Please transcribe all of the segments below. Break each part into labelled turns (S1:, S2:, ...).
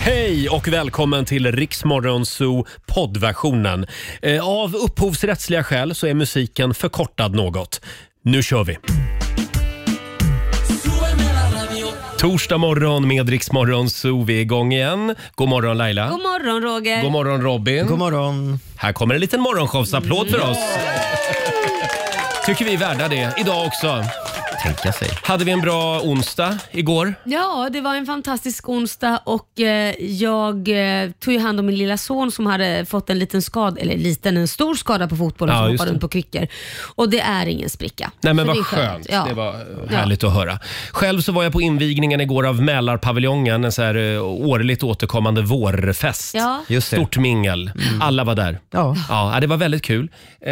S1: Hej och välkommen till Riksmorgonzoo poddversionen. Eh, Av upphovsrättsliga skäl så är musiken förkortad något. Nu kör vi! Torsdag morgon med Riksmorgonzoo. Vi är igång igen. God morgon Laila.
S2: God morgon Roger.
S1: God morgon Robin. God morgon. Här kommer en liten morgonshowsapplåd för oss. Mm. Tycker vi är värda det. Idag också. Tänka sig. Hade vi en bra onsdag igår?
S2: Ja, det var en fantastisk onsdag och eh, jag eh, tog ju hand om min lilla son som hade fått en liten skada, eller liten, en stor skada på fotbollen
S1: Ja,
S2: som
S1: just
S2: hoppade
S1: det.
S2: runt på kryckor. Och det är ingen spricka.
S1: Nej men
S2: Så
S1: vad
S2: det är
S1: skönt.
S2: Ja.
S1: Det var eh, härligt att höra. Själv så var jag på invigningen igår av Mälarpaviljongen, en så här eh, årligt återkommande vårfest.
S2: Ja.
S3: Just det. Mm.
S1: Stort mingel. Alla var där.
S3: Ja.
S1: ja, det var väldigt kul. Eh,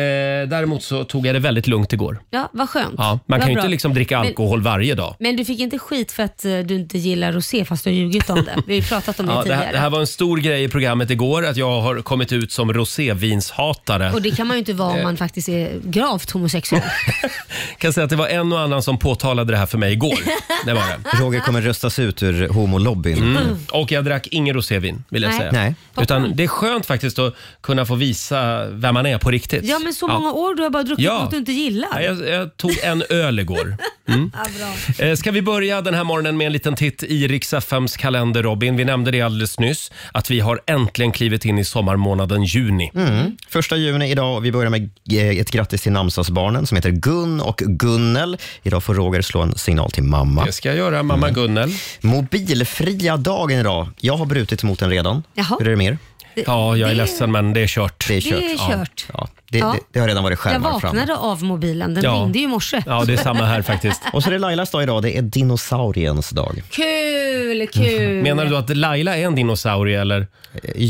S1: däremot så tog jag det väldigt lugnt igår.
S2: Ja, vad skönt.
S1: Ja, man
S2: Vad
S1: kan ju
S2: bra.
S1: inte liksom dricka
S2: Men-
S1: alkohol varje dag.
S2: Men du fick inte skit för att eh, du inte gillar rosé fast du har ljugit om det. Vi har ju pratat om det
S1: Ja, det,
S2: tidigare.
S1: här, det här var en stor grej i programmet igår, att jag har kommit ut som rosévinshatare.
S2: Och det kan man ju inte vara om
S1: Eh.
S2: man faktiskt är gravt homosexuell.
S1: Kan säga att det var en och annan som påtalade det här för mig igår. Det var det.
S3: Roger kommer röstas ut ur homolobbyn.
S1: Mm. Och jag drack ingen rosévin, vill jag
S2: Nej.
S1: säga.
S3: Nej.
S1: Utan det är skönt faktiskt att kunna få visa vem man är på riktigt.
S2: Ja men så många år du har bara druckit
S1: Ja.
S2: något du inte
S1: Ja,
S2: gillar.
S1: jag, jag tog en öl igår.
S2: Ja, bra.
S1: Eh, Ska vi börja den här morgonen med en liten titt i Rix FMs kalender, Robin? Vi nämnde det alldeles nyss, att vi har äntligen klivit in i sommarmånaden juni.
S3: Mm. Första juni idag och vi börjar med eh, ett grattis till namnsdagsbarnen som heter Gun och Gunnel. Idag får Roger slå en signal till mamma. Mm.
S1: Det ska jag göra, mamma Gunnel.
S3: Mobilfria dagen idag. Jag har brutit mot den redan.
S2: Jaha.
S3: Hur är det med er?
S1: Ja, jag är
S2: Det-
S1: ledsen men det är kört.
S3: Det är kört.
S2: Det är kört.
S3: Ja, det,
S2: Ja.
S3: Det, det har redan varit
S2: Jag
S3: skärmar fram.
S2: vaknade av mobilen, den
S1: Ja.
S2: ringde ju i morse.
S1: Ja, det är samma här faktiskt.
S3: Och så är det Lailas dag idag. Det är dinosauriens dag.
S2: Kul, kul.
S1: Mm. Menar du att Laila är en dinosaurie eller?
S3: Eh,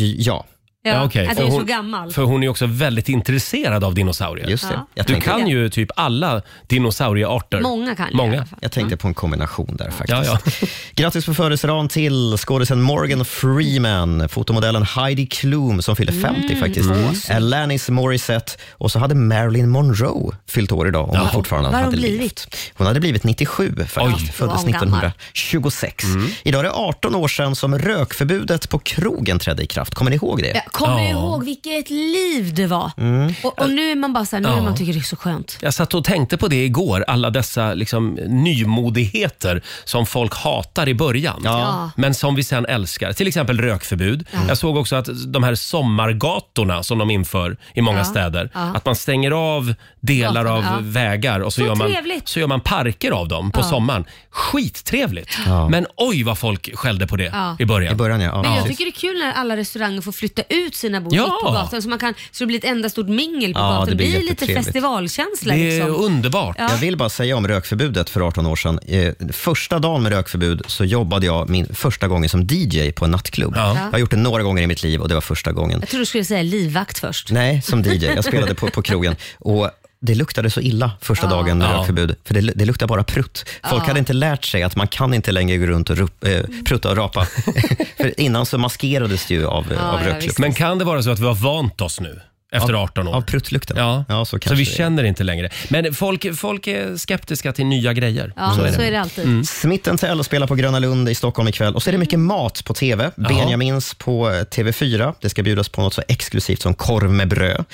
S3: Ja,
S2: ja,
S1: okej.
S2: Att jag
S1: Och
S2: är så
S1: hon-
S2: gammal.
S1: För hon är också väldigt intresserad av dinosaurier.
S3: just det.
S2: Ja.
S3: Jag
S1: Du
S3: tänkte,
S1: kan ju typ alla dinosauriearter.
S2: Många kan jag i
S1: Många.
S2: alla fall.
S3: Jag tänkte på en kombination där faktiskt.
S1: Ja, ja.
S3: Grattis på födelsedagen till skådisen Morgan Freeman, fotomodellen Heidi Klum som fyller 50
S2: Mm.
S3: faktiskt, Alanis Morissette och så hade Marilyn Monroe fyllt år idag om hon fortfarande
S2: Vad har hon
S3: hade
S2: blivit?
S3: levt. Hon hade blivit 97 faktiskt,
S2: Oj.
S3: föddes
S2: Då var hon gammal.
S3: 1926.
S1: Mm.
S3: Idag är det 18 år sedan som rökförbudet på krogen trädde i kraft. Kommer ni ihåg det? Mm.
S2: Jag kommer
S1: Ja.
S2: ihåg vilket liv det var. Och, och nu är man bara såhär, nu
S1: Ja.
S2: är man tycker det är så skönt.
S1: Jag satt och tänkte på det igår, alla dessa liksom, nymodigheter som folk hatar i början.
S2: Ja.
S1: Men som vi sen älskar. Till exempel rökförbud. Jag såg också att de här sommargatorna som de inför i många
S2: Ja.
S1: städer.
S2: Ja.
S1: Att man stänger av delar av
S2: Gatorna, ja.
S1: vägar och så,
S2: Så
S1: gör man,
S2: trevligt.
S1: så gör man parker av dem på sommaren. Skittrevligt! Men oj vad folk skällde på det
S2: Ja.
S1: i början.
S3: I början ja.
S2: Men
S3: ja.
S2: jag tycker det är kul när alla restauranger får flytta ut sina bord
S1: Ja.
S2: mitt på gatan så, man kan, så det blir ett enda stort mingel på
S3: Ja,
S2: gatan.
S3: det blir
S2: lite
S3: jättetrevligt.
S2: festivalkänsla
S1: Det är
S2: liksom.
S1: underbart.
S2: Ja.
S3: Jag vill bara säga om rökförbudet för 18 år sedan. Eh, första dagen med rökförbud så jobbade jag min första gången som DJ på en nattklubb.
S1: Ja.
S3: Jag har gjort det några gånger i mitt liv och det var första gången.
S2: Jag tror du skulle säga livvakt först.
S3: Nej, som DJ. Jag spelade på, på krogen. Och det luktade så illa första dagen med
S1: Ja.
S3: rökförbud, för det, det luktade bara prutt. Folk hade inte lärt sig att man kan inte längre gå runt och rup, eh, prutta och rapa. för innan så maskerades det ju av,
S2: Ja,
S3: av
S2: ja,
S3: röklukt.
S2: visst.
S1: Men kan det vara så att vi har vant oss nu efter 18 år?
S3: Av pruttlukten.
S1: Ja,
S3: så
S1: så
S3: kanske
S1: vi
S3: det är.
S1: känner inte längre. Men folk, folk är skeptiska till nya grejer.
S2: Ja, så är det, Mm. alltid.
S3: Smitten Tell spelar på Gröna Lund i Stockholm ikväll. Och så är det mycket mat på TV. Benjamins på eh, TV4. Det ska bjudas på något så exklusivt som korv med bröd.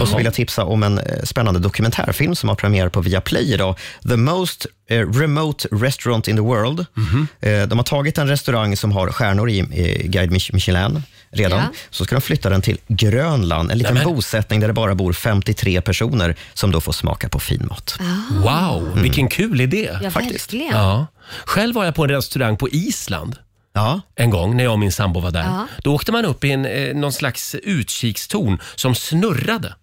S3: Och så vill jag tipsa om en eh, spännande dokumentärfilm som har premiär på Viaplay idag. The most eh, remote restaurant in the world.
S2: Mhm.
S3: Eh, De har tagit en restaurang som har stjärnor i eh, Guide Mich- Michelin redan.
S2: Ja.
S3: Så ska de flytta den till Grönland, en liten
S1: Nämen.
S3: bosättning där det bara bor 53 personer som då får smaka på fin mat.
S2: Ah.
S1: Wow,
S3: Mm.
S1: vilken kul idé.
S2: Ja,
S3: Faktiskt.
S2: verkligen.
S1: Ja. Själv var jag på en restaurang på Island
S3: Ja.
S1: en gång när jag och min sambo var där.
S2: Ja.
S1: Då åkte man upp i en, eh, någon slags utkikstorn som snurrade.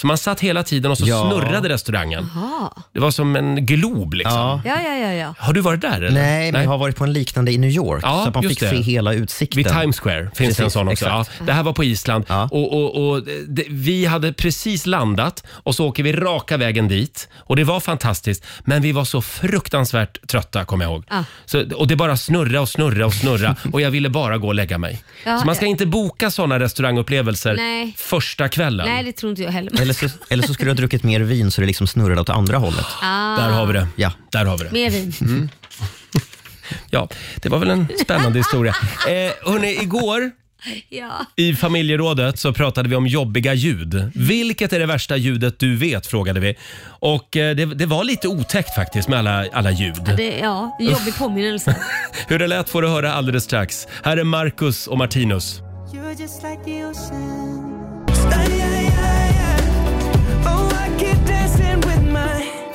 S1: Så man satt hela tiden och så
S3: Ja.
S1: snurrade restaurangen.
S2: Ja.
S1: Det var som en glob liksom.
S3: Ja.
S2: Ah. ja, ja, ja, ja.
S1: Har du varit där? Eller?
S3: Nej, men jag har varit på en liknande i New York.
S1: Ja,
S3: så att man
S1: just
S3: fick
S1: det.
S3: se hela utsikten.
S1: Vid Times Square finns det en
S3: Precis,
S1: sån också. Ja,
S3: exakt.
S1: det här var på Island
S3: Ja.
S1: och, och, och det, vi hade precis landat och så åker vi raka vägen dit och det var fantastiskt. Men vi var så fruktansvärt trötta kommer jag ihåg.
S2: Ja.
S1: Så, och det bara snurra och snurra och snurra och jag ville bara gå och lägga mig.
S2: Ja,
S1: så man ska
S2: ja.
S1: inte boka såna restaurangupplevelser
S2: Nej.
S1: första kvällen.
S2: Nej, det tror inte jag heller.
S3: Eller så, eller så skulle du ha druckit mer vin så det liksom snurrade åt andra hållet.
S2: Ah,
S1: Där har vi det.
S3: Ja.
S1: Där har vi det. Mm.
S2: Mer vin.
S1: Ja, det var väl en spännande historia. Eh, hörni, igår
S2: Ja.
S1: I familjerådet så pratade vi om jobbiga ljud. Vilket är det värsta ljudet du vet? frågade vi. Och eh, det, det var lite otäckt faktiskt med alla, alla
S2: Ja,
S1: ljud.
S2: det, ja, jobbig påminnelse.
S1: Hur det lät får du höra alldeles strax. Här är Marcus och Martinus.
S4: You're just like the ocean.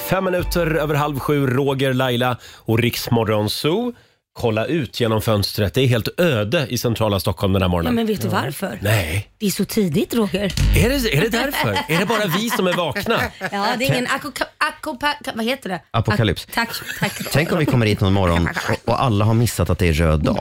S1: Fem minuter över halv sju, Roger, Laila och Riksmorgon Zoo. Kolla ut genom fönstret. Det är helt öde i centrala Stockholm den här
S2: Ja,
S1: morgonen.
S2: men vet du varför?
S1: Nej,
S2: Det är så tidigt Roger.
S1: är det, är det därför? är det bara vi som är vakna?
S2: Ja, det är ingen akoka, akopa, vad heter det?
S3: Apokalyps.
S2: Ak- tack, tack.
S3: Tänk om vi kommer hit någon morgon och, och alla har missat att det är röd dag.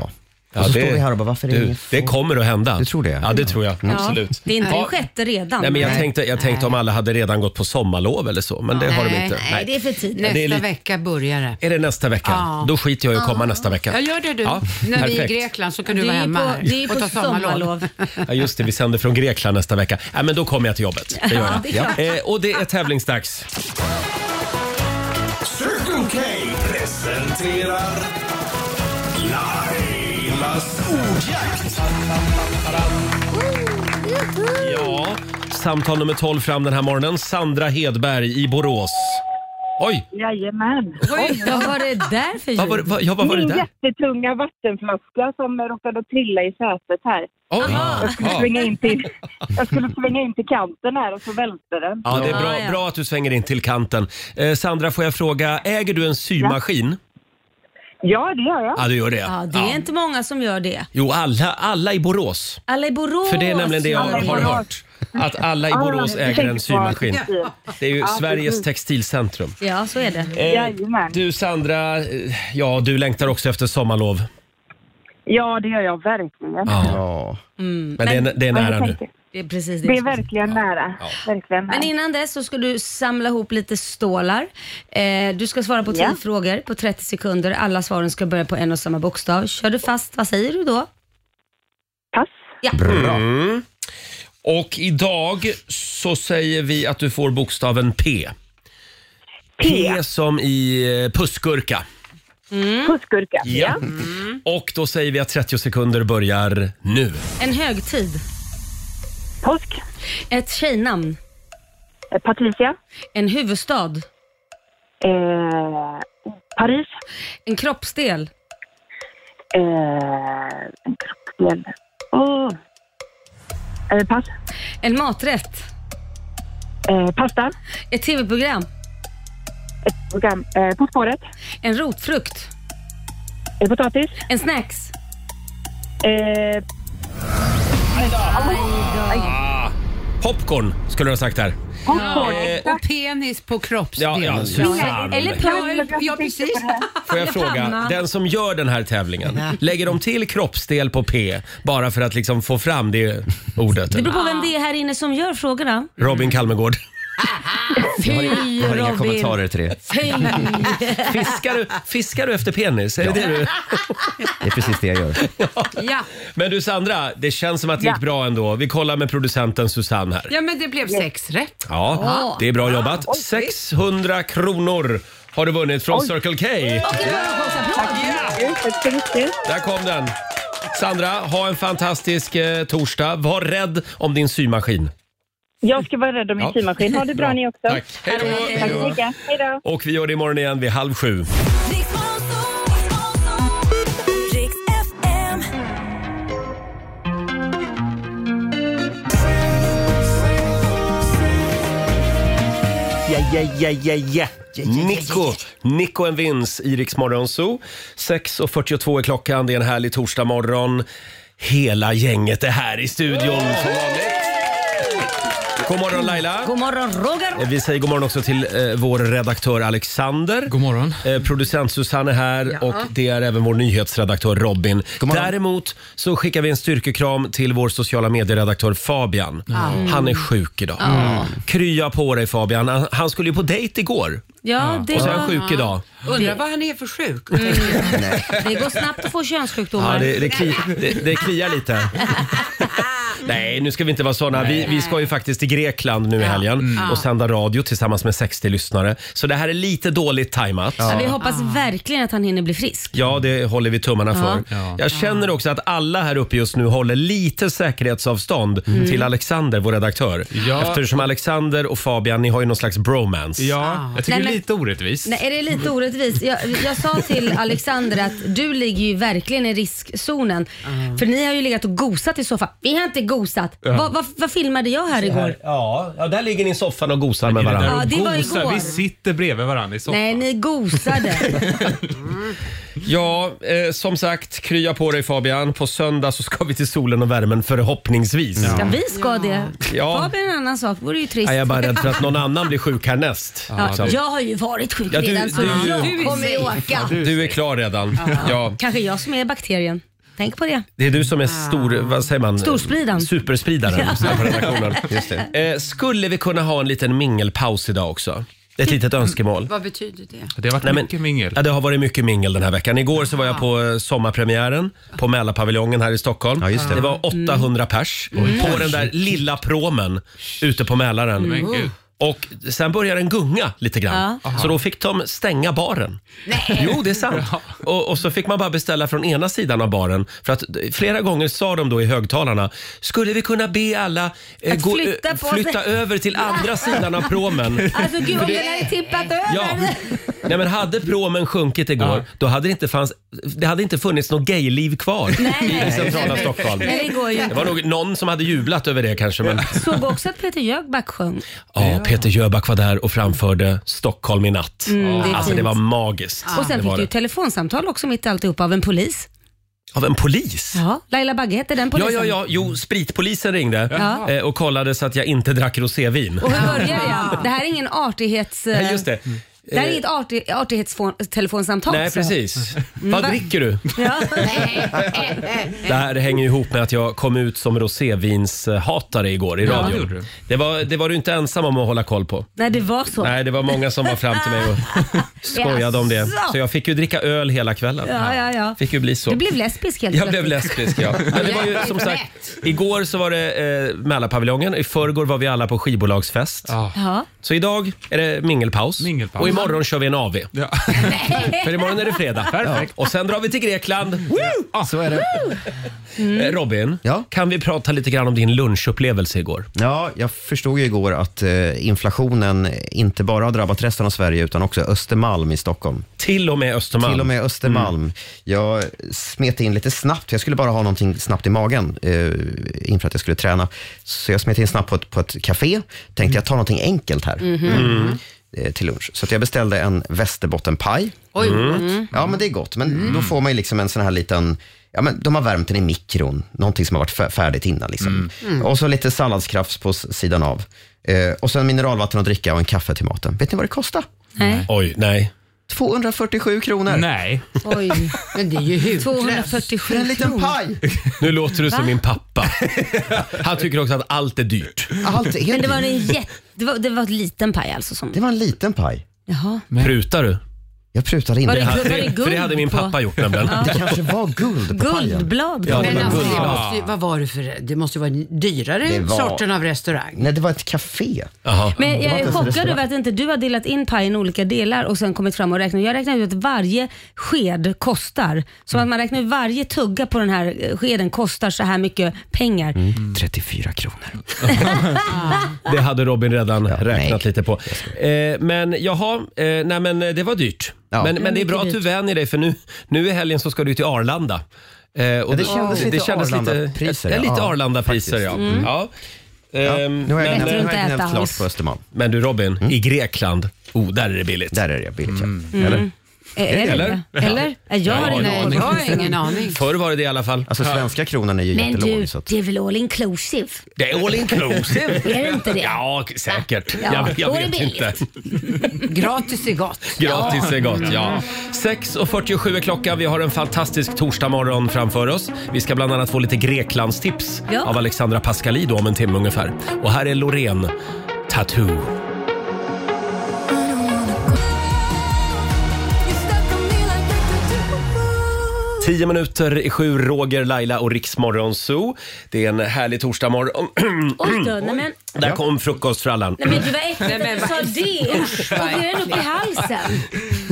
S3: och så
S1: det-
S3: står vi här och bara, varför är det
S1: Du,
S3: ingen
S1: det kommer att hända.
S3: Du tror det?
S1: Ja, det tror jag. Absolut.
S2: Det är inte
S1: Ja.
S2: den sjätte redan.
S1: Nej, men jag tänkte, jag tänkte om alla hade redan gått på sommarlov eller så, men det har de
S5: Nej,
S1: inte.
S2: Nej, det är för tidigt.
S1: det är
S5: Nästa
S1: lite-
S5: vecka börjar det.
S1: Är det nästa vecka?
S5: Ja.
S1: Då skiter jag i att komma nästa vecka.
S5: Jag gör det du.
S1: Ja,
S5: När vi är i
S1: perfekt.
S5: Grekland så kan
S2: Det
S5: du vara
S2: är ju
S5: hemma
S2: på,
S5: här
S2: det är ju
S5: och
S2: på
S5: ta sommarlov.
S2: sommarlov.
S1: Ja, just det, vi sänder från Grekland nästa vecka. Ja, men då kommer jag till jobbet. Det gör
S2: Ja,
S1: jag.
S2: det är klart.
S1: Eh, och det är tävlingsdags.
S6: Circle K presenterar Lailas ordjakt.
S1: Ja, samtal nummer 12 fram den här morgonen. Sandra Hedberg i Borås. Oj,
S7: Jajamän.
S2: Oj, vad var det där för
S1: vad var,
S2: ljud?
S1: det- vad, ja, vad var det
S7: Min
S1: där?
S7: jättetunga vattenflaska som råkade trilla i sätet här.
S1: Oj.
S7: Jag skulle,
S1: Ja.
S7: svänga in till, jag skulle svänga in till kanten här och så välte den.
S1: Ja, det är
S2: Ja,
S1: bra,
S2: ja.
S1: bra att du svänger in till kanten. Eh, Sandra, får jag fråga, äger du en symaskin?
S7: Ja, det gör jag.
S1: Ja, du gör det.
S2: Ja, det
S1: Ja.
S2: är inte många som gör det.
S1: Jo, alla, alla i Borås.
S2: Alla i Borås.
S1: För det är nämligen det jag
S7: alla i
S1: har
S7: Borås.
S1: hört. Att alla i Borås
S7: Ja,
S1: äger en
S7: tänk vad-
S1: symaskin. Det är ju Sveriges textilcentrum.
S2: Ja, så är det.
S1: Eh.
S7: Jajamän.
S1: Du Sandra, eh, ja du längtar också efter sommarlov.
S7: Ja, det gör jag verkligen.
S1: Ja.
S3: Ja.
S1: Men det är, det är
S7: Men jag
S1: nära nu.
S7: tänker,
S2: Det är precis det.
S7: Det
S2: jag
S7: är
S2: skulle säga.
S7: verkligen nära. Verkligen nära.
S2: Men innan dess så ska du samla ihop lite stålar. Eh, du ska svara på 10
S7: Ja.
S2: frågor på 30 sekunder. Alla svaren ska börja på en och samma bokstav. Kör du fast, vad säger du då?
S7: Pass.
S1: Mm. Och idag så säger vi att du får bokstaven P.
S7: P.
S1: P som i eh, pussgurka. Mm.
S7: Pussgurka.
S1: Ja. Och då säger vi att 30 sekunder börjar nu.
S2: En högtid.
S7: Påsk.
S2: Ett tjejnamn.
S7: Eh, Patricia.
S2: En huvudstad.
S7: Eh, Paris.
S2: En kroppsdel.
S7: Eh, en kroppsdel. Åh. Eh, pass.
S2: En maträtt.
S7: Eh, pasta.
S2: Ett tv-program.
S7: Ett program. Eh, på spåret.
S2: En rotfrukt.
S7: Eh, potatis.
S2: En snacks.
S7: Eh,
S1: Ah, Popcorn skulle du ha sagt här.
S7: popcorn.
S5: Och penis på
S1: Ja,
S5: kroppsdelen.
S1: ja, fan.
S2: Eller
S5: Ja,
S2: pöl.
S5: ja, precis.
S1: Får jag fråga,
S2: panna.
S1: den som gör den här tävlingen, lägger de till kroppsdel på P bara för att liksom få fram det ordet?
S2: Det beror
S1: eller?
S2: på vem det är här inne som gör frågorna.
S1: Robin Kalmegård.
S2: Fy
S3: Jag har inga
S2: Robin.
S3: kommentarer till det.
S2: Fy.
S1: Fiskar du, fiskar du efter penis? Är det det du?
S3: Det är precis det jag gör.
S5: Ja.
S1: Men du Sandra, det känns som att det gick bra ändå. Vi kollar med producenten Susanne här.
S5: ja, men det blev sex rätt.
S1: Ja, det är bra jobbat. 600 kronor har du vunnit från Circle K.
S7: Tack så mycket.
S1: Där kom den. Sandra, ha en fantastisk eh, torsdag. Var rädd om din symaskin.
S7: Jag ska vara rädd om min
S1: Ja.
S7: symaskin. Ha det bra ni också.
S1: Tack. Hej då.
S7: Tack så mycket. Hej då.
S1: Och vi gör det imorgon igen vid halv sju. Yeah, yeah, yeah, yeah, yeah. Nico, Nico and Vince i Rix Morgon Zoo. 6.42 är klockan, det är en härlig torsdagmorgon. Hela gänget är här i studion som vanligt. God morgon Laila.
S2: God morgon Roger.
S1: Eh, Vi säger god morgon också till eh, vår redaktör Alexander.
S8: God morgon.
S1: Eh, producent Susanne är här och det är även vår nyhetsredaktör Robin. Däremot så skickar vi en styrkekram till vår sociala medieredaktör Fabian. Mm. Han är sjuk idag. Krya på dig Fabian. Han- Han skulle ju på dejt igår
S2: Ja, det,
S1: och så är han
S2: var, Mm.
S1: sjuk idag.
S5: Undrar vad han är för sjuk.
S2: det går snabbt att få
S1: Ja,
S2: könssjukdomar.
S1: det, det, kli, det, det kliar lite. Nej, nu ska vi inte vara såna. Vi, vi ska ju faktiskt till Grekland nu i helgen
S2: Mm.
S1: och sända radio tillsammans med 60 lyssnare. Så det här är lite dåligt tajmat.
S2: Ja,
S1: Ja.
S2: vi hoppas verkligen att han hinner bli frisk.
S1: det håller vi tummarna för.
S8: Ja.
S1: Jag känner också att alla här uppe just nu håller lite säkerhetsavstånd
S2: Mm.
S1: till Alexander, vår redaktör.
S8: Ja.
S1: Eftersom Alexander och Fabian, ni har ju någon slags bromance.
S8: Ja, jag
S2: Ah. Nej,
S8: tycker det
S2: men-
S8: är lite orättvist.
S2: Nej, är det lite orättvist? Jag, jag sa till Alexander att du ligger ju verkligen i riskzonen. För ni har ju legat och gosat i soffan. Vi har inte gosat. Vad, vad, vad filmade jag här igår?
S1: Ja, ja, där ligger ni i soffan och gosar med
S8: Är där
S1: varandra.
S8: och
S2: Ja, det var
S8: gosar?
S2: igår.
S8: Vi sitter bredvid varandra i soffan.
S2: Nej, ni gosade.
S1: Ja, eh, som sagt, krya på dig Fabian. På söndag så ska vi till solen och värmen förhoppningsvis.
S2: Ja, vi ska det.
S1: Ja.
S2: Fabian är en annan sak. vore ju trist.
S1: Nej, jag är bara rädd för att någon annan blir sjuk härnäst.
S2: Ja,
S1: liksom.
S2: jag har ju varit sjuk
S1: Ja, du-
S2: redan så
S1: du-
S5: du
S2: jag
S5: är
S2: kommer
S5: safe.
S2: åka.
S1: Du är klar redan. Ja.
S2: Kanske jag som är bakterien. Tänk på det.
S1: Det är du som är stor, vad säger man?
S2: Storspridaren.
S1: Superspridaren här på redaktionen. Eh, skulle vi kunna ha en liten mingelpaus idag också? Ett litet önskemål.
S5: Vad betyder det?
S8: Det har varit
S1: Nej, men-
S8: mycket mingel.
S1: Ja, det har varit mycket mingel den här veckan. Igår så var jag på eh, sommarpremiären på Mälarpaviljongen här i Stockholm.
S3: Ja, just det.
S1: det var 800 pers
S8: Mm.
S1: på den där lilla promen ute på Mälaren. Mm.
S8: Men gud.
S1: Och sen började den gunga lite grann. Så då fick de stänga baren. Jo, det är sant. Och, och så fick man bara beställa från ena sidan av baren. För att eh, flera gånger sa de då i högtalarna, skulle vi kunna be alla eh,
S2: Att flytta
S1: eh,
S2: på
S1: flytta
S2: sig."
S1: över till andra sidan av promen?
S2: Alltså gud om den hade tippat över.
S1: Ja. Nej, men hade promen sjunkit igår,
S8: Ja.
S1: då hade det inte, fanns, det hade inte funnits något gayliv kvar
S2: nej.
S1: i centrala Stockholm.
S2: Nej, det går ju
S1: Det
S2: inte.
S1: var nog någon som hade jublat över det kanske. Men,
S2: Såg också att Peter Jöback sjöng.
S1: ja, Peter Jöback var där och framförde Stockholm i natt.
S2: Mm, det är
S1: Alltså
S2: fint.
S1: det var magiskt.
S2: Och sen
S1: det
S2: fick
S1: var
S2: du ju
S1: det.
S2: telefonsamtal också mitt i alltihop av en polis.
S1: Av en polis?
S2: Ja. Laila Bagge hette den
S1: Ja,
S2: polisen.
S1: ja, ja. Jo, spritpolisen ringde
S2: Ja.
S1: eh, och kollade så att jag inte drack rosévin.
S2: Och hur börjar jag? Det här är ingen artighets... eh,
S1: Nej, just det. Eh,
S2: Det här är inget arti, artighetstelefonsamtal.
S1: Nej,
S2: så. Mm.
S1: precis. Vad dricker du?
S2: Ja.
S1: Det här hänger ju ihop med att jag kom ut som rosévinshatare igår i
S8: Ja, det
S1: radion.
S8: gjorde du.
S1: Det, var, det var du inte ensam om att hålla koll på.
S2: Nej, det var så.
S1: Nej, det var många som var fram till mig och skojade om det.
S2: Jaså?
S1: Så jag fick ju dricka öl hela kvällen.
S2: Ja, ja, ja.
S1: Fick ju bli så.
S2: Du blev lesbisk helt
S1: Jag blev
S2: plötsligt.
S1: lesbisk ja. Men det var ju som sagt, igår så var det eh, Mälarpaviljongen, i förrgår var vi alla på skivbolagsfest.
S8: Ja.
S2: Ja.
S1: Så idag är det mingelpaus,
S8: Mingelpaus.
S1: och imorgon kör vi en AV.
S8: Ja.
S1: För imorgon är det fredag.
S8: Perfekt.
S1: Och sen drar vi till Grekland.
S3: Så är det.
S2: Mm.
S1: Eh, Robin,
S3: Ja?
S1: kan vi prata lite grann om din lunchupplevelse igår?
S3: Ja, jag förstod ju igår att eh, inflationen inte bara har drabbat resten av Sverige utan också Östermalm i Stockholm.
S1: Till och med Östermalm. Mm.
S3: Till och med Östermalm. Jag smet in lite snabbt. Jag skulle bara ha någonting snabbt i magen eh, inför att jag skulle träna. Så jag smet in snabbt på ett, på ett café. Tänkte jag tar någonting enkelt här
S1: Mm.
S3: eh, till lunch. Så att jag beställde en västerbottenpaj.
S5: Oj,
S1: Mm.
S3: Ja, men det är gott. Men då får man ju liksom en sån här liten Ja, men de har värmt den i mikron, någonting som har varit fär- färdigt innan. Liksom.
S1: Mm.
S3: Och så lite salladskrafs på s- sidan av. Eh, och sen mineralvatten att dricka och en kaffe till maten. Vet ni vad det kostar?
S2: Nej.
S1: Oj, nej.
S3: 247 kronor
S8: Nej.
S2: Oj.
S5: men det är ju hutlöst.
S2: 247
S3: för en liten
S2: kronor.
S3: paj.
S1: Nu låter du som min pappa. Han tycker också att allt är dyrt.
S3: Allt är
S2: Men det var
S3: dyrt.
S2: en jätte... Det var, det var en liten paj alltså som...
S3: det var en liten paj.
S2: Jaha.
S1: Prutar du?
S3: Jag prutade in
S2: Var
S3: det.
S2: det-
S3: här.
S2: var
S1: det, för det
S2: guld
S1: hade min
S2: på?
S1: pappa gjort nämligen.
S3: Det kanske var guld på pajen.
S2: Guldblad.
S1: Ja,
S5: Men
S1: men
S5: alltså, det måste
S1: guld.
S5: ju, vad var det för, det måste ju vara en dyrare
S3: Det var-
S5: sorten av restaurang.
S3: Nej, det var ett café.
S1: Jaha.
S2: Men jag är
S3: var inte ens en
S2: chockad
S3: restaurang.
S2: över att inte du har delat in pajen i olika delar och sen kommit fram och räknat. Jag räknar ut att varje sked kostar. Som att man räknar ut varje tugga på den här eh, skeden kostar så här mycket pengar.
S3: Mm. 34 kronor.
S1: Det hade Robin redan räknat
S3: nej.
S1: lite på. Eh, men jaha, eh, nej men eh, det var dyrt.
S3: Ja.
S1: Men,
S3: Det
S1: men det är bra att du vänjer dig för nu, nu i helgen så ska du till Arlanda. Eh, och
S3: det kändes lite Arlandapriser,
S1: Ja, lite
S3: ja.
S1: Arlandapriser ja.
S2: Mm.
S1: ja. Ehm,
S3: Nu har jag
S1: men,
S2: Bättre att
S3: gnällt-
S2: inte
S3: jag har
S2: äta
S3: gnällt klart
S2: alls.
S3: på Östermalm. Mm.
S1: men du Robin, i Grekland, oh, där är det billigt. Mm.
S3: Där är det billigt. ja.
S2: Mm.
S3: Eller?
S2: Eh, Är, är det
S1: Eller?
S2: det? Eller? Ja. Jag har ingen
S5: Nej,
S2: aning.
S5: jag har ingen aning.
S1: Förr var det det i alla fall.
S3: Alltså svenska kronan är ju
S2: Men du,
S3: jättelåg. Så att,
S2: det är väl all inclusive?
S1: Det är all inclusive.
S2: Är det inte det?
S1: Ja, k- säkert.
S2: Ja,
S1: Jag,
S2: då
S1: jag
S2: är det
S1: vet inte.
S2: billigt.
S5: Gratis är gott.
S1: Gratis är gott, ja. 6.47 är klockan. Vi har en fantastisk torsdagmorgon framför oss. Vi ska bland annat få lite Greklandstips
S2: Ja.
S1: av Alexandra Pascalidou om en timme ungefär. Och här är Loreen, Tattoo. Tio minuter i sju, Roger, Laila och Riksmorgon Zoo. Det är en härlig torsdagmorgon.
S2: Oj då, nej men,
S1: Där kom frukostfrallan.
S2: nej men gud vad äckligt
S5: Nej, men
S2: att
S5: vad
S2: du sa det. Usch, tog den upp i halsen.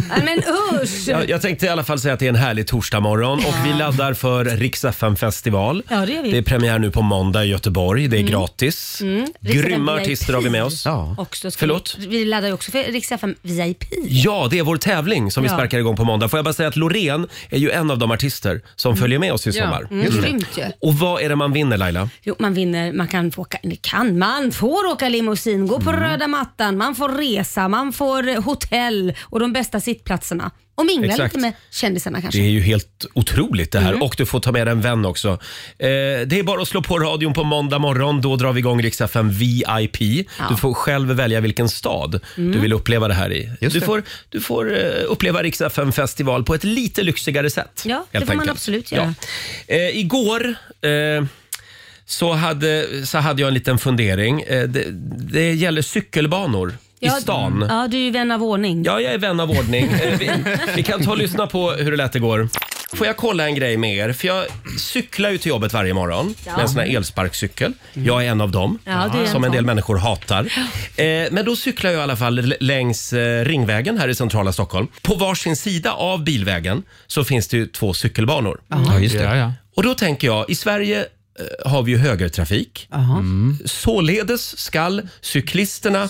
S2: Nej men usch.
S1: Jag, jag tänkte i alla fall säga att det är en härlig torsdagmorgon och vi laddar för Rix FM festival.
S2: Ja, det gör vi. Mm.
S1: är premiär nu på måndag i Göteborg. Det är gratis.
S2: Rix FM
S1: Grymma
S2: VIP.
S1: artister har vi med oss.
S3: Ja.
S2: Också ska
S1: Förlåt?
S2: Vi, vi laddar ju också för Rix FM VIP.
S1: Ja, det är vår tävling som vi
S2: Ja.
S1: sparkar igång på måndag. Får jag bara säga att Loreen är ju en av de artister som följer med oss i sommar.
S2: Mm, grymt ju.
S1: Och vad är det man vinner Laila?
S2: Jo, man vinner, man kan få åka, eller kan, man får åka limousin, gå
S1: Mm.
S2: på röda mattan, man får resa, man får eh, hotell och de bästa sittplatserna. Och mingla
S1: Exakt.
S2: lite med kändisarna kanske. Mm.
S1: Det är ju helt otroligt det här. Och du får ta med dig en vän också. Eh, det är bara att slå på radion på måndag morgon. Då drar vi igång Rix FM VIP. Du får själv välja vilken stad
S2: Mm.
S1: du vill uppleva det här i.
S3: Just
S1: Du
S3: det.
S1: får, du får eh, uppleva Rix FM festival på ett lite lyxigare sätt.
S2: Ja, det
S1: helt
S2: får man
S1: enkelt.
S2: absolut
S1: Ja.
S2: göra.
S1: Eh, igår eh, så, hade, så hade jag en liten fundering. Eh, det, det gäller cykelbanor
S2: Ja,
S1: i stan.
S2: Ja, du är ju vän av ordning.
S1: Ja, jag är vän av ordning. Eh, Vi, vi kan ta och lyssna på hur det lät igår. Får jag kolla en grej med er? För jag cyklar ju till jobbet varje morgon med en sån här elsparkcykel. Jag är en av dem
S2: Mm. Ja, du är en
S1: som en
S2: sån.
S1: del människor hatar. Eh, men då cyklar jag i alla fall l- längs eh, Ringvägen här i centrala Stockholm. På varsin sida av bilvägen så finns det ju två cykelbanor.
S3: Ja, just det.
S8: Ja, ja.
S1: Och då tänker jag, i Sverige eh, har vi ju högertrafik. Mm. Således skall cyklisterna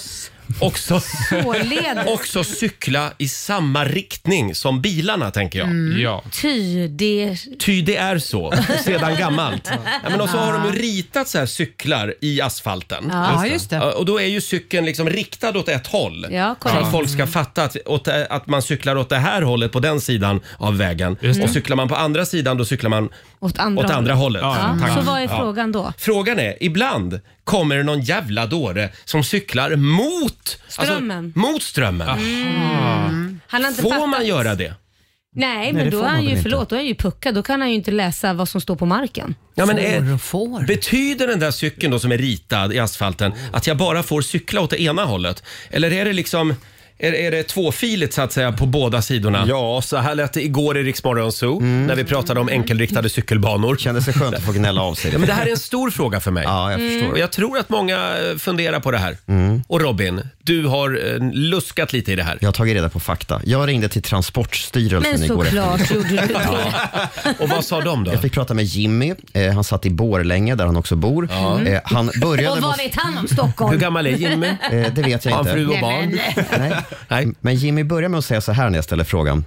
S1: också
S2: Således.
S1: också cykla i samma riktning som bilarna, tänker jag.
S8: ja.
S2: Mm. Ty, det...
S1: Ty det är så, sedan gammalt. Ja, men och så har de ju ritat så här cyklar i asfalten.
S5: Ja, just det.
S1: Ja, Och då är ju cykeln liksom riktad åt ett håll.
S2: Ja,
S1: så
S2: korrekt. Mm.
S1: att folk ska fatta att, åt, att man cyklar åt det här hållet på den sidan av vägen. Och cyklar man på andra sidan då cyklar man
S2: Åt andra
S1: åt andra hållet.
S2: Ja,
S1: Tack.
S2: så vad är frågan då?
S1: Frågan är, ibland kommer det någon jävla dåre som cyklar mot
S2: Strömmen. Mm.
S1: Alltså, mot strömmen.
S2: Han har inte
S1: Får
S2: fattat.
S1: man göra det?
S2: Nej, men
S3: det
S2: då
S3: får
S2: är han
S3: man
S2: ju,
S3: väl
S2: förlåt, då är han ju puckad. Då kan han ju inte läsa vad som står på marken.
S1: Ja, men eh, är,
S5: Får och får.
S1: Betyder den där cykeln då som är ritad i asfalten att jag bara får cykla åt det ena hållet? Eller är det liksom är, är det tvåfiligt så att säga på båda sidorna? Ja, så här lät det igår i Riksmorgon Zoo när vi pratade om enkelriktade cykelbanor.
S3: Mm. Kändes det skönt att få gnälla av sig
S1: Ja,
S3: det?
S1: men det här är en stor fråga för mig. Mm.
S3: Ja, jag
S1: Och
S3: förstår. Mm.
S1: jag tror att många eh, funderar på det här. Och Robin, du har eh, luskat lite i det här.
S3: Jag har tagit reda på fakta. Jag ringde till Transportstyrelsen
S2: Men
S3: igår eftermiddag.
S2: såklart gjorde du det.
S1: Och vad sa de då?
S3: Jag fick prata med Jimmy. Eh, han satt i Borlänge där han också bor. Eh, han började
S2: Och
S3: med...
S2: vad
S3: att-
S2: vet han om
S1: Hur
S2: Stockholm?
S1: gammal är Jimmy?
S3: Eh, det vet
S1: Har
S3: jag
S1: han fru
S3: inte.
S1: och barn?
S3: Nej.
S1: Nej.
S3: Men Jimmy börjar med att säga så här när jag ställer frågan.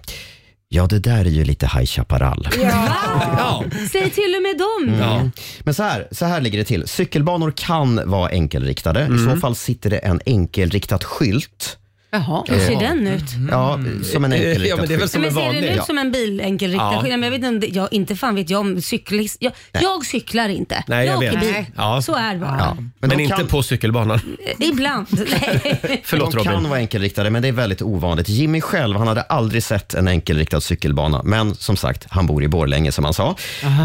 S3: Ja, det där är ju lite High Chaparral. Mm.
S1: Ja.
S2: Säg till och med dem.
S1: ja.
S3: Men så här, så här ligger det till. Cykelbanor kan vara enkelriktade. I
S1: Mm.
S3: så fall sitter det en enkelriktad skylt.
S5: Jaha.
S2: Hur
S3: Eh,
S2: ser den ut?
S3: Ja, som en enkelriktad
S1: Mm. Ja, men det är väl
S3: skylt.
S1: som en
S2: men ser den
S1: vanlig.
S2: ut som en bil enkelriktad?
S1: Ja.
S2: Ja. Men jag vet inte, jag, inte fan vet jag om cyklist. Jag, jag cyklar inte.
S1: Nej, jag
S2: åker
S1: vet.
S2: bil.
S1: Nej. Ja.
S2: Så är det bara. Eh,
S3: Ja,
S1: Men,
S3: de
S1: inte
S3: kan,
S1: på cykelbanan.
S2: Ibland. Nej.
S1: Förlåt
S3: De
S1: Robin.
S3: kan vara enkelriktade, men det är väldigt ovanligt. Jimmy själv, han hade aldrig sett en enkelriktad cykelbana. Men som sagt, han bor i Borlänge som han sa.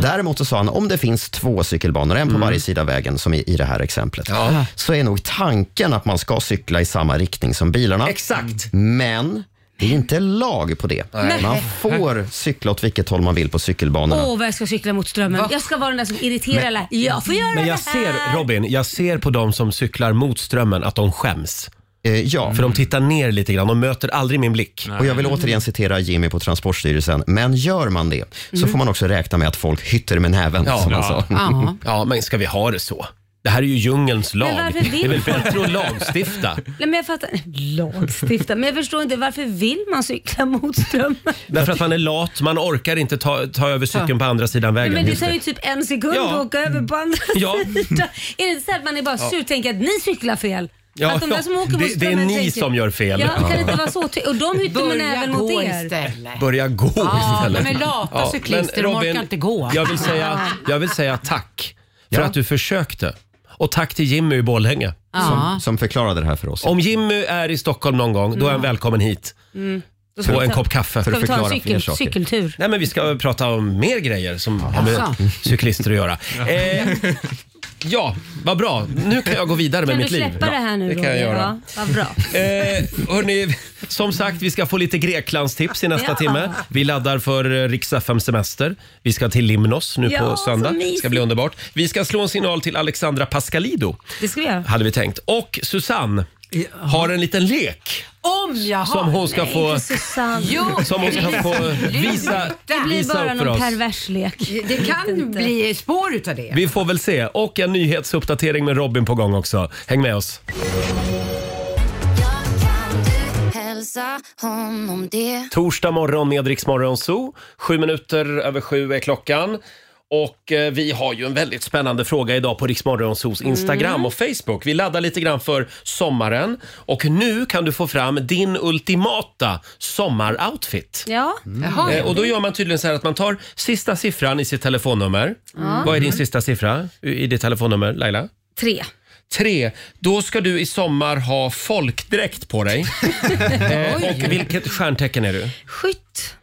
S3: Däremot så sa han, om det finns två cykelbanor, en på
S1: Mm.
S3: varje sida av vägen, som i, i det här exemplet, så är nog tanken att man ska cykla i samma riktning som bilarna.
S1: Exakt.
S3: Men det är inte lag på det. Man får cykla åt vilket håll man vill på cykelbanorna.
S2: Åh, vad jag ska cykla mot strömmen. Jag ska vara den där som irriterar alla. Jag får göra
S1: Men
S2: det
S1: jag
S2: här.
S1: ser, Robin, jag ser på de som cyklar mot strömmen att de skäms.
S3: Eh, ja.
S1: För de tittar ner lite grann, de möter aldrig min blick.
S3: Och jag vill återigen citera Jimmy på Transportstyrelsen, men gör man det så får man också räkna med att folk hytter med näven,
S1: Mm. Ja.
S3: som han
S1: Ja.
S3: sa.
S5: Ja.
S1: Ja, men ska vi ha det så? Det här är ju djungelns lag.
S2: Men varför
S1: Det
S2: vill
S1: är väl bättre att lagstifta?
S2: Nej, men jag fattar. Lagstifta. Men jag förstår inte, varför vill man cykla mot strömmen?
S1: Därför att man är lat, man orkar inte ta, ta över cykeln på andra sidan vägen.
S2: Men det
S1: Just
S2: tar ju typ en sekund
S1: Ja. Mm.
S2: att åka över på andra
S1: Ja.
S2: sidan. Är det inte så att man är bara sur och tänker att ni cyklar fel?
S1: Ja,
S2: att de där som åker
S1: det-
S2: mot
S1: det är
S2: strömmen
S1: ni
S2: tänker,
S1: som gör fel.
S2: Ja, kan det inte vara så? ty- Och de hytter med
S5: Börja
S2: näven mot
S5: gå
S2: er.
S5: istället.
S1: Börja gå istället.
S5: de är lata cyklister, de orkar inte gå.
S1: Jag vill säga, jag vill säga tack för
S3: Ja.
S1: att du försökte. Och tack till Jimmy i Borlänge.
S5: Ja.
S3: Som förklarade det här för oss.
S1: Om Jimmy är i Stockholm någon gång, då är han välkommen hit. På en kopp kaffe.
S2: Mm. Ska vi ta en
S3: förklara fler
S2: cykel,
S3: saker.
S2: cykeltur?
S1: Nej, men vi ska prata om mer grejer som har med
S5: Jaså.
S1: cyklister att göra. Eh, Ja, vad bra. Nu kan jag gå vidare med
S2: Kan du
S1: mitt liv.
S2: släppa det här nu
S1: Det kan jag
S2: Roger?
S1: göra.
S2: Ja, vad bra.
S1: Eh, hörni, som sagt, vi ska få lite Greklandstips i nästa
S2: Ja.
S1: timme. Vi laddar för Rix FM semester. Vi ska till Limnos nu
S2: Ja,
S1: på söndag.
S2: så
S1: Det
S2: mysigt.
S1: ska bli underbart. Vi ska slå en signal till Alexandra Pascalido,
S2: Det ska vi göra.
S1: hade vi tänkt. Och Susanne har en liten lek
S5: Om jag
S1: som hon ska få...
S2: Susanne.
S5: Jo,
S1: Som hon ska få visa,
S5: Det
S2: Det blir
S1: visa
S2: bara
S1: upp för
S2: någon
S1: oss.
S2: pervers lek. Jag
S5: Det
S2: vet
S5: kan
S2: inte.
S5: bli spår utav det.
S1: Vi får väl se. Och en nyhetsuppdatering med Robin på gång också. Häng med oss.
S9: Hälsa honom det.
S1: Torsdag morgon med Rix Morgon Zoo. Sju minuter över sju är klockan. Och eh, vi har ju en väldigt spännande fråga idag på Rix Morgon Zoos Instagram och Facebook. Vi laddar lite grann för sommaren. Och nu kan du få fram din ultimata sommaroutfit.
S2: Ja,
S5: Mm. Jaha.
S1: Eh, Och då gör man tydligen så här att man tar sista siffran i sitt telefonnummer. Vad är din sista siffra i i ditt telefonnummer, Laila?
S2: tre.
S1: Tre, då ska du i sommar ha folkdräkt på dig. Eh, och vilket stjärntecken är du?
S2: Skytt.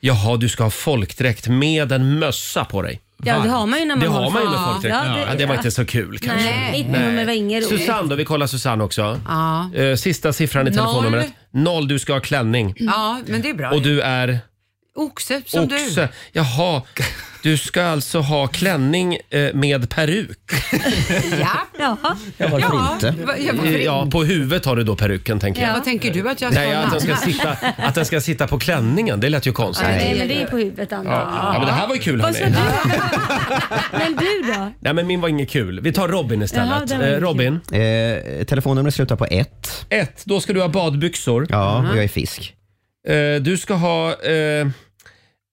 S1: Jaha, du ska ha folkdräkt med en mössa på dig.
S2: Ja, det har man ju när man
S1: Det har
S2: håller
S1: man ju
S2: på.
S1: med folkdräkt.
S2: Ja,
S1: Ja, det var inte så kul kanske.
S2: Nej, mitt nummer var inget roligt.
S1: Susanne då, vi kollar Susanne också.
S5: Ja.
S1: Eh, Sista siffran i
S5: Noll.
S1: telefonnumret. Noll, du ska ha klänning.
S5: ja, men det är bra.
S1: Och du är
S5: Oxe som
S1: oxe.
S5: du.
S1: Jaha, du ska alltså ha klänning eh, med peruk.
S5: Ja.
S2: Ja,
S3: Ja, varför inte?
S5: va- ja, varför inte?
S1: Eh, Ja, på huvudet har du då peruken tänker jag.
S5: Vad tänker du att jag ska
S1: Nej, att den,
S5: ha?
S1: ska sitta, att den ska sitta på klänningen, det lät ju konstigt.
S2: nej, men det är på huvudet Anna.
S1: Ja, men det här var ju kul
S2: Vad ska
S1: hörni.
S2: du Men du då?
S1: Nej men min var inget kul. Vi tar Robin
S2: Jaha,
S1: istället.
S2: den var
S1: eh,
S2: inte
S1: Robin,
S3: Eh, telefonnumret slutar på ett.
S1: ett, då ska du ha badbyxor.
S3: Ja, och jag är fisk.
S1: Eh, du ska ha eh,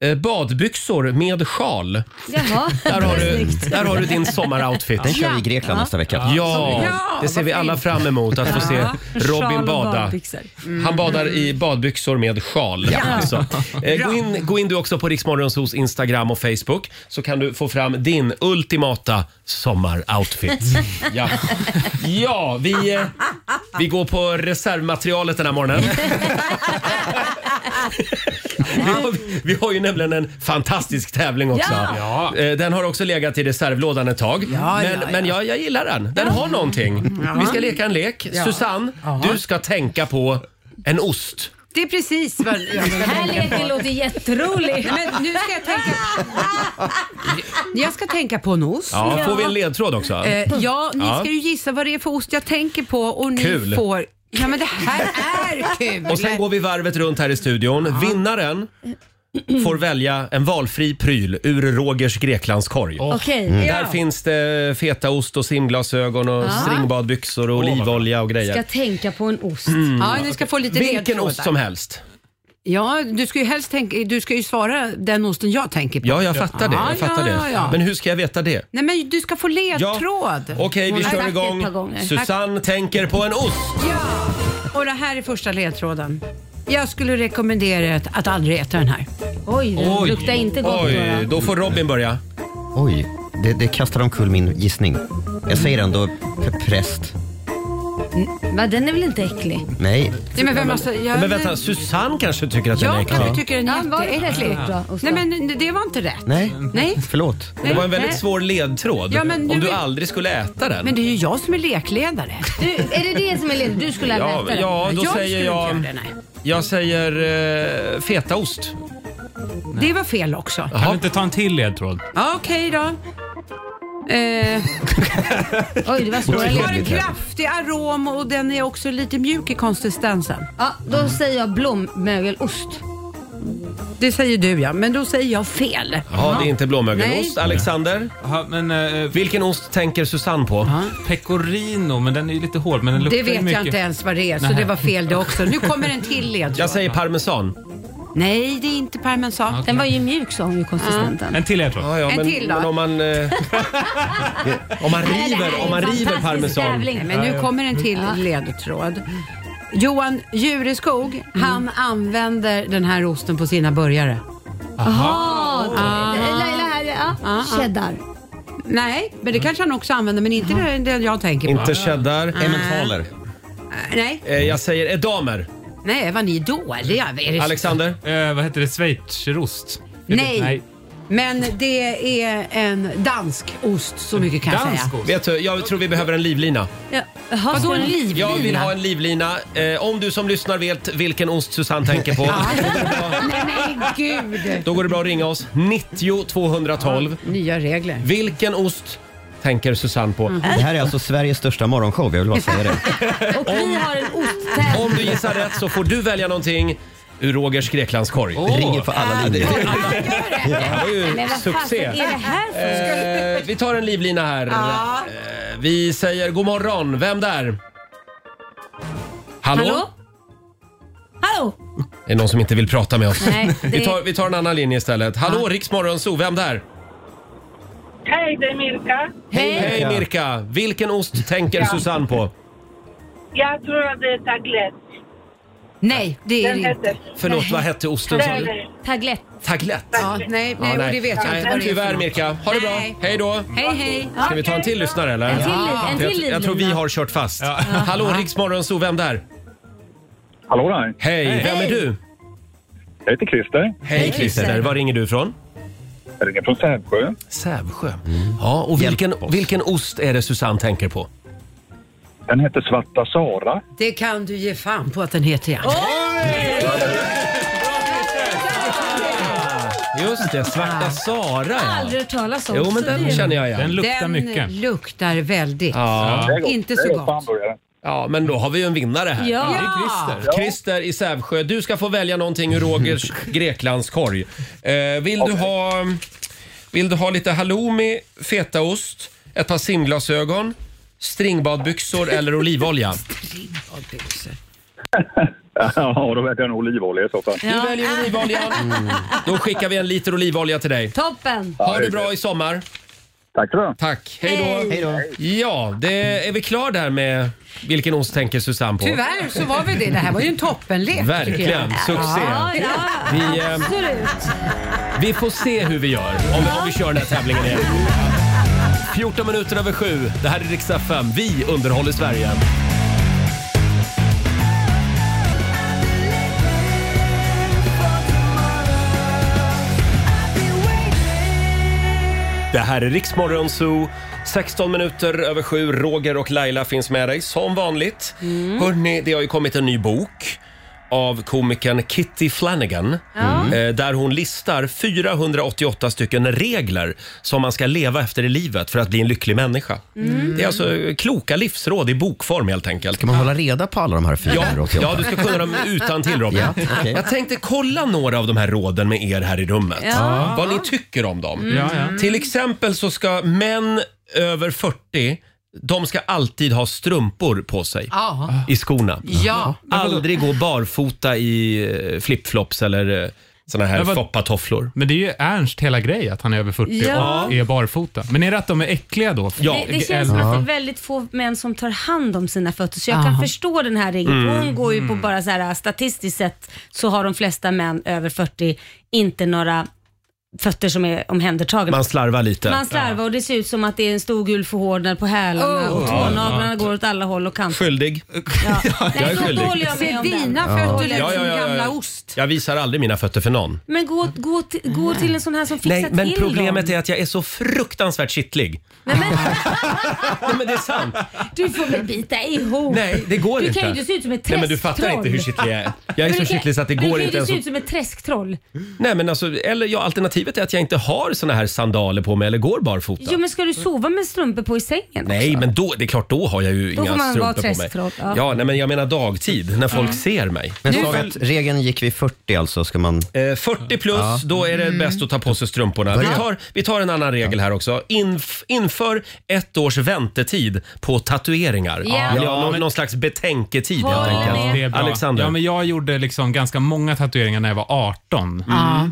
S1: eh, badbyxor med sjal.
S2: Jaha,
S1: Där har du, där har du din sommaroutfit.
S3: Den kör vi i Grekland nästa vecka.
S1: Ja,
S5: Ja,
S1: det ser vi alla fram emot att få se
S2: Sjal
S1: Robin
S2: och
S1: bada.
S2: badbyxor. Mm.
S1: Han badar i badbyxor med sjal. Alltså. Eh, gå, in, gå in du också på Riksmorgonsos Instagram och Facebook så kan du få fram din ultimata sommaroutfit. Ja, ja vi, eh, vi går på reservmaterialet den här morgonen. Vi har, vi har ju nämligen en fantastisk tävling också.
S8: Ja.
S1: Eh, Den har också legat i reservlådan ett tag. men men jag, jag gillar den. Den har någonting. Vi ska leka en lek. Susanne, du ska tänka på en ost.
S5: Det är precis vad jag
S2: Den här leken låter jätterolig.
S5: Men nu ska jag tänka... Jag ska tänka på en ost. Ja. Eh,
S1: Ja, Får vi en ledtråd också?
S5: ja, ni
S1: Ja.
S5: ska ju gissa vad det är för ost jag tänker på och ni
S1: Kul.
S5: får... Ja, men det här är kul!
S1: Och sen går vi varvet runt här i studion. Vinnaren får välja en valfri pryl ur Rogers Greklandskorg.
S2: Okej,
S1: Mm. Där finns det fetaost och simglasögon och stringbadbyxor och olivolja och
S2: ska
S1: grejer.
S2: tänka på en ost.
S5: ja, ni ska få lite
S1: Mm. Vilken
S5: ledtrådar.
S1: ost som helst.
S5: Ja, du ska ju helst tänka, du ska ju svara den osten jag tänker på.
S1: Ja, jag fattar det.
S5: Ja,
S1: Jag fattar
S5: ja,
S1: det.
S5: ja.
S1: Men hur ska jag veta det?
S5: Nej, men du ska få ledtråd.
S1: Okej, vi
S2: har
S1: kör
S2: sagt det ett par
S1: igång.
S2: gånger.
S1: Susanne tänker på en ost.
S5: Ja. Och det här är första ledtråden. Jag skulle rekommendera att, att aldrig äta den här.
S2: Oj,
S5: Mm,
S2: den luktar inte gott.
S1: Oj,
S2: då, då.
S1: då får Robin börja.
S3: Oj, det, det kastar omkull min gissning. Jag säger ändå p- präst.
S2: Va, den är väl inte äcklig?
S3: Nej,
S5: Nej, men vem alltså, jag,
S1: Men vänta, Susanne kanske tycker att den är
S5: jag
S1: äcklig?
S5: kanske tycker den
S2: Ja, var
S5: är
S2: det
S5: jätteäcklig.
S2: rätt bra ost
S5: Nej,
S2: då?
S5: men det var inte rätt.
S3: nej,
S5: Nej.
S3: förlåt.
S1: Det var en
S5: Nej.
S1: väldigt svår ledtråd.
S5: Ja, men
S1: Om
S5: nu
S1: du
S5: är-
S1: aldrig skulle äta
S5: Men
S1: den.
S5: det är ju jag som är lekledare.
S2: Du, är det det som är led? Du skulle ha
S1: Ja,
S2: ätit den.
S1: ja då
S5: jag
S1: säger
S5: skulle inte
S1: jag...
S5: göra det, nej.
S1: Jag säger eh, fetaost.
S5: Det var fel också.
S8: Kan du inte ta en till ledtråd?
S5: Ja, Okej då. Eh,
S2: Oj, det var svåra
S5: den har en
S2: led.
S5: kraftig arom och den är också lite mjuk i konsistensen.
S2: Ja, då säger jag blommögelost.
S5: Det säger du ja, men då säger jag fel.
S1: Ja, det är inte blåmögelost.
S5: Nej.
S1: Alexander,
S8: Jaha, men, eh,
S1: vilken ost tänker Susanne på?
S8: pecorino, men den är ju lite hård. Men den luktar
S5: Det
S8: ju
S5: vet
S8: mycket.
S5: jag inte ens vad det är, så
S8: Nej.
S5: det var fel det också. Nu kommer en till ledtråd.
S1: Jag säger parmesan.
S5: Nej, det är inte parmesan.
S2: Den var ju mjuk sa hon ju konsistenten.
S8: En till ledtråd.
S1: Ja, ja,
S5: En
S1: men,
S5: till då.
S1: men om man... Eh, om man river, om man river parmesan.
S5: Nej, men nu kommer en till ledtråd. Johan Jureskog, han
S1: Mm.
S5: använder den här osten på sina burgare. Ah, eh,
S2: Jaha!
S1: Ah.
S2: Laila här, ja. Cheddar.
S5: Nej, men det kanske han också använder, men inte den- den jag tänker på.
S1: Mm.
S5: Ah,
S1: Inte cheddar.
S3: Emmentaler.
S5: Nej,
S1: Eh, jag säger edamer.
S5: nej, vad ni är dåliga. Är det...
S1: Alexander?
S8: Eh, vad heter det? Schweizerost? Är det-
S5: Nej.
S8: Nej.
S5: Men det är en dansk ost, så mycket kan jag säga.
S8: Dansk ost.
S1: Vet du, jag tror vi behöver en livlina.
S2: Ja. Jaha,
S5: Vadå
S2: ska
S5: en
S2: de-
S5: livlina?
S1: Jag vill ha en livlina. Eh, om du som lyssnar vet vilken ost Susanne tänker på,
S5: Nej, men gud!
S1: då går det bra att ringa oss. 90 212.
S5: Nya regler.
S1: Vilken ost tänker Susanne på?
S3: Det här är alltså Sveriges största morgonshow, jag vill bara säga det.
S2: Och vi har en osttävling.
S1: Om du gissar rätt så får du välja någonting ur Rogers Greklandskorg.
S8: Åh.
S3: Ringer på alla linjer.
S1: Det här var ju
S2: Men vad
S1: succé.
S2: fasen är det här för?
S1: Eh, vi tar en livlina här. Eh, vi säger god morgon. Vem där? Hallå?
S2: Hallå? Hallå?
S1: Det är någon som inte vill prata med oss.
S2: Nej, det-
S1: vi, tar, vi tar en annan linje istället. Hallå, ja. Riksmorgonzoo. Vem där?
S7: Hej, det är Mirka.
S2: Hej.
S1: Hej Mirka! Vilken ost tänker Susanne på?
S7: Jag tror att det är taglet.
S5: Nej, det är
S7: Den
S5: det inte.
S7: heter
S1: Förlåt, vad hette osten? sa du?
S7: Taglet.
S2: Taglett.
S1: Taglett.
S5: Ja, nej, nej,
S1: Ja,
S5: och det vet jag
S1: Nej,
S5: inte vad det är för
S1: Tyvärr
S5: något.
S1: Mirka. Ha det bra.
S5: Nej.
S1: Hej då.
S5: Hej, hej.
S1: Ska vi ta en till lyssnare eller?
S2: En till, en till
S1: Jag, jag tror vi
S2: livlina.
S1: har kört fast. Hallå Riksmorgonzoo, vem där?
S10: Hallå där.
S1: Hej, vem är du?
S10: Jag heter Christer.
S1: Hej Christer, var ringer du ifrån?
S10: Jag ringer från Sävsjö.
S1: Sävsjö.
S5: Mm.
S1: Ja, och vilken, vilken ost är det Susanne tänker på?
S10: Den heter Svarta Sara.
S5: Det kan du ge fan på att den heter ja.
S1: Just det,
S5: Ah.
S1: Svarta Sara.
S2: Jag har
S1: Ja.
S2: aldrig hört talas om.
S1: Jo, men
S2: så det
S1: den
S2: är-
S1: känner jag
S8: Den
S1: igen.
S8: luktar
S5: den
S8: mycket.
S5: luktar väldigt.
S1: Ja.
S10: Det är gott.
S5: Inte
S10: Det är
S5: så
S10: på
S5: gott.
S10: hamburgare.
S1: ja, men då har vi ju en vinnare här.
S2: Ja.
S8: Christer.
S1: Christer i Sävsjö, du ska få välja någonting ur Rogers Greklandskorg. Eh, vill, du ha, vill du ha lite halloumi, fetaost, ett par simglasögon, stringbadbyxor eller olivolja?
S10: Ja, då väljer jag nog olivolja i så fall.
S1: Du väljer olivoljan.
S5: Mm.
S1: Då skickar vi en liter olivolja till dig.
S2: Toppen.
S1: Ha det bra i sommar.
S10: Tack för det.
S1: Tack. Hej då.
S3: Hej då.
S1: Ja, det, är vi klar där med vilken ost tänker Susanne på?
S5: Tyvärr så var vi det. Det här var ju en toppenlek. tycker jag.
S1: Verkligen.
S2: Ja,
S1: Succé.
S2: ja.
S1: Vi, eh,
S2: Absolut.
S1: Vi får se hur vi gör om, om vi kör den här tävlingen igen. 14 minuter över sju. Det här är Riksdag 5. Vi underhåller Sverige. Det här är Riksmorgon Zoo. 16 minuter över sju. Roger och Laila finns med dig som vanligt. Hörrni, det har ju kommit en ny bok av komikern Kitty Flanagan. Eh, Där hon listar 488 stycken regler som man ska leva efter i livet för att bli en lycklig människa. Det är alltså eh, kloka livsråd i bokform helt enkelt.
S3: Ska man hålla reda på alla de här
S1: Ja,
S3: 488?
S1: ja, du ska kunna dem utan till Robin.
S3: Ja, okej.
S1: Jag tänkte kolla några av de här råden med er här i rummet.
S2: Ja.
S1: Vad ni tycker om dem. Mm.
S8: Ja, ja.
S1: Till exempel så ska män över 40, de ska alltid ha strumpor på sig
S5: Ja.
S1: i skorna.
S5: Ja.
S1: Aldrig gå barfota i eh, flipflops eller eh, såna här
S8: Men vad-
S1: foppatofflor.
S8: Men det är ju Ernst hela grej att han är över 40
S2: Ja.
S8: och är barfota. Men är det att de är äckliga då?
S1: Ja.
S2: Det, det känns som att det är väldigt få män som tar hand om sina fötter, så jag kan förstå den här regeln.
S1: Mm.
S2: Hon går
S5: Mm.
S2: ju på bara så här, äh, statistiskt sett så har de flesta män över 40 inte några fötter som är omhändertagna.
S1: Man slarvar lite.
S2: Man slarvar och det ser ut som att det är en stor gul förhårdnad på hälarna
S1: Oh.
S2: och tånaglarna går åt alla håll och kanter.
S1: Skyldig. Jag är
S2: Nej, så då
S1: skyldig.
S2: håller jag med
S5: Ser
S2: om den.
S5: dina fötter ut
S1: Ja, ja,
S5: som
S1: ja, ja.
S5: gamla ost?
S1: Jag visar aldrig mina fötter för någon.
S2: Men gå, gå, till, gå till en sån här som fixar
S1: Nej, men
S2: till
S1: problemet
S2: dem.
S1: är att jag är så fruktansvärt kittlig.
S2: Nej, men,
S1: Nej, men det är sant.
S2: du får väl bita ihop.
S1: Nej, det går
S2: du
S1: inte.
S2: kan ju inte se ut som ett
S1: Nej,
S2: träsktroll.
S1: men du fattar inte hur kittlig jag är. Jag är
S2: Men
S1: så
S2: du kan-
S1: kittlig så att det
S2: men
S1: går
S2: Du
S1: inte
S2: kan ju
S1: ens
S2: se
S1: att...
S2: ut som ett träsktroll.
S1: Nej, men alltså, eller ja, alternativet är att jag inte har såna här sandaler på mig eller går barfota.
S2: Jo men ska du sova med strumpor på i sängen?
S1: Nej, men då, det är klart, då har jag ju
S2: får
S1: inga
S2: man vara
S1: strumpor på mig.
S2: träsktroll, ja.
S1: Ja, nej, men jag menar dagtid, när folk ser mig.
S3: Men sa vi att regeln gick vid 40 alltså, ska man...
S1: Eh, 40 plus, då är det
S8: Mm.
S1: bäst att ta på sig strumporna. Vi tar, vi tar en annan regel här också. Inf, inför ett års väntetid på tatueringar.
S2: Ja.
S1: Eller Ja,
S8: Ja,
S1: någon,
S8: men-
S1: någon slags betänketid helt
S2: Håller
S1: enkelt.
S2: med.
S8: Det är bra.
S1: Alexander.
S8: Ja, men jag gjorde liksom ganska många tatueringar när jag var
S2: Mm.
S8: 18.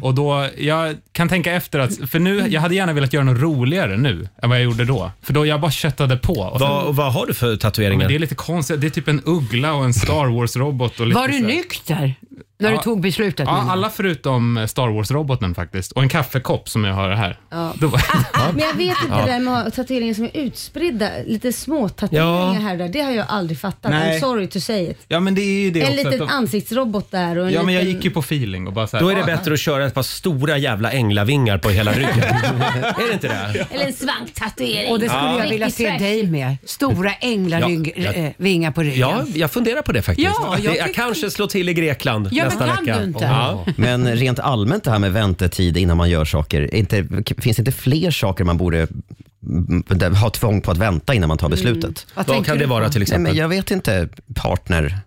S8: Och då, jag kan tänka efter att, för nu, jag hade gärna velat göra något roligare nu än vad jag gjorde då. För då jag bara köttade på. Och sen,
S1: Vad, vad har du för
S8: men
S1: tatueringar?
S8: det är lite konstigt, det är typ en uggla och en Star Wars-robot. och lite
S5: Var du
S8: så här.
S5: nykter? När du tog beslutet.
S8: Ja,
S5: menar du?
S8: alla förutom Star Wars-roboten faktiskt. Och en kaffekopp som jag har här.
S11: Ja.
S8: Då var-
S5: Ah.
S11: Men jag vet inte
S8: Ja.
S11: det där med tatueringar som är utspridda, lite små tatueringar
S8: Ja.
S11: här och där. Det har jag aldrig fattat.
S8: Nej.
S11: I'm sorry to say it.
S8: Ja, men det är ju det
S11: en
S8: också.
S11: liten
S8: att de-
S11: ansiktsrobot där och en
S8: Ja, men jag
S11: liten...
S8: gick ju på feeling och bara så här,
S1: Då är det
S8: "Ah,
S1: bättre att köra ett par stora jävla änglavingar på hela ryggen. är det inte det?
S2: Eller en svanktatuering.
S5: Och det skulle
S1: Ja.
S5: jag vilja
S2: Riktigt
S5: se
S2: fräscht.
S5: dig med. Stora änglarvingar
S1: Ja, jag-
S5: eh, vingar på ryggen.
S1: Ja, jag funderar på det faktiskt.
S5: Ja, jag
S1: jag,
S5: tycker-
S1: kanske slår till i Grekland
S5: Ja, men
S1: nästa
S5: kan
S1: vecka.
S5: du inte?
S1: Ja.
S3: Men rent allmänt det här med väntetid innan man gör saker. är Inte, finns det inte fler saker man borde mm, där- ha tvång på att vänta innan man tar beslutet?
S1: Mm. Vad Vad tänker kan du det på? vara till exempel?
S3: Nej, men jag vet inte. Partner.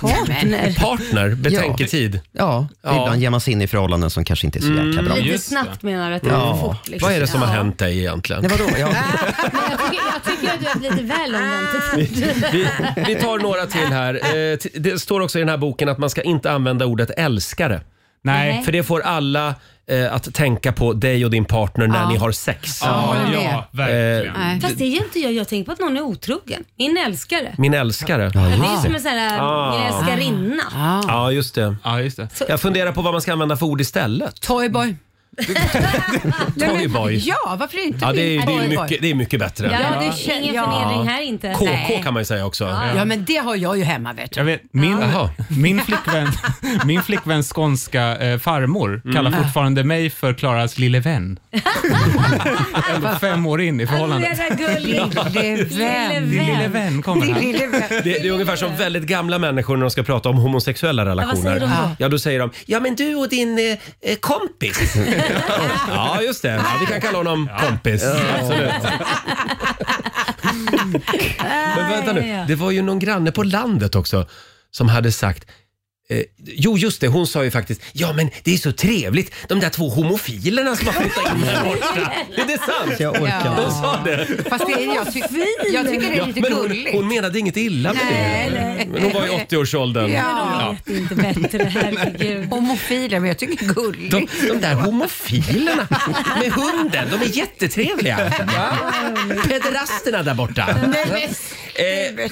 S11: Partner.
S1: Partner, betänketid.
S3: Ja,
S1: Ja.
S3: ibland ger man sig in i förhållanden som kanske inte är så jäkla
S2: Mm,
S3: bra.
S11: Lite snabbt menar du att det går fort. Liksom.
S1: Mm. Vad är det som
S11: Ja.
S1: har hänt dig egentligen?
S3: Nej, vadå? Jag...
S11: Men jag, tycker, jag tycker att du är lite väl lång väntetid.
S1: Vi, vi tar några till här. Eh, t- Det står också i den här boken att man ska inte använda ordet älskare.
S11: Nej.
S1: För det får alla eh, att tänka på dig och din partner när
S2: Ja.
S1: ni har sex.
S2: Ja, Ja, håller med. ja,
S1: verkligen.
S2: Fast det är inte jag. Jag tänker på att någon är otrogen. Min älskare.
S1: Min älskare.
S2: Ja, det är ju som en sån här
S1: Ah.
S2: min älskarinna.
S1: Ja, just det.
S8: Ja, just det.
S1: Jag funderar på vad man ska använda för ord istället.
S5: Toyboy.
S1: Toyboy.
S5: Ja, varför inte?
S1: Ja, det är, det, är
S5: Toyboy.
S1: mycket, det är mycket bättre.
S5: Ja, det
S2: Ingen
S5: känner
S2: förnedring här inte.
S1: KK kan man ju säga också.
S5: Ja, men det har jag ju hemma vet du.
S8: Jag vet, min,
S1: Jaha.
S8: min, flickvän, min flickväns skånska eh, farmor kallar
S5: Mm.
S8: fortfarande mig för Klaras lille vän. Ändå fem år in i förhållandet.
S2: Alltså, det är där gulligt.
S5: Lille vän.
S8: Din lille vän kommer
S5: Din
S8: här.
S5: lille vän.
S1: Det, det är ungefär som väldigt gamla människor när de ska prata om homosexuella relationer.
S5: säger de då?
S1: Ja, då säger de “Ja men du och din eh, eh, kompis”. ja, just det. Ja, vi kan kalla honom kompis. Absolut. Men vänta nu, det var ju någon granne på landet också som hade sagt Eh, jo, just det. Hon sa ju faktiskt “Ja, men det är så trevligt, de där två homofilerna som har flyttat in här borta”. Är det sant?
S3: Jag orkar
S5: inte.
S1: Hon sa det.
S5: Fast det är, jag, ty- jag tycker det är lite
S1: men hon,
S5: gulligt.
S1: hon menade inget illa med
S5: Nej,
S1: det.
S5: nej.
S1: Men hon var i 80-årsåldern.
S5: Ja.
S2: Det är inte bättre, herregud.
S5: Homofiler, men jag tycker det är gulligt.
S1: De, de där homofilerna med hunden, de är jättetrevliga. Va? Pederasterna där borta. Eh,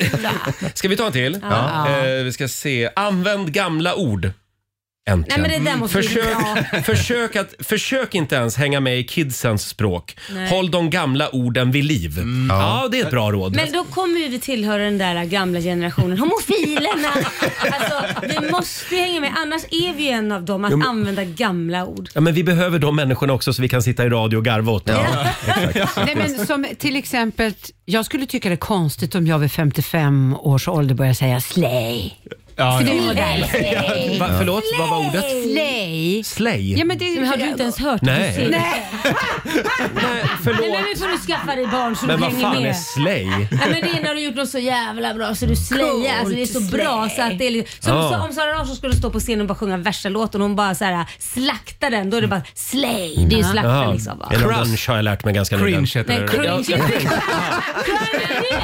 S1: ska vi ta en till?
S2: Ja.
S1: Eh, vi ska se. Använd gamla ord. Äntligen.
S2: Nej, men det där måste vi-
S1: Mm. försök, försök, att, försök inte ens hänga med i kidsens språk.
S2: Nej.
S1: Håll de gamla orden vid liv. Mm. Ja. det är ett bra råd.
S2: Men då kommer ju vi tillhöra den där gamla generationen, homofilerna. Alltså, vi måste ju hänga med, annars är vi ju en av dem att
S1: Jo, men-
S2: använda gamla ord.
S1: Ja, men vi behöver de människorna också så vi kan sitta i radio och garva åt dem.
S5: Nej, men som till exempel, jag skulle tycka det är konstigt om jag vid 55 års ålder börjar säga slay.
S1: Ja,
S5: För
S1: ja.
S5: det är modernt.
S1: Slay. Va, förlåt, vad var ordet?
S5: Slay.
S1: Slay?
S5: Ja, men det,
S2: Men har du inte ens hört
S1: Nej.
S2: det?
S1: Nej. Nej, förlåt.
S2: Nej, men nu får du skaffa dig barn så
S1: Men
S2: du
S1: vad
S2: hänger
S1: fan
S2: med.
S1: är slay?
S2: Nej, men det är när du gjort något så jävla bra så du slayar. Alltså, det är så bra så att det är lite... Som
S1: Ja.
S2: sa- om Sara Larsson skulle stå på scenen och bara sjunga värsta låten och hon bara så här, äh, slaktar den, då är det bara slay. Det är
S1: Mm.
S2: ju slakta
S1: Jaha.
S2: liksom. Va?
S1: Crush har jag lärt mig ganska nyligen.
S8: Cringe heter
S2: Nej, Oh
S8: det.
S2: cringe.
S1: Ja,
S2: Cringe. Du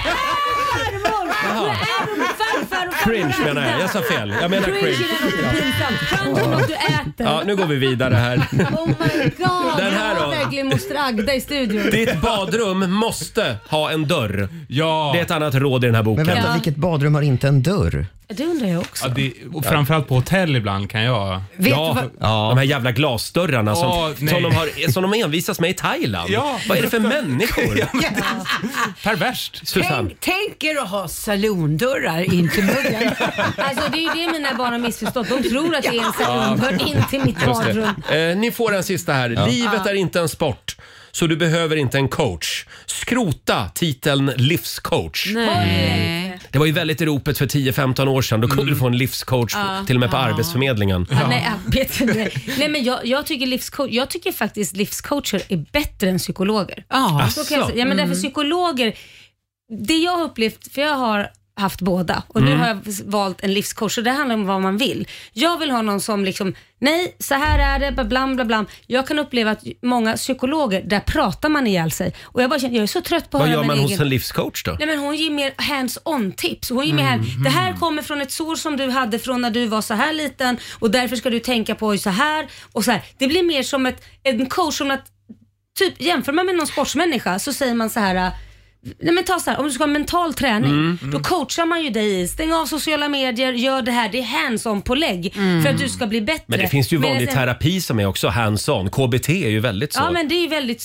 S2: är farmor! Du är farfar och farmor
S1: Cringe menar jag. Jag sa fel. Jag menar
S2: Cringe
S1: cringe.
S2: är något pinsamt. Cringe är något du äter.
S1: Ja, nu går vi vidare här.
S2: Oh my god.
S1: Den här
S2: Jag har
S1: då?
S2: verkligen moster Agda i studion.
S1: Ditt badrum måste ha en dörr.
S8: Ja.
S1: Det är ett annat råd i den här boken.
S3: Men vänta,
S2: Ja.
S3: vilket badrum har inte en dörr?
S2: Det undrar jag också.
S8: Ja, det, och framförallt på hotell ibland kan jag...
S5: Vet
S1: ja,
S5: du vad-
S1: de här jävla glasdörrarna som,
S8: Åh, nej.
S1: som, de har, som de envisas med i Thailand.
S8: Ja.
S1: Vad är det för människor?
S8: Perverst.
S1: Susanne,
S5: Tänk, tänk er att ha saloondörrar in till muggen.
S2: Alltså det är ju det mina barn har missförstått. De tror att det är en salongdörr in till mitt
S1: just
S2: badrum.
S1: det. Eh, ni får den sista här. Livet är inte en sport, så du behöver inte en coach. Skrota titeln livscoach. Mm.
S2: Nej. Mm.
S1: Det var ju väldigt i ropet för 10-15 år sedan. Då kunde du få en livscoach
S2: Ja.
S1: till och med på Arbetsförmedlingen.
S2: Ja. Nej, jag vet inte. Nej, men jag, jag, tycker livsco- jag tycker faktiskt livscoacher är bättre än psykologer.
S5: Ja.
S1: alltså.
S2: Så kan jag säga. Ja, men därför
S1: Mm.
S2: psykologer, det jag har upplevt, för jag har haft båda och
S1: Mm.
S2: nu har jag valt en livskurs och det handlar om vad man vill. Jag vill ha någon som liksom, nej så här är det, bla bla bla. bla. Jag kan uppleva att många psykologer, där pratar man ihjäl sig och jag bara känner, jag är så trött på att
S1: Vad
S2: höra
S1: gör
S2: min
S1: man
S2: egen...
S1: hos en livscoach då? Mm,
S2: Nej, men hon ger mer hands-on tips. Hon ger mer hand- det här kommer från ett sår som du hade från när du var så här liten och därför ska du tänka på så här och så här. Det blir mer som ett, en coach som att, typ jämför man med någon sportsmänniska så säger man så här Nej, men ta så här, om du ska ha mental träning,
S11: Mm.
S2: då coachar man ju dig i stäng av sociala medier, gör det här, det är hands-on-pålägg för att du ska bli bättre.
S1: Mm. Men det finns ju
S2: Medan
S1: vanlig
S2: en-
S1: terapi som är också hands-on. KBT är ju väldigt så.
S2: Ja men det är ju väldigt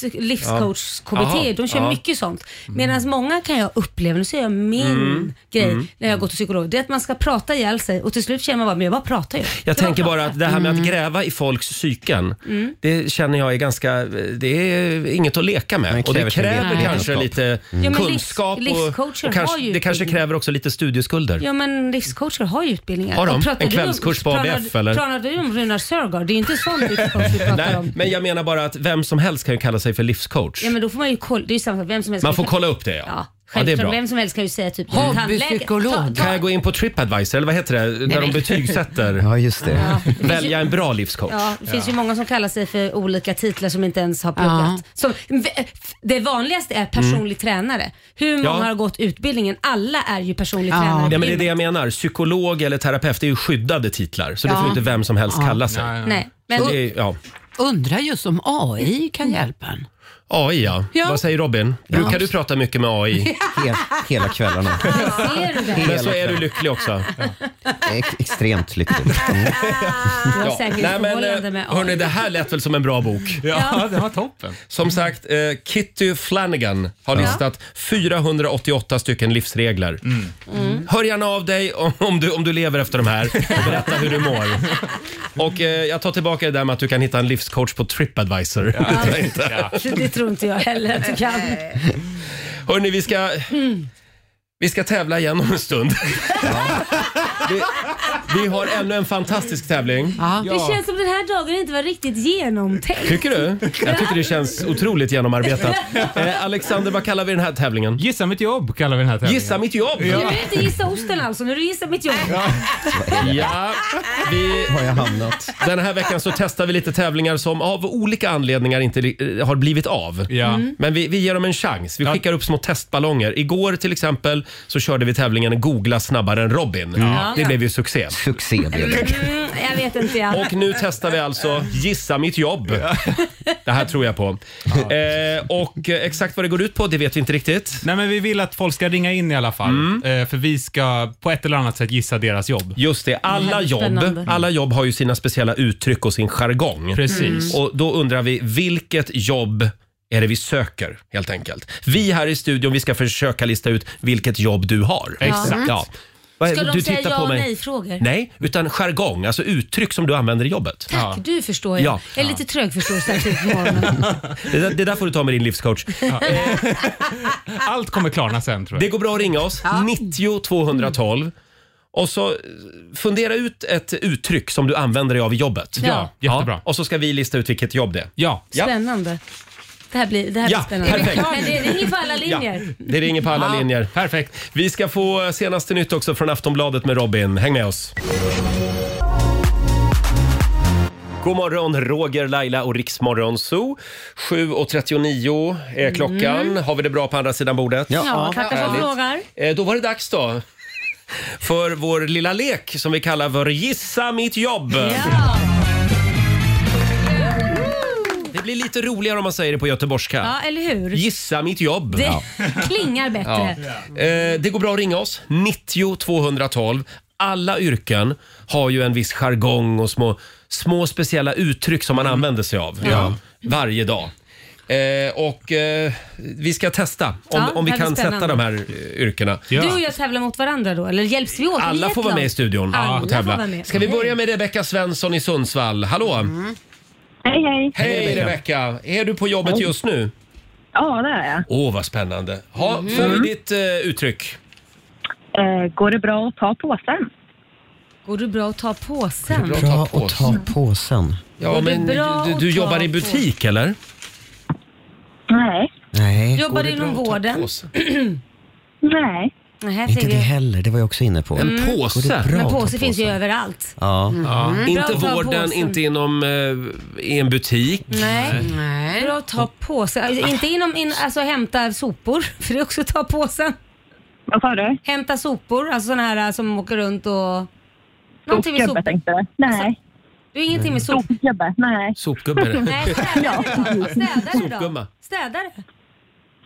S2: livscoach-KBT.
S1: Ja.
S2: De kör
S1: Ja.
S2: mycket sånt. Medan många kan jag uppleva, nu säger jag min
S1: Mm.
S2: grej
S1: Mm.
S2: när jag har gått till psykolog, det är att man ska prata ihjäl sig och till slut känner man bara, men jag bara pratar ju.
S1: Jag tänker bara att det här med att gräva i folks psyken,
S2: Mm.
S1: det känner jag är ganska, det är inget att leka med. Och Mm.
S3: kräver
S1: det
S3: sin
S1: kräver
S2: egen
S1: kanske
S3: kunskap.
S1: lite
S2: Ja, men
S1: kunskap
S2: livs-
S1: och,
S2: livscoacher
S1: och kanske,
S2: har ju
S1: det kanske
S2: utbildning.
S1: kräver också lite studieskulder.
S2: Ja men livscoacher har ju utbildningar.
S1: Har de?
S2: Och pratar
S1: En
S2: du om-
S1: kvällskurs på
S2: pratar-
S1: ABF, eller?
S2: Pratar du om Runar Sörgård? Det är ju inte sån livscoach vi pratar
S1: Nej,
S2: om.
S1: men jag menar bara att vem som helst kan ju kalla sig för livscoach.
S2: Ja men då får man ju kolla, det är ju samma sak, vem som helst.
S1: Man får kolla upp det ja. Ja, det är
S2: Självklart,
S1: bra.
S2: vem som helst kan ju säga typ
S5: Hobbypsykolog.
S2: Ta- ta-
S1: Kan jag gå in på Tripadvisor eller vad heter det? Där de
S2: men-
S1: betygsätter. Ja,
S3: just
S1: det. Välja en bra livscoach.
S2: Ja, det finns ju många som kallar sig för olika titlar som inte ens har pluggat. Som, det vanligaste är personlig tränare. Hur många
S1: Mm. Ja.
S2: har gått utbildningen? Alla är ju personlig
S1: Ja,
S2: tränare.
S1: men det är det jag menar. Psykolog eller terapeut det är ju skyddade titlar så det
S5: Ja.
S1: får inte vem som helst
S5: Ja.
S1: kalla sig.
S5: Nej, nej. Nej.
S1: Men... Så det är, ja.
S5: Undrar just om AI kan hjälpa en.
S1: AI ja.
S5: Ja.
S1: Vad säger Robin? Brukar
S5: Ja.
S1: du prata mycket med AI?
S3: hela kvällarna.
S2: Ser du det?
S1: Men så är du lycklig också.
S3: extremt lycklig.
S2: Ah, har
S1: Ja.
S2: säkert
S1: Nej, men,
S2: förhållande
S1: eh,
S2: med AI.
S1: hörni, det här lät väl som en bra bok?
S2: Ja, Mm.
S8: den var toppen.
S1: Som sagt, eh, Kitty Flanagan har
S2: Ja.
S1: listat 488 stycken livsregler.
S2: Mm.
S1: Hör gärna av dig om, om, du, om du lever efter de här och berätta hur du mår. Och eh, jag tar tillbaka det där med att du kan hitta en livscoach på Tripadvisor.
S2: Ja.
S1: Det tror jag inte.
S2: Det tror inte jag heller att du kan.
S1: Hörni, vi ska, vi ska tävla igen om en stund. Vi, vi har ännu en fantastisk tävling.
S2: Det känns som den här dagen inte var riktigt genomtänkt.
S1: Tycker du? Jag tycker det känns otroligt genomarbetat. Eh, Alexander, vad kallar vi den här tävlingen?
S8: Gissa mitt jobb kallar vi den här tävlingen.
S1: Gissa mitt jobb!
S2: Nu är det inte gissa osten alltså, nu är det gissa mitt jobb.
S1: Ja, vi... Har jag hamnat? Den här veckan så testar vi lite tävlingar som av olika anledningar inte eh, har blivit av.
S8: Mm.
S1: Men vi, vi ger dem en chans. Vi skickar upp små testballonger. Igår till exempel så körde vi tävlingen Googla snabbare än Robin.
S2: Ja.
S1: Det blev ju succé.
S3: Succé blev
S2: Mm, jag vet inte jag.
S1: Och nu testar vi alltså Gissa mitt jobb. Det här tror jag på. Eh, och eh, exakt vad det går ut på, det vet vi inte riktigt. Mm.
S8: Nej, men vi vill att folk ska ringa in i alla fall. Eh, För vi ska på ett eller annat sätt gissa deras jobb.
S1: Just det, alla
S2: Mm.
S1: jobb, alla jobb har ju sina speciella uttryck och sin jargong.
S8: Precis.
S1: Och då undrar vi, vilket jobb är det vi söker helt enkelt? Vi här i studion, vi ska försöka lista ut vilket jobb du har.
S2: Exakt.
S1: Ja. Vad är-
S2: Ska de
S1: du
S2: säga
S1: tittar
S2: ja
S1: på
S2: och
S1: mig.
S2: nej-frågor?
S1: Nej, utan jargong, alltså uttryck som du använder i jobbet.
S2: Tack, du förstår jag.
S1: Ja.
S2: Jag är lite trögförståndsaktig på morgonen.
S1: Det, där, det där får du ta med din livscoach. Eh,
S8: Allt kommer klarna sen tror jag.
S1: Det går bra att ringa oss, 90 212. Och så eh, fundera ut ett uttryck som du använder dig av i jobbet.
S2: Ja,
S1: jättebra. Och så ska vi lista ut vilket jobb det är.
S8: Ja.
S2: Spännande. Det här blir, det här
S1: Ja,
S2: blir spännande.
S1: perfekt.
S2: Men det ringer på alla linjer.
S1: Det ringer på alla
S2: Ja.
S1: linjer.
S8: Perfekt.
S1: Vi ska få senaste nytt också från Aftonbladet med Robin. Häng med oss. God morgon, Roger, Laila och Riksmorgon Zoo. 7.39 är klockan.
S2: Mm.
S1: Har vi det bra på andra sidan bordet?
S2: Ja, tackar som
S1: Härligt.
S2: frågar.
S1: Eh, Då var det dags då. För vår lilla lek som vi kallar för Gissa mitt jobb. Det blir lite roligare om man säger det på göteborgska.
S2: Ja, eller hur?
S1: Gissa mitt jobb.
S2: Det
S1: Ja.
S2: klingar bättre.
S1: Ja. Eh, det går bra att ringa oss. 90 212. Alla yrken har ju en viss jargong och små, små speciella uttryck som man
S2: Mm.
S1: använder sig av
S8: Ja.
S1: varje dag. Eh, och eh, Vi ska testa om,
S2: Ja,
S1: om vi
S2: det här
S1: kan
S2: blir
S1: sätta
S2: spännande.
S1: de här eh, yrkena.
S2: Du och jag tävlar mot varandra då, eller hjälps vi åt? Vi är
S1: Alla
S2: ett
S1: får vara
S2: lag.
S1: med i studion
S2: Alla
S1: och
S2: Får
S1: tävla.
S2: vara med. Mm.
S1: Ska vi börja med Rebecka Svensson i Sundsvall? Hallå!
S7: Hej, hej.
S1: Hej Rebecka! Är du på jobbet
S7: Hej.
S1: just nu?
S7: Ja, det är jag.
S1: Åh, vad spännande. Ha,
S7: Mm.
S1: Får vi ditt eh, uttryck?
S7: Eh, går det bra att ta påsen?
S2: Går du bra att ta påsen?
S3: Bra att ta påsen.
S1: Ja,
S2: Går det
S1: men
S2: bra
S1: du,
S2: att
S1: du
S2: ta
S1: jobbar i
S2: på-
S1: butik eller?
S7: Nej.
S3: Nej.
S2: Jobbar du inom vården?
S7: Nej.
S2: Nej,
S3: Inte det heller, det var jag också inne på.
S1: En påse?
S3: Går det bra
S2: Men
S3: att ta
S2: påse finns ju överallt.
S3: Ja.
S1: Ja. Inte
S2: Bra att ta
S1: vården,
S2: påsen.
S1: inte inom eh, i en butik.
S2: Nej. Bra att ta påsen. Alltså, inte inom, in, alltså hämta sopor, för det är också att ta påsen.
S7: Vad sa du?
S2: Hämta sopor, alltså sådana här som åker runt och...
S7: Sopgubbe tänkte jag. Nej.
S2: Du är ingenting med sop...
S7: Sopgubbe? Nej.
S1: Sopgubbe?
S2: Nej, städare då. Städare då.
S1: Sopgumma.
S2: Städare.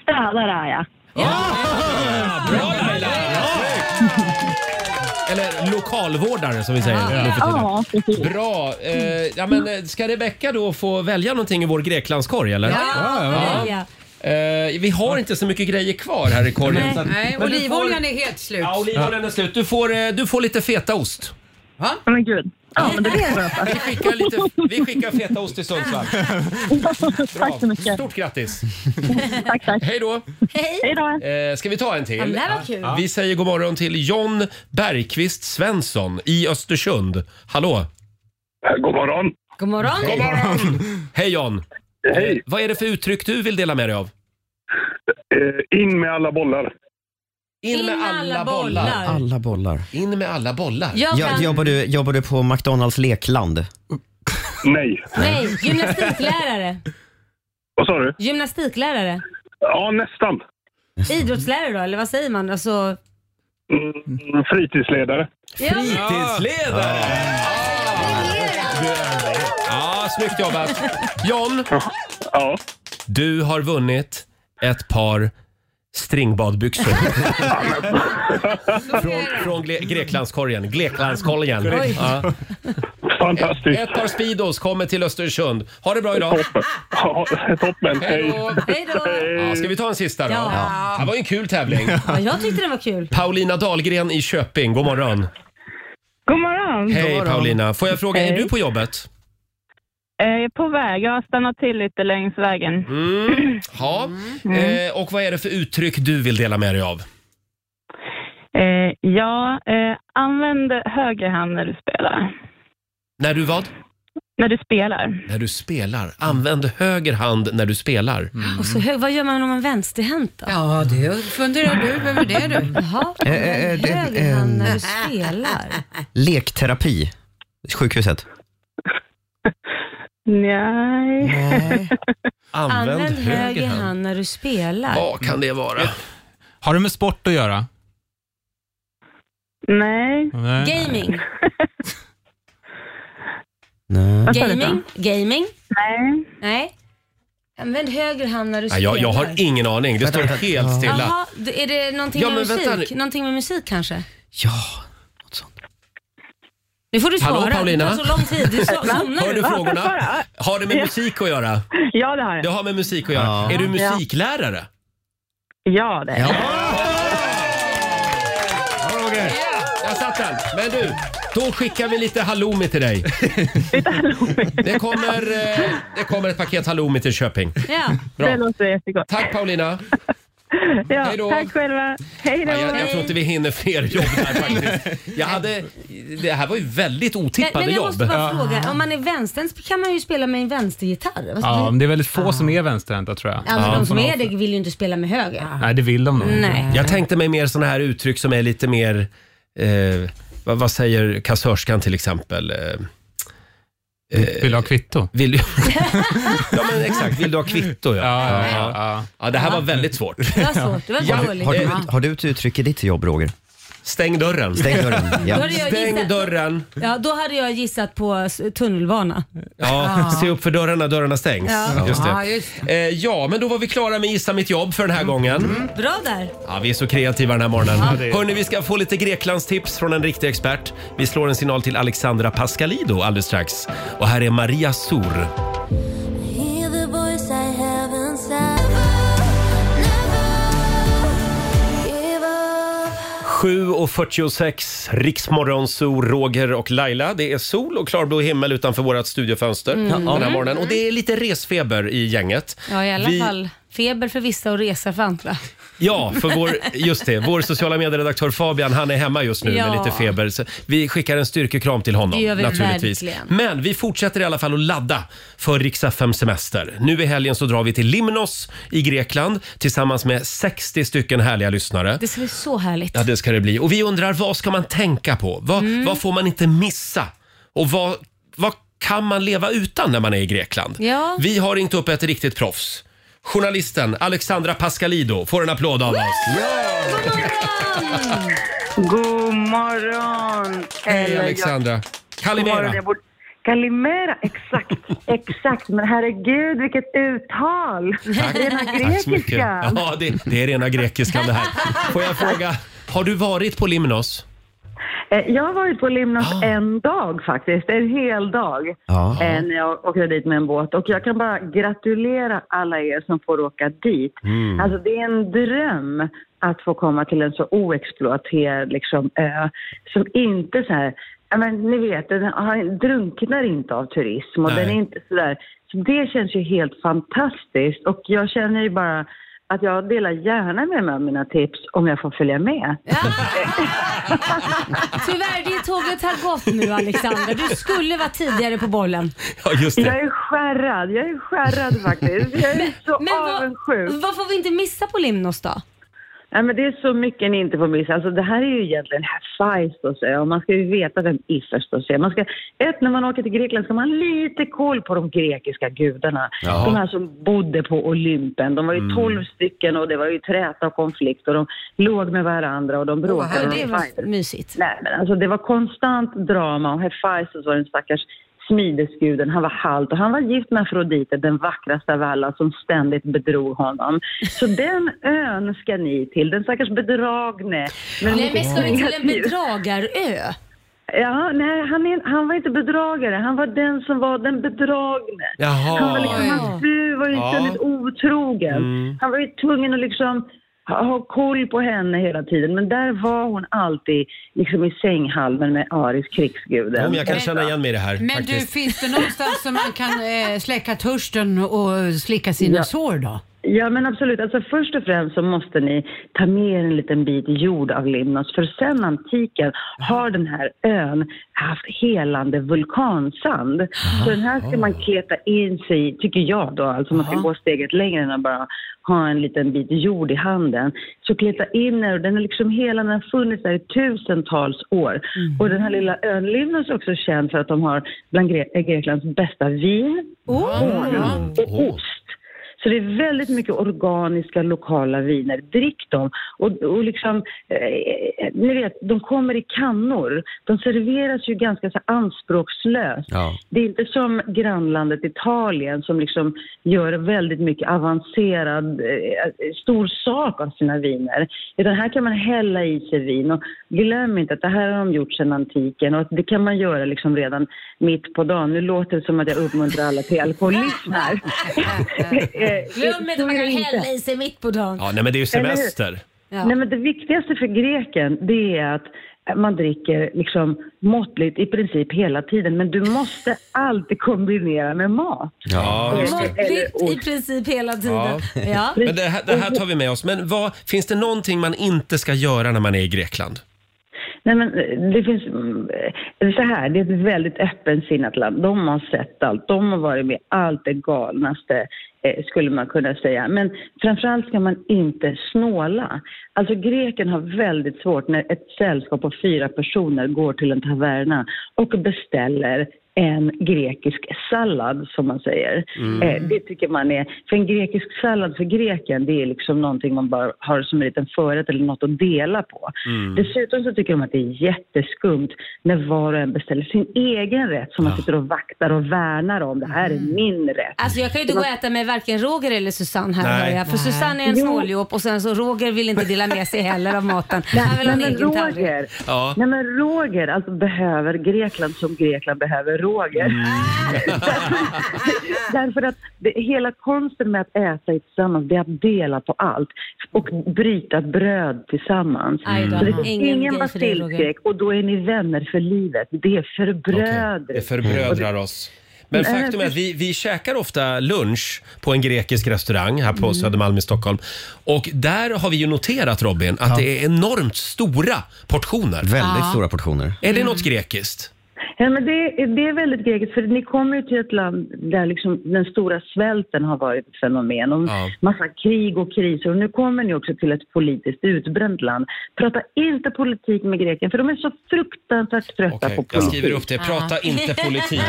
S7: Städare är jag.
S1: Eller lokalvårdare som vi säger
S12: Ja.
S1: nu för tiden.
S12: Ja,
S1: Bra. Eh, ja, men, eh, ska Rebecca då få välja någonting i vår Greklandskorg eller?
S5: Ja, välja.
S1: Eh, vi har inte så mycket grejer kvar här i korgen. så att-
S5: Nej,
S1: men du får-
S5: olivoljan är helt slut.
S1: Ja, olivoljan är slut. Du får, eh, du får lite fetaost.
S5: Va?
S7: men gud. Ja, men det blir bra.
S1: Vi skickar, lite, vi skickar fetaost till Sundsvall.
S7: Tack så mycket.
S1: Stort grattis!
S7: Tack, tack.
S1: Hej då!
S7: Hej då.
S1: Eh, ska vi ta en till?
S7: Ja, men det här var kul.
S1: Ja. Vi säger god morgon till John Bergqvist Svensson i Östersund. Hallå!
S10: Eh,
S1: God morgon!
S2: God morgon.
S1: God morgon! Hej John! Hej. Eh, vad är det för uttryck du vill dela med dig av?
S10: Eh, In med alla bollar.
S1: In med alla bollar.
S3: Alla bollar.
S1: In med alla bollar.
S2: Jag
S3: Ja,
S2: kan-
S3: jobbar, du, jobbar du på McDonalds lekland?
S10: Nej.
S2: Nej, gymnastiklärare.
S10: Vad sa du?
S2: Gymnastiklärare.
S10: Ja, nästan.
S2: Idrottslärare då, eller vad säger man? Alltså,
S10: Mm, fritidsledare.
S1: Fritidsledare! Ja, snyggt jobbat. John, ja. du har vunnit ett par stringbadbyxor. från från Gle- Greklandskorgen. Greklandskorgen.
S10: Oj.
S1: Ja.
S10: Fantastiskt.
S1: Ett par Speedos kommer till Östersund. Ha det bra idag.
S10: Toppen. Ja, toppen. Hej.
S2: Hej då.
S1: Ja, ska vi ta en sista då?
S2: Ja.
S1: Det här var ju en kul tävling.
S2: ja, jag tyckte den var kul.
S1: Paulina Dahlgren i Köping, god morgon.
S7: God morgon.
S1: Hej Paulina. Får jag fråga, är
S7: Hej.
S1: du på jobbet?
S7: Eh, på väg. Jag har stannat till lite längs vägen.
S1: Mm. Ja.
S2: Mm.
S1: Eh, och vad är det för uttryck du vill dela med dig av?
S7: Eh, ja, eh, använd höger hand när du spelar.
S1: När du vad?
S7: När du spelar.
S1: När du spelar. Använd höger hand när du spelar.
S3: Mm.
S2: Och så hög, vad gör man om man är vänsterhänt då?
S5: Ja, det funderar du över det du.
S2: Jaha,
S3: Eh, eh, eh, det-
S2: högerhand när
S3: ehm.
S2: du
S1: eh.
S2: spelar.
S3: Lekterapi. Sjukhuset.
S7: Nej.
S1: Använd,
S2: Använd
S8: höger
S2: höger
S8: hand.
S2: hand när du spelar.
S1: Vad kan det vara?
S8: Har det med sport att göra?
S7: Nej.
S8: Nej.
S2: Gaming.
S3: Nej.
S2: Gaming? Gaming? Nej. Nej. Använd höger hand när du
S1: Ja,
S2: spelar.
S1: jag, jag har ingen aning. Det
S3: Vänta,
S1: står
S3: vänta.
S1: helt
S3: Ja.
S1: stilla.
S2: Jaha, d- är det någonting
S1: Ja,
S2: med
S1: men vänta
S2: musik?
S1: nu.
S2: Någonting med musik kanske?
S3: Ja,
S2: något sånt. Nu får du svara.
S1: Hallå Paulina?
S2: Det tar så lång tid. Du so- somnar
S1: Hör du frågorna? Har det med
S7: Ja.
S1: musik att göra?
S7: Ja, det har
S1: Det
S7: jag.
S1: har med musik att göra. Är du musiklärare?
S7: Ja, det är jag.
S1: Roger. Jag satt den. Men du, då skickar vi lite halloumi till dig. Det kommer, eh, det kommer ett paket halloumi till Köping.
S2: Ja.
S1: Bra.
S7: Det låter jättegott.
S1: Tack Paulina.
S7: Ja,
S1: Hej då.
S7: tack själva. Hej då.
S1: Ja, jag, jag tror inte vi hinner fler jobb här faktiskt. Jag hade, det här var ju väldigt
S2: Men, men
S1: otippade
S2: jag
S1: jobb.
S2: måste bara fråga, om man är vänsterhänt kan man ju spela med en vänstergitarr. Vad
S8: Ja,
S2: skulle-
S8: men det är väldigt få som är vänsterhänta tror jag.
S2: Ja, men de som
S8: Får
S2: är det vill ju inte spela med höger.
S8: någon- Nej, det vill de nog inte.
S2: Nej.
S1: Jag tänkte mig mer sådana här uttryck som är lite mer, eh, vad, vad säger kassörskan till exempel? Eh,
S8: Vill du ha kvitto?
S1: Vill du... ja men exakt, vill du ha kvitto? Ja,
S8: Ja, ja, ja.
S1: Ja, det här var väldigt svårt.
S2: Det var svårt. Det var
S1: Ja.
S2: dåligt.
S3: Har du,
S2: Ja.
S3: har du ett uttryck i ditt jobb, Roger?
S1: Stäng dörren.
S3: Stäng dörren.
S2: Då
S3: Ja.
S2: hade jag
S1: Stäng
S2: gissat-
S1: dörren.
S2: Ja, då hade jag gissat på s- tunnelbana. Ah.
S1: Ja, se upp för dörrarna, dörrarna stängs.
S2: Ja. Ah,
S1: Just
S5: Ja,
S1: det.
S5: just det.
S1: Eh, ja, men då var vi klara med Gissa mitt jobb för den här
S2: Mm.
S1: gången.
S2: Bra där.
S1: Ja, vi är så kreativa den här morgonen.
S2: Ja,
S8: det är-
S1: Hörni, vi ska få lite Greklandstips från en riktig expert. Vi slår en signal till Alexandra Pascalido alldeles strax. Och här är Maria Sur.
S9: Hear the voice I have inside.
S1: 7.46, Riksmorgon, Sol, Roger och Laila. Det är sol och klarblå himmel utanför vårt studiofönster den här morgonen. Och det är lite resfeber i gänget.
S2: Mm. Ja, i alla
S1: Vi-
S2: fall. Feber för vissa och resa för andra.
S1: Ja, för vår, just det, vår sociala medieredaktör Fabian han är hemma just nu
S2: Ja.
S1: med lite feber. Så vi skickar en styrkekram till honom
S2: Det gör vi
S1: naturligtvis.
S2: verkligen.
S1: Men vi fortsätter i alla fall att ladda för Rix fm semester. Nu i helgen så drar vi till Limnos i Grekland tillsammans med 60 stycken härliga lyssnare.
S2: Det ska bli så härligt.
S1: Ja, det ska det bli. Och vi undrar, vad ska man tänka på? Vad,
S2: Mm.
S1: vad får man inte missa? Och vad, vad kan man leva utan när man är i Grekland?
S2: Ja.
S1: Vi har ringt upp ett riktigt proffs. Journalisten Alexandra Pascalido får en applåd av oss.
S7: God morgon.
S1: Hej
S12: Mm.
S7: Eller jag-
S1: Alexandra.
S7: God morgon.
S1: Kalimera.
S7: Jag borde,
S12: Kalimera, exakt, exakt. Men herregud, vilket uttal! Det är den här
S1: Tack så mycket.
S12: grekiska.
S1: Ja, det, det är rena grekiskan det här. Får jag fråga, har du varit på Limnos?
S12: Eh, Jag har varit på Limnos en dag faktiskt, en hel dag,
S1: Ah. Ja.
S12: eh, när jag åkte dit med en båt. Och jag kan bara gratulera alla er som får åka dit.
S13: Mm.
S12: Alltså det är en dröm att få komma till en så oexploaterad liksom, ö som inte så här, ja, men ni vet, den har, drunknar inte av turism och
S13: Nej.
S12: den är inte så där. Så det känns ju helt fantastiskt och jag känner ju bara att jag delar gärna med mig av mina tips om jag får följa med.
S2: Tyvärr, det tåget har gått nu Alexander. Du skulle vara tidigare på bollen.
S1: Ja, just
S12: Jag är skärrad, jag är skärrad faktiskt. Jag är så avundsjuk.
S2: Vad, vad får vi inte missa på Limnos då?
S12: Nej, men det är så mycket ni inte får missa. Alltså, det här är ju egentligen Hephaistos ö och man ska ju veta vem Iferstos är. Man ska, ett, när man åker till Grekland ska man ha lite koll på de grekiska gudarna.
S13: Ja.
S12: De här som bodde på Olympen. De var ju
S13: Mm.
S12: tolv stycken och det var ju träta och konflikt och de låg med varandra och de bråkade.
S2: Åh,
S12: och de
S2: det var
S12: fightade.
S2: mysigt.
S12: Nej, men alltså, det var konstant drama och Hephaistos var den stackars smidesguden, han var halt och han var gift med Afrodite, den vackraste av alla som ständigt bedrog honom. Så den ön ska ni till, den stackars bedragne.
S2: Nej, men ska vi till en bedragarö?
S12: Ja, nej, han, är, han var inte bedragare, han var den som var den bedragne.
S13: Jaha.
S12: Han var liksom, hans fru var ju
S13: Ja.
S12: ständigt otrogen.
S13: Mm.
S12: Han var ju tvungen att liksom ha ha koll på henne hela tiden, men där var hon alltid liksom i sänghalmen med Aris krigsguden.
S1: Om jag kan känna igen mig i det här
S5: Men du,
S1: faktiskt.
S5: finns det någonstans som man kan eh, släcka törsten och slicka sina
S12: Ja.
S5: sår då?
S12: Ja men absolut, alltså först och främst så måste ni ta med er en liten bit jord av Limnos för sen antiken har den här ön haft helande vulkansand. Så den här ska man kleta in sig i, tycker jag då, alltså man ska gå steget längre än att bara ha en liten bit jord i handen. Så kleta in den och den är liksom helande, den har funnits där i tusentals år. Och den här lilla ön Limnos är också känd för att de har bland Gre- Greklands bästa vin, honung och ost. Så det är väldigt mycket organiska lokala viner. Drick dem. Och, och liksom, eh, ni vet, de kommer i kannor. De serveras ju ganska så anspråkslöst.
S13: Ja.
S12: Det är inte som grannlandet Italien som liksom gör väldigt mycket avancerad, eh, stor sak av sina viner. Utan här kan man hälla i sig vin och glöm inte att det här har de gjort sedan antiken och att det kan man göra liksom redan mitt på dagen. Nu låter det som att jag uppmuntrar alla till alkoholism här. Eh,
S2: Glöm inte att man kan
S12: inte.
S2: hälla i sig mitt på dagen.
S1: Ja, nej men det är ju
S12: Eller hur?
S1: semester.
S12: Nej, men det viktigaste för greken det är att man dricker liksom måttligt i princip hela tiden men du måste alltid kombinera med mat.
S1: Ja, just det.
S2: Måttligt i princip hela tiden. Ja.
S1: Ja. Men det här, det här tar vi med oss. Men vad, finns det någonting man inte ska göra när man är i Grekland?
S12: Nej, men eh, det finns... mm, eh, det är Så här, det är ett väldigt öppensinnat land. De har sett allt. De har varit med allt det galnaste, eh, skulle man kunna säga. Men framförallt ska man inte snåla. Alltså greken har väldigt svårt när ett sällskap på fyra personer går till en taverna och beställer en grekisk sallad, som man säger.
S13: Mm.
S12: Eh, det tycker man är... För en grekisk sallad för greken, det är liksom någonting man bara har som en liten förrätt eller något att dela på.
S13: Mm.
S12: Dessutom så tycker de att det är jätteskumt när var och en beställer sin egen rätt som man sitter och vaktar och värnar om. Det här är
S13: Mm.
S12: min rätt.
S2: Alltså jag kan ju inte gå och äta med varken Roger eller Susanne här
S12: Nej.
S2: hörde jag. För
S12: Nej.
S2: Susanne är en
S12: Jo.
S2: snåljåp och sen så Roger vill inte dela med sig heller av maten. Han vill ha en
S12: Nej, men
S2: egen tallrik.
S12: Roger,
S1: Ja.
S12: nej men Roger alltså behöver Grekland som Grekland behöver Roger. Därför att det, hela konsten med att äta i tillsammans det är att dela på allt och bryta bröd tillsammans.
S13: Aj då.
S12: Så det finns
S13: Ingen
S12: ingen,
S13: grej för dig, Roger.
S12: basiljstek och då är ni vänner för livet. Det är förbrödring.
S1: Det förbrödrar oss. Men
S12: Nej,
S1: faktum är att
S12: precis.
S1: vi, vi käkar ofta lunch på en grekisk restaurang här på
S12: Mm.
S1: Södermalm i Stockholm. Och där har vi ju noterat Robin att det är enormt stora portioner.
S3: Väldigt Ja. stora
S1: portioner. Är det något grekiskt?
S12: Ja, men det, det är väldigt grekiskt, för ni kommer ju till ett land där liksom den stora svälten har varit ett fenomen och massa krig och kriser. Och nu kommer ni också till ett politiskt utbränt land. Prata inte politik med greken, för de är så fruktansvärt trötta på politik.
S1: Jag skriver upp det. Prata inte politik.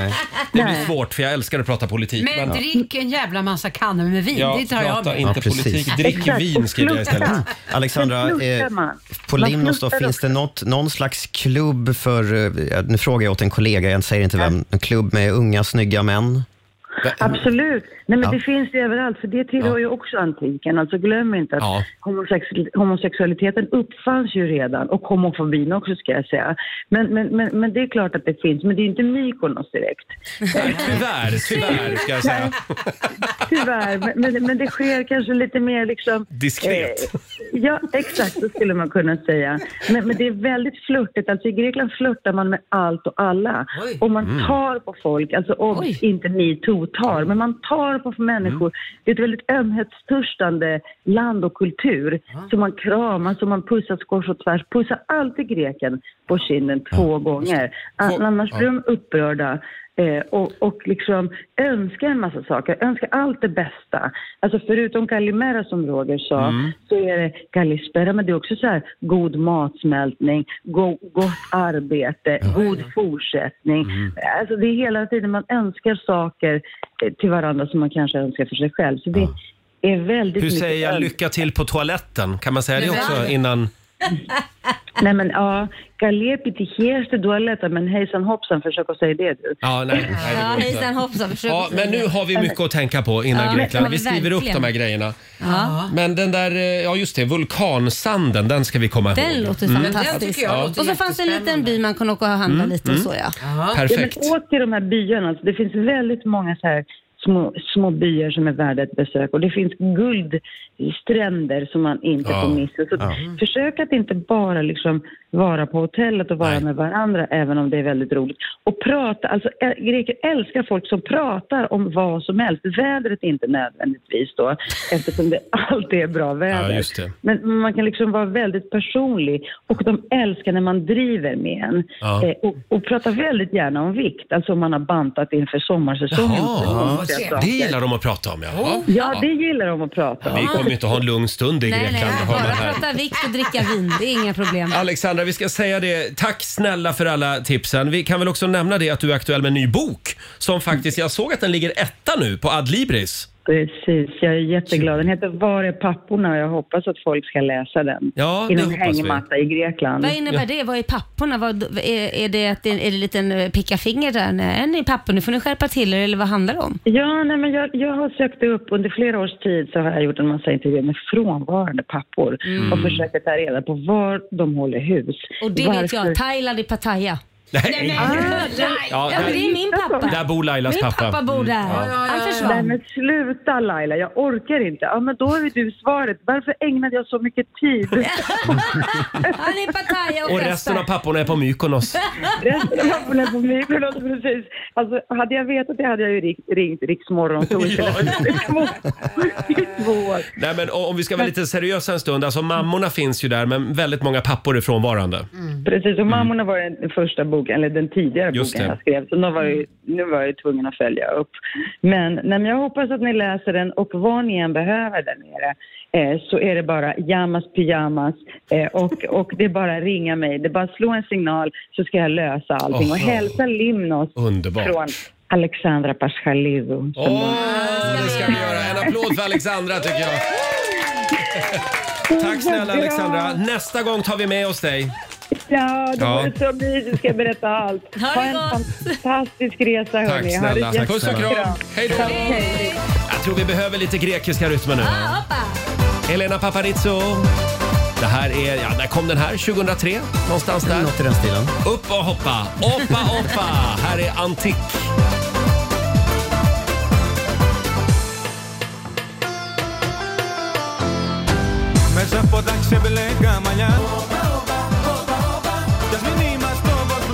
S1: Det blir svårt för jag älskar att prata politik.
S5: Men drick en jävla massa kannor med vin,
S1: Ja,
S5: det tar jag
S1: prata
S5: med.
S1: inte
S3: precis.
S1: politik. Drick
S5: Exakt,
S1: vin
S5: och
S1: skriver jag istället.
S5: sluta.
S3: Alexandra,
S5: Men
S3: eh,
S5: slutar man?
S3: på
S5: Man
S3: Limnos då,
S5: slutar
S3: finns det något, någon slags klubb för, eh, nu frågar jag åt en kollega, jag säger inte vem, en klubb med unga snygga män.
S12: Absolut. Nej, men
S3: Ja.
S12: Det finns ju överallt, för det tillhör ju också antiken. Alltså glöm inte att
S3: Ja.
S12: homosex- homosexualiteten uppfanns ju redan, och homofobin också ska jag säga. Men, men, men, men det är klart att det finns, men det är inte Mykonos direkt.
S1: Tyvärr, tyvärr ska jag säga.
S12: Tyvärr, men, men, men det sker kanske lite mer liksom...
S1: Diskret.
S12: Eh, ja, exakt, så skulle man kunna säga. Men, men det är väldigt flörtigt. Alltså, I Grekland flörtar man med allt och alla. Och man
S13: Mm.
S12: tar på folk, alltså och inte metoo tar, men man tar på människor. Det är ett väldigt ömhetstörstande land och kultur. Så man kramas och man pussas kors och tvärs. Pussa alltid greken på kinden två gånger. An- Annars blir de upprörda. Eh, och, och liksom önskar en massa saker, önskar allt det bästa. Alltså förutom Kalimera som Roger sa,
S13: Mm.
S12: så är det Kalispera, men det är också så här god matsmältning, go, gott arbete, god fortsättning.
S1: Mm.
S12: Alltså det är hela tiden man önskar saker eh, till varandra som man kanske önskar för sig själv. Så det är väldigt
S1: Hur
S12: mycket
S1: säger jag
S12: önskan.
S1: lycka till på toaletten? Kan man säga det
S12: Men
S1: också
S12: va?
S1: innan?
S12: Nej men ja, Kalle pitihierste dualetta, men hejsan hoppsan, försök att säga det du.
S1: Ja, nej, nej, det går
S2: Ja,
S1: inte.
S2: hejsan hoppsan, försök
S1: Ja,
S2: att säga
S1: men nu
S2: det.
S1: har
S7: Alltså,
S1: vi mycket att tänka på innan
S2: Ja,
S1: Grekland.
S2: men-
S1: Vi skriver upp
S2: verkligen.
S1: de här grejerna.
S2: Ja.
S1: Men den där, eh, ja just det, vulkansanden, den ska vi komma ihåg.
S2: Den låter
S1: Mm.
S2: fantastisk.
S1: Ja.
S2: och så fanns det en liten by man kunde åka och handla
S1: Mm,
S2: lite
S1: mm.
S2: och så ja.
S1: Perfekt.
S12: Ja, men åk till de här byarna. Alltså, det finns väldigt många så här små, små byar som är värda ett besök och det finns guldstränder som man inte
S13: Ja.
S12: får missa. Så
S13: Ja.
S12: Försök att inte bara liksom vara på hotellet och vara med varandra även om det är väldigt roligt. Och prata, alltså ä- greker älskar folk som pratar om vad som helst. Vädret är inte nödvändigtvis då eftersom det alltid är bra väder.
S1: Ja, just det.
S12: Men man kan liksom vara väldigt personlig och de älskar när man driver med en.
S1: Ja.
S12: Eh, och, och pratar väldigt gärna om vikt, alltså om man har bantat inför sommarsäsongen.
S1: Jaha,
S12: Så konstiga
S1: det
S12: saker.
S1: gillar de att prata om ja.
S12: Ja, det gillar de att prata om.
S1: Vi kommer ju inte ha en lugn stund i
S2: Nej, nej,
S1: Grekland. hör man
S2: bara
S1: här.
S2: prata vikt och dricka vin. Det är inga problem.
S1: Alexandra, vi ska säga det. Tack snälla för alla tipsen. Vi kan väl också nämna det att du är aktuell med en ny bok som faktiskt, jag såg att den ligger etta nu på Adlibris.
S12: Precis, jag är jätteglad. Den heter Var är papporna? och Jag hoppas att folk ska läsa den.
S1: Ja,
S12: I
S1: det
S12: någon
S1: hoppas vi.
S12: hängmatta i Grekland.
S2: Vad innebär det? Vad är papporna? Vad, är, är det att det är, är det en liten eh, pickafinger där? Nej, ni pappor, nu får ni skärpa till er eller vad handlar det om?
S12: Ja, nej, men jag, jag har sökt upp under flera års tid så har jag gjort en massa intervjuer med frånvarande pappor
S2: Mm.
S12: och försökt ta reda på var de håller hus.
S2: Och det vet jag, Thailand i Pattaya.
S1: Nej,
S2: nej.
S1: Ja,
S2: Ah, Ja, men det är min pappa.
S1: Där bor Lailas
S2: Min
S1: pappa. Mm.
S2: pappa bor där.
S1: Ja.
S2: Han försvann.
S12: Nej men sluta Laila, jag orkar inte. Ja men då är du svaret. Varför ägnade jag så mycket tid?
S2: Han är i Pattaya och,
S1: Och resten av papporna är på Mykonos.
S12: Resten av papporna på Mykonos, precis. Alltså, hade jag vetat det hade jag ju ringt, ringt Riksmorgon så istället för två år.
S1: Nej, men o- om vi ska vara lite seriösa en stund. Alltså mammorna finns ju där men väldigt många pappor är frånvarande. Mm.
S12: Precis, och Mammorna var den första boken, eller den tidigare
S1: Just
S12: boken
S1: det.
S12: jag skrev, så nu var, jag, ju- nu var jag ju tvungen att följa upp. Men, nej, men jag hoppas att ni läser den och vad ni än behöver där nere eh, så är det bara jamas pyjamas eh, och, och det är bara ringa mig, det är bara att slå en signal så ska jag lösa allting.
S1: Åh.
S12: Och hälsa Limnos
S1: Underbart.
S12: från Alexandra Pascalidou. som
S1: Åh, det ska vi göra. En applåd för Alexandra tycker jag. Tack snälla Alexandra. Nästa gång tar vi med oss dig.
S12: Ja, det
S1: Ja.
S12: var så mysigt. Du ska jag berätta allt. Ha, en fantastisk resa,
S1: Tack
S12: hörni. Ha det
S1: snälla.
S12: jättebra.
S1: Puss och kram. Hej då.
S12: Tack, hej.
S1: Jag tror vi behöver lite grekiska rytmer nu.
S2: Ah,
S1: Elena Paparizou. Det här är, ja, där kom den här 2003. Någonstans där. Något
S3: i den stilen.
S1: Upp och hoppa. Oppa, oppa. här är Antik.
S6: Μέσα από τα ξεμπλέκα μαλλιά Κι ας μην είμαστε όπως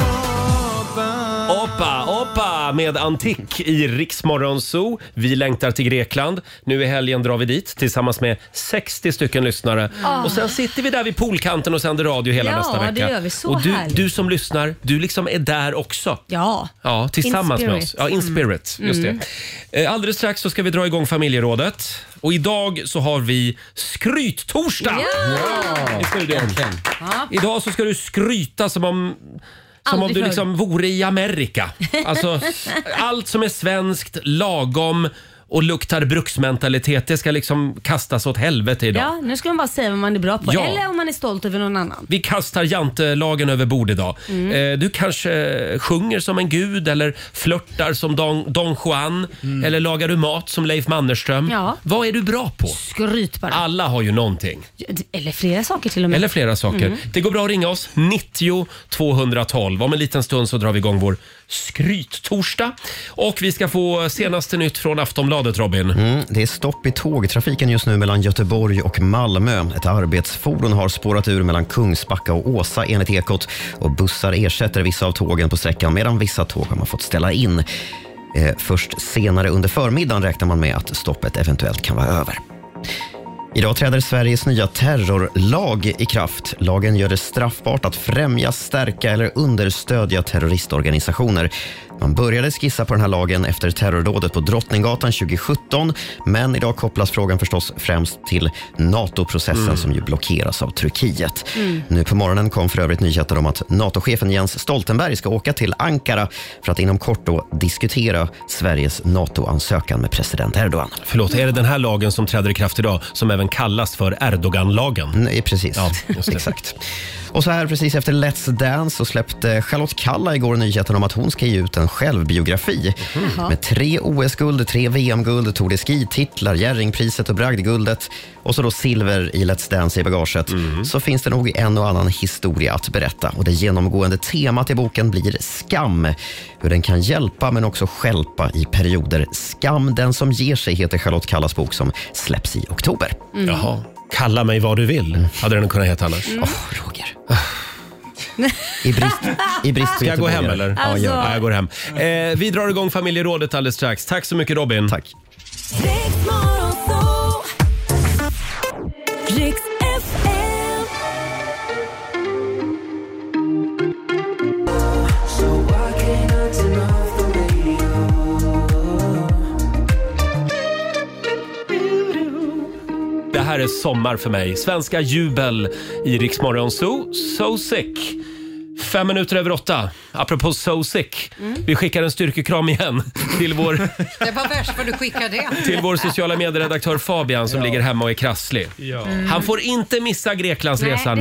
S1: Oppa, oppa med Antik i Riksmorgon Zoo. Vi längtar till Grekland. Nu i helgen drar vi dit tillsammans med 60 stycken lyssnare.
S2: Ah.
S1: Och sen sitter vi där vid poolkanten och sänder radio hela
S2: Ja,
S1: nästa
S2: det
S1: vecka.
S2: gör vi. Så
S1: och du,
S2: härligt.
S1: du som lyssnar, du liksom är där också.
S2: Ja.
S1: Ja, tillsammans
S2: In
S1: med oss.
S2: spirit.
S1: Ja, in
S2: Mm.
S1: spirit. Just
S2: Mm.
S1: det. Eh, Alldeles strax så ska vi dra igång familjerådet. Och idag så har vi skryttorsdag i studion.
S2: Ja.
S1: Idag så ska du skryta som om som om
S2: Aldrig
S1: du
S2: förr.
S1: Alltså, liksom vore i Amerika. Alltså, allt som är svenskt, lagom och luktar bruksmentalitet. Det ska liksom kastas åt helvete idag.
S2: Ja, nu ska man bara säga vad man är bra på
S1: Ja.
S2: eller om man är stolt över någon annan.
S1: Vi kastar jantelagen över bord idag.
S2: Mm.
S1: Eh, du kanske sjunger som en gud eller flörtar som Don, Don Juan eller lagar du mat som Leif Mannerström.
S2: Ja.
S1: Vad är du bra på?
S2: Skryt bara.
S1: Alla har ju någonting.
S2: Eller flera saker till och med.
S1: Eller flera saker.
S2: Mm.
S1: Det går bra att ringa oss. 90 212. Om en liten stund så drar vi igång vår skryttorsdag. Och vi ska få senaste nytt från Aftonbladet, Robin.
S3: Mm, det är stopp i tågtrafiken just nu mellan Göteborg och Malmö. Ett arbetsfordon har spårat ur mellan Kungsbacka och Åsa enligt Ekot och bussar ersätter vissa av tågen på sträckan medan vissa tåg har man fått ställa in. Eh, först senare under förmiddagen räknar man med att stoppet eventuellt kan vara över. Idag träder Sveriges nya terrorlag i kraft. Lagen gör det straffbart att främja, stärka eller understödja terroristorganisationer. Man började skissa på den här lagen efter terrordådet på Drottninggatan 2017 men idag kopplas frågan förstås främst till NATO-processen
S13: Mm.
S3: som ju blockeras av Turkiet.
S13: Mm.
S3: Nu på morgonen kom för övrigt nyheten om att NATO-chefen Jens Stoltenberg ska åka till Ankara för att inom kort då diskutera Sveriges NATO-ansökan med president Erdogan.
S1: Förlåt, är det den här lagen som träder i kraft idag som även kallas för Erdoganlagen?
S3: Nej, precis.
S1: Ja, just det.
S3: Exakt. Och så här precis efter Let's Dance så släppte Charlotte Kalla igår nyheten om att hon ska ge ut en självbiografi.
S13: Mhm. Jaha.
S3: Med tre OS-guld, tre VM-guld, Tour de Ski-titlar, Jerringpriset och Bragdguldet och så då silver i Let's Dance i bagaget.
S1: Mhm.
S3: Så finns det nog en och annan historia att berätta och det genomgående temat i boken blir skam. Hur den kan hjälpa men också stjälpa i perioder. Skam den som ger sig heter Charlotte Kallas bok som släpps i oktober.
S2: Mm. Jaha.
S1: Kalla mig vad du vill, hade den kunnat heta annars.
S2: Mm.
S3: I brist, i brist på
S1: Ska jag gå hem eller?
S3: göteborgare.
S2: Alltså.
S1: Ja, gör det. jag går hem. Eh, vi drar igång familjerådet alldeles strax. Tack så mycket Robin.
S3: Tack.
S9: Riks FM.
S1: Det här är sommar för mig. Svenska jubel i Rix Morgon Zoo. So sick. Fem minuter över åtta. Apropå so sick. Vi skickar en styrkekram igen till vår,
S5: Mm. Det var värst för du skickade det.
S1: till vår sociala medieredaktör Fabian som ligger hemma och är krasslig.
S5: Ja.
S2: Mm.
S1: Han får inte missa Greklandsresan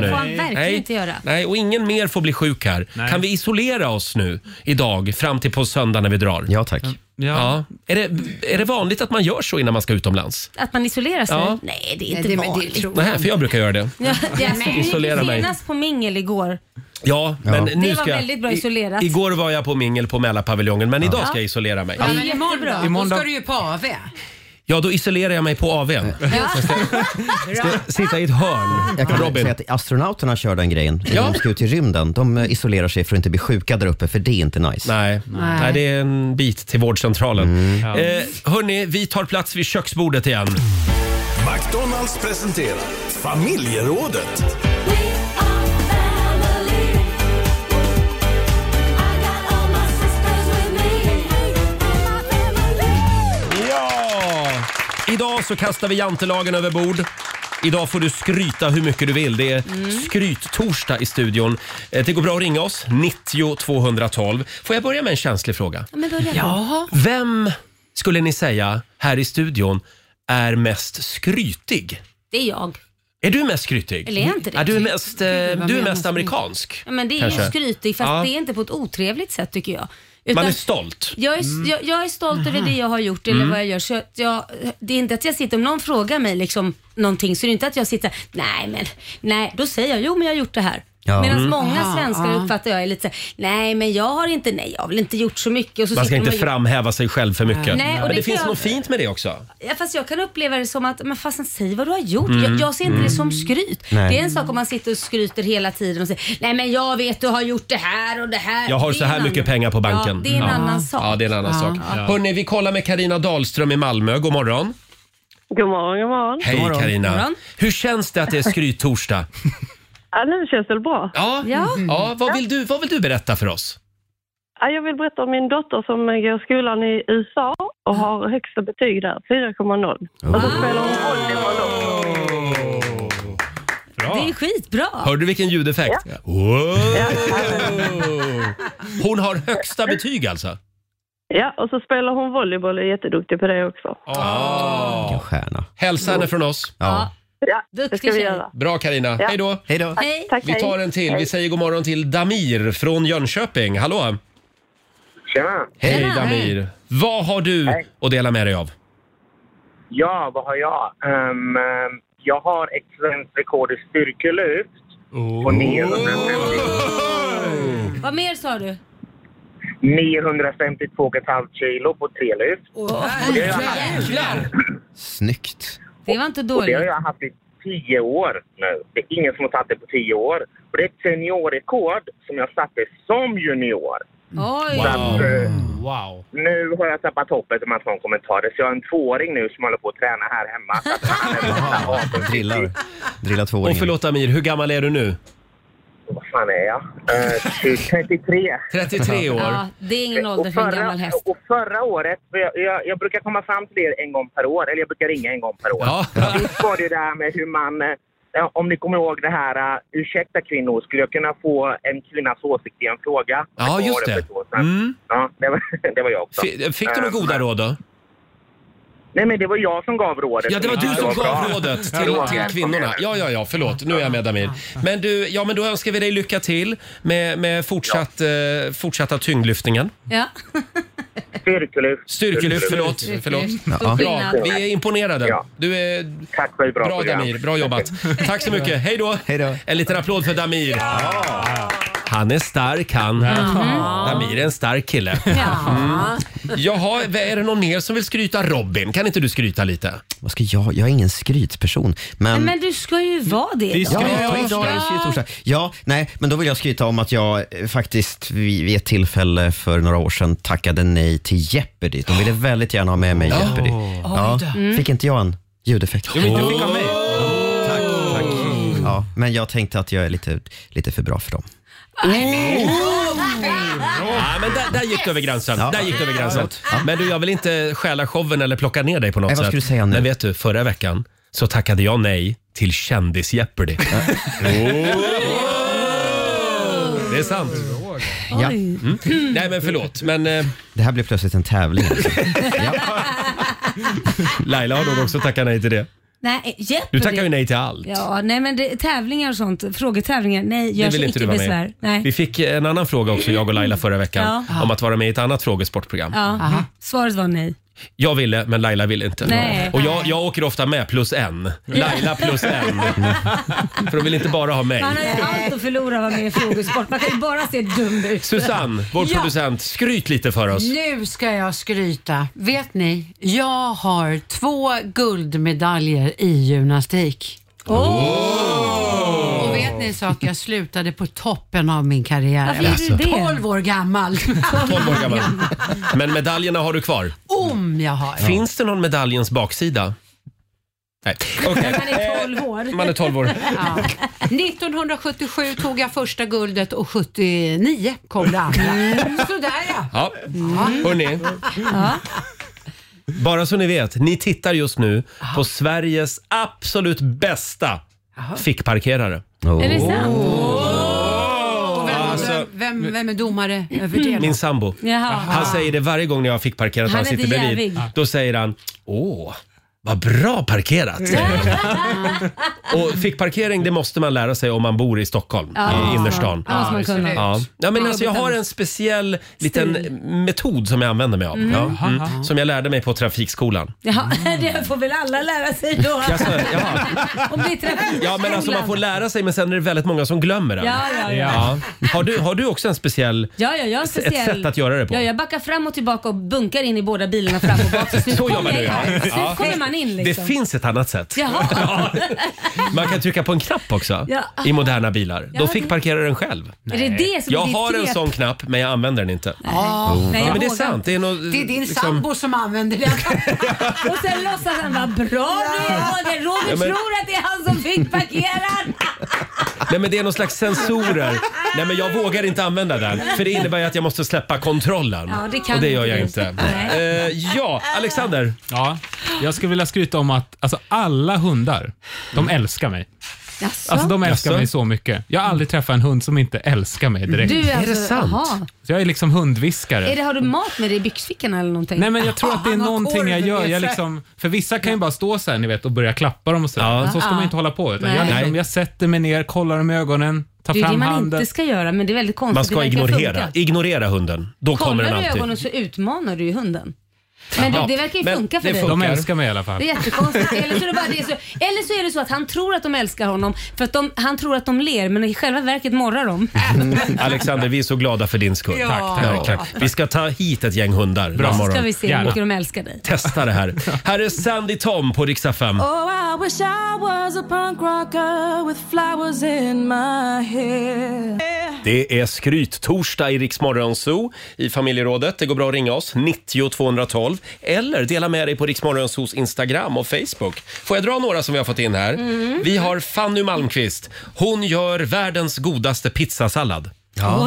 S2: Nej,
S1: nu.
S2: det får han verkligen inte göra.
S1: Nej, och ingen mer får bli sjuk här. Kan vi isolera oss nu idag fram till på söndag när vi drar?
S3: Ja, tack.
S1: Ja. Är, det, är det vanligt att man gör så innan man ska utomlands?
S2: Att man isolerar sig?
S1: Ja.
S2: Nej, det är
S5: Nej,
S2: inte
S5: det- men det
S2: vanligt.
S5: tror
S1: Nej, för jag brukar göra det.
S2: Ja, det är alltså,
S1: Nej. Isolera
S2: vi
S1: mig.
S2: senast på mingel igår.
S1: Ja, men
S2: Det
S1: nu
S2: var
S1: ska jag...
S2: väldigt bra
S1: i-
S2: isolerat.
S1: Igår var jag på mingel på Mälarpaviljongen, men idag ska jag isolera mig.
S5: Ja, men imorgon, imorgon
S1: Imorgon
S5: då
S1: då?
S5: ska du ju på AV.
S1: Ja, då isolerar jag mig på AWn. Ska jag sitta i ett hörn.
S3: Jag kan
S1: Robin.
S3: säga att astronauterna kör den grejen.
S1: Ja.
S3: När de ska ut i rymden, de eh, isolerar sig för att inte bli sjuka där uppe, för det är inte nice.
S1: Nej,
S3: Nej.
S1: Nej det är en bit till vårdcentralen.
S3: Ja.
S1: Eh, hörni, vi tar plats vid köksbordet igen.
S14: McDonalds presenterar Familjerådet.
S1: Ja! Idag så kastar vi jantelagen över bord. Idag får du skryta hur mycket du vill. Det är
S2: Mm.
S1: skryttorsdag i studion. Eh, Det går bra att ringa oss, 90 212. Får jag börja med en känslig fråga?
S2: Ja, men börja då.
S1: Vem skulle ni säga här i studion är mest skrytig?
S2: Det är jag.
S1: Är du mest skrytig?
S2: Eller är jag inte det?
S1: Ja, du är mest, eh,
S2: vad
S1: du är
S2: menar
S1: mest
S2: du?
S1: amerikansk.
S2: Ja, men det är
S1: kanske.
S2: ju skrytig fast
S1: Ja.
S2: det är inte på ett otrevligt sätt tycker jag.
S1: Man
S2: Utan-
S1: är stolt.
S2: Jag är, jag, jag är stolt över det jag har gjort eller
S1: Mm.
S2: vad jag gör. Så att jag, det är inte att jag sitter, om någon frågar mig liksom någonting så är det inte att jag sitter nej men, nej, då säger jag jo men jag har gjort det här.
S1: Ja.
S2: Medan
S1: Mm.
S2: många
S1: Aha,
S2: svenskar
S1: ja.
S2: uppfattar jag är lite så här, nej men jag har inte, nej jag har väl inte gjort så mycket. Och så
S1: Man ska
S2: sitter de
S1: inte
S2: och gör-
S1: framhäva sig själv för mycket.
S2: Nej, och
S1: men det,
S2: det kan
S1: finns
S2: jag- Äh,
S1: något fint med det också.
S2: Ja, fast jag kan uppleva det som att, men fasen säg vad du har gjort.
S1: Mm.
S2: Jag, jag ser inte
S1: Mm.
S2: det som skryt.
S1: Nej.
S2: Det är en sak om man sitter och skryter hela tiden och säger, nej men jag vet du har gjort det här och det här.
S1: Jag har
S2: Det är
S1: så här
S2: en
S1: mycket
S2: annan-
S1: pengar på banken.
S2: Ja, det är en annan sak.
S1: Ja, det är en annan
S2: Ja.
S1: sak.
S2: Ja.
S1: Hörrni, vi kollar med Karina Dahlström i Malmö. God morgon.
S15: God morgon, god morgon.
S1: Hej Karina. Hur känns det att det är skryttorsdag?
S15: Ja, nu känns det väl bra.
S1: Ja.
S15: Ja.
S1: Ja, vad vill du, vad vill du berätta för oss?
S15: Ja, Jag vill berätta om min dotter som går i skolan i USA och har högsta betyg där, 4,0. Och så spelar hon volleyboll också.
S1: Bra.
S2: Det är skitbra.
S1: Hörde du vilken ljudeffekt? Wow. Hon har högsta betyg alltså?
S15: Ja, och så spelar hon volleyboll och är jätteduktig på det också.
S1: Vilken
S3: stjärna.
S1: Ah. Hälsa henne från oss.
S3: Ja.
S15: Ja, det ska vi
S2: tjej.
S15: göra.
S1: Bra Karina.
S15: Ja.
S1: Hej då.
S3: Hej då.
S15: Hej. Tack,
S1: Vi tar
S15: hej.
S1: en till.
S15: Hej.
S1: Vi säger god morgon till Damir från Jönköping. Hallå!
S13: Tjena!
S1: Hej
S13: Tjena,
S1: Damir! Vad har du att dela med dig av?
S13: Ja, vad har jag? Ehm, ehm, jag har ett svenskt rekord i styrkelyft på 950,
S2: Vad mer sa du?
S13: 952,5 kilo på tre lyft. Och det, har jag haft,
S1: Jävlar!
S3: Snyggt.
S2: Det var inte
S13: och det
S2: dåligt.
S13: har jag haft i tio år nu. Det är ingen som har tagit det på tio år. Och det är ett seniorrekord som jag satte som junior.
S2: Oj!
S13: Så att, eh,
S8: Wow.
S13: Nu har jag tappat hoppet om att få en kommentar. Så jag har en tvååring nu som håller på att träna här hemma. Så att han är nästan 18
S3: Drillar. Drillar tvååringen.
S1: Och förlåt Damir, hur gammal är du nu?
S13: Vad fan är jag? Eh, 33.
S1: 33 år.
S2: Ja, det är ingen ålder
S13: Och
S2: för en
S13: förra-
S2: gammal häst.
S13: Och förra året, för jag, jag, jag brukar komma fram till er en gång per år, eller jag brukar ringa en gång per år.
S1: Ja.
S13: Visst var det ju det här med hur man, eh, ja, om ni kommer ihåg det här, eh, ursäkta kvinnor, skulle jag kunna få en kvinnas åsikt i en fråga?
S1: Ja,
S13: var
S1: just
S13: för
S1: det.
S13: ett år sedan. Ja, det var, det var jag också.
S1: F- Fick du några
S13: Eh,
S1: goda råd då?
S13: Nej, men det var jag som gav rådet.
S1: Ja, det var du som gav
S13: bra.
S1: rådet till,
S13: Förlåt.
S1: till kvinnorna. Ja, ja, ja, förlåt. Nu är jag med Damir. Men du, ja, men då önskar vi dig lycka till med, med fortsatt, eh, fortsatta tyngdlyftningen.
S2: Ja.
S13: Styrkelyft.
S1: Styrkelyft, förlåt.
S2: Styrkelyft.
S1: förlåt.
S2: Stor
S1: Bra,
S2: skillnad.
S1: vi är imponerade. Du är...
S13: Tack för ett bra,
S1: Bra
S13: program.
S1: Damir, bra jobbat. Tack så mycket, hej då.
S3: Hej då.
S1: En liten applåd för Damir. Han är stark han.
S2: Mhm.
S1: Damir är en stark kille. Mm. Jaha, är det någon mer som vill skryta? Robin, kan inte du skryta lite?
S3: Vad ska jag? Jag är ingen skrytperson. Men...
S2: Men du ska ju vara det.
S3: Ja,
S2: idag.
S3: ja, idag är det skryttorsdag. Ja, nej, men då vill jag skryta om att jag eh, faktiskt vid vid ett tillfälle för några år sedan tackade nej till Jeopardy. De ville väldigt gärna ha med mig i Jeopardy. Ja,
S1: Mm.
S3: fick inte jag en ljudeffekt?
S8: Jo, men du fick av mig.
S3: Ja, men jag tänkte att jag är lite, lite för bra för dem.
S1: Ja, men där,
S15: Ah,
S1: där gick du över gränsen.
S3: Ja.
S1: Där gick du över gränsen. Men du, jag vill inte stjäla showen eller plocka ner dig på något
S3: Nej, vad
S1: sätt.
S3: ska du säga nu?
S1: Men vet du, förra veckan så tackade jag nej till kändis-Jeopardy. Oh. Det är sant.
S3: Ja.
S1: Mm. Nej, men förlåt. Men eh,
S3: Det här blev plötsligt en tävling.
S1: Laila har nog också tackat nej till det.
S2: Nej,
S1: Du
S2: Jeopardy.
S1: tackar ju nej till allt.
S2: Ja, nej men det, tävlingar och sånt, frågetävlingar, nej
S1: Det
S2: görs
S1: vill
S2: icke
S1: inte du vara med
S2: besvär.
S1: i.
S2: Nej.
S1: Vi fick en annan fråga också, jag och Laila förra veckan,
S2: Ja.
S1: om att vara med i ett annat frågesportprogram.
S2: Ja. Svaret var nej.
S1: Jag ville, men Laila ville inte.
S2: Nej.
S1: Och jag, jag åker ofta med plus en. Laila plus en. För de vill inte bara ha mig.
S2: Man har ju allt att förlora vad med i frågesport. Man kan ju bara se dum ut.
S1: Susanne, vår
S5: Ja.
S1: producent, skryt lite för oss.
S5: Nu ska jag skryta. Vet ni, jag har två guldmedaljer i gymnastik.
S1: Oh!
S5: Och vet ni en sak? Jag slutade på toppen av min karriär.
S1: Varför gjorde du det?
S5: 12 år gammal.
S1: 12 Alltså. år gammal. Men medaljerna har du kvar.
S5: Om jag har.
S1: Finns det någon medaljens baksida? Nej, okej.
S5: Man är 12 år.
S1: Man är 12 år.
S5: Ja. 1977 tog jag första guldet och 79 kom det andra. Sådär ja.
S1: Ja. Hörrni, bara så ni vet, ni tittar just nu på Sveriges absolut bästa fickparkerare.
S2: Är det sant?
S5: Och vem,
S1: Alltså-
S5: vem, vem är domare över det? då?
S1: Min sambo.
S5: Jaha.
S1: Han säger det varje gång när jag fick parkerat och
S5: Han
S1: han
S5: är
S1: sitter
S5: inte
S1: bredvid.
S5: jävig.
S1: Då säger han, åh, vad bra parkerat. och fick parkering det måste man lära sig om man bor i Stockholm,
S2: Ja.
S1: i innerstan.
S2: Ja, måste man kunna.
S1: Ja. Ja, men
S2: Ja,
S1: alltså, jag har en speciell liten metod som jag använder mig av.
S2: Mm.
S1: Ja. Mm. Som jag lärde mig på trafikskolan.
S2: Jaha, det får väl alla lära sig då.
S1: Jaså, jaha.
S2: Om det är trafikskolan.
S1: Ja, men alltså man får lära sig men sen är det väldigt många som glömmer den.
S2: Ja, ja, ja.
S1: Har, du, har du också en speciell...
S2: Ja, ja, jag har en
S1: Ett
S2: speciell...
S1: sätt att göra det på.
S2: Ja, jag backar fram och tillbaka och bunkar in i båda bilarna fram och bak. till slut
S1: Så jobbar
S2: kommer
S1: du
S2: jag
S1: ja.
S2: in. Till slut
S1: ja.
S2: kommer man in liksom.
S1: Det finns ett annat sätt.
S2: Jaha.
S1: Man kan trycka på en knapp också
S2: Ja.
S1: i moderna bilar.
S2: Ja,
S1: Då
S2: det-
S1: fick parkeraren själv.
S2: Är det det som är
S1: jag
S2: ditt
S1: har en
S2: knep?
S1: sån knapp men jag använder den inte.
S5: Ah, nej, jag
S1: ja, men det
S5: vågar
S1: är sant.
S5: inte.
S1: Det är, nog,
S5: Det är din
S1: liksom-
S5: sambo som använder det.
S2: Och sen låtsas han vara bra nu Roger. Roger
S1: Ja, men-
S2: tror att det är han som fick parkerad.
S1: Nej, men det är någon slags sensorer. Nej, men jag vågar inte använda den för det innebär ju att jag måste släppa kontrollen.
S2: Ja, det kan
S1: och det gör
S2: inte
S1: jag
S2: du.
S1: inte. Eh, ja, Alexander. Mm.
S8: Ja, jag skulle vilja skryta om att alltså, alla hundar, de älskar mig.
S5: Jaså?
S8: Alltså de älskar
S5: Jaså?
S8: mig så mycket. Jag har aldrig träffat en hund som inte älskar mig direkt.
S2: Du, Är det alltså, sant? aha.
S8: Så jag är liksom hundviskare.
S2: Är det, har du mat med dig i byxfickan eller någonting?
S8: Nej men jag tror att det är
S2: Han har
S8: någonting jag
S2: korv
S8: gör.
S2: med
S8: Jag
S2: sig.
S8: liksom, för vissa kan ju bara stå så här, ni vet och börja klappa dem och så. Men Så ska man ju inte hålla på. Utan jag,
S2: Nej.
S8: liksom, jag sätter mig ner, kollar dem i ögonen, tar
S2: Det är det
S8: fram
S2: man
S8: handen.
S2: inte ska göra, men det är väldigt konstigt.
S1: Man
S2: Det
S1: ska
S2: verkar
S1: ignorera,
S2: funka.
S1: ignorera hunden. Då kommer den
S2: Kollar du i
S1: alltid.
S2: ögonen så utmanar du ju hunden. Men
S1: Ja,
S2: det, det verkar ju
S1: men
S2: funka för
S1: det
S2: dig.
S1: funkar. De älskar mig i alla fall.
S2: Det är jättekonstigt. Eller så är det, bara, det är så, eller så är det så att han tror att de älskar honom för att de, han tror att de ler men i själva verket morrar
S1: Mm.
S2: de.
S1: Alexander, vi är så glada för din skull.
S2: Ja.
S1: Tack, tack, tack. Vi ska ta hit ett gäng hundar. någon
S2: Så
S1: morgon.
S2: ska vi se hur mycket de älskar dig.
S1: Testa det här. Här är Sandy Tom på Rix FM.
S16: Oh, I wish I was a punk rocker with flowers in my hair.
S1: Det är skryttorsdag i Rix Morgon Zoo i familjerådet. Det går bra att ringa oss, 90 212 eller dela med dig på Rix Morgon Zoos Instagram och Facebook. Får jag dra några som vi har fått in här? Vi har Fanny Malmqvist. Hon gör världens godaste pizzasallad.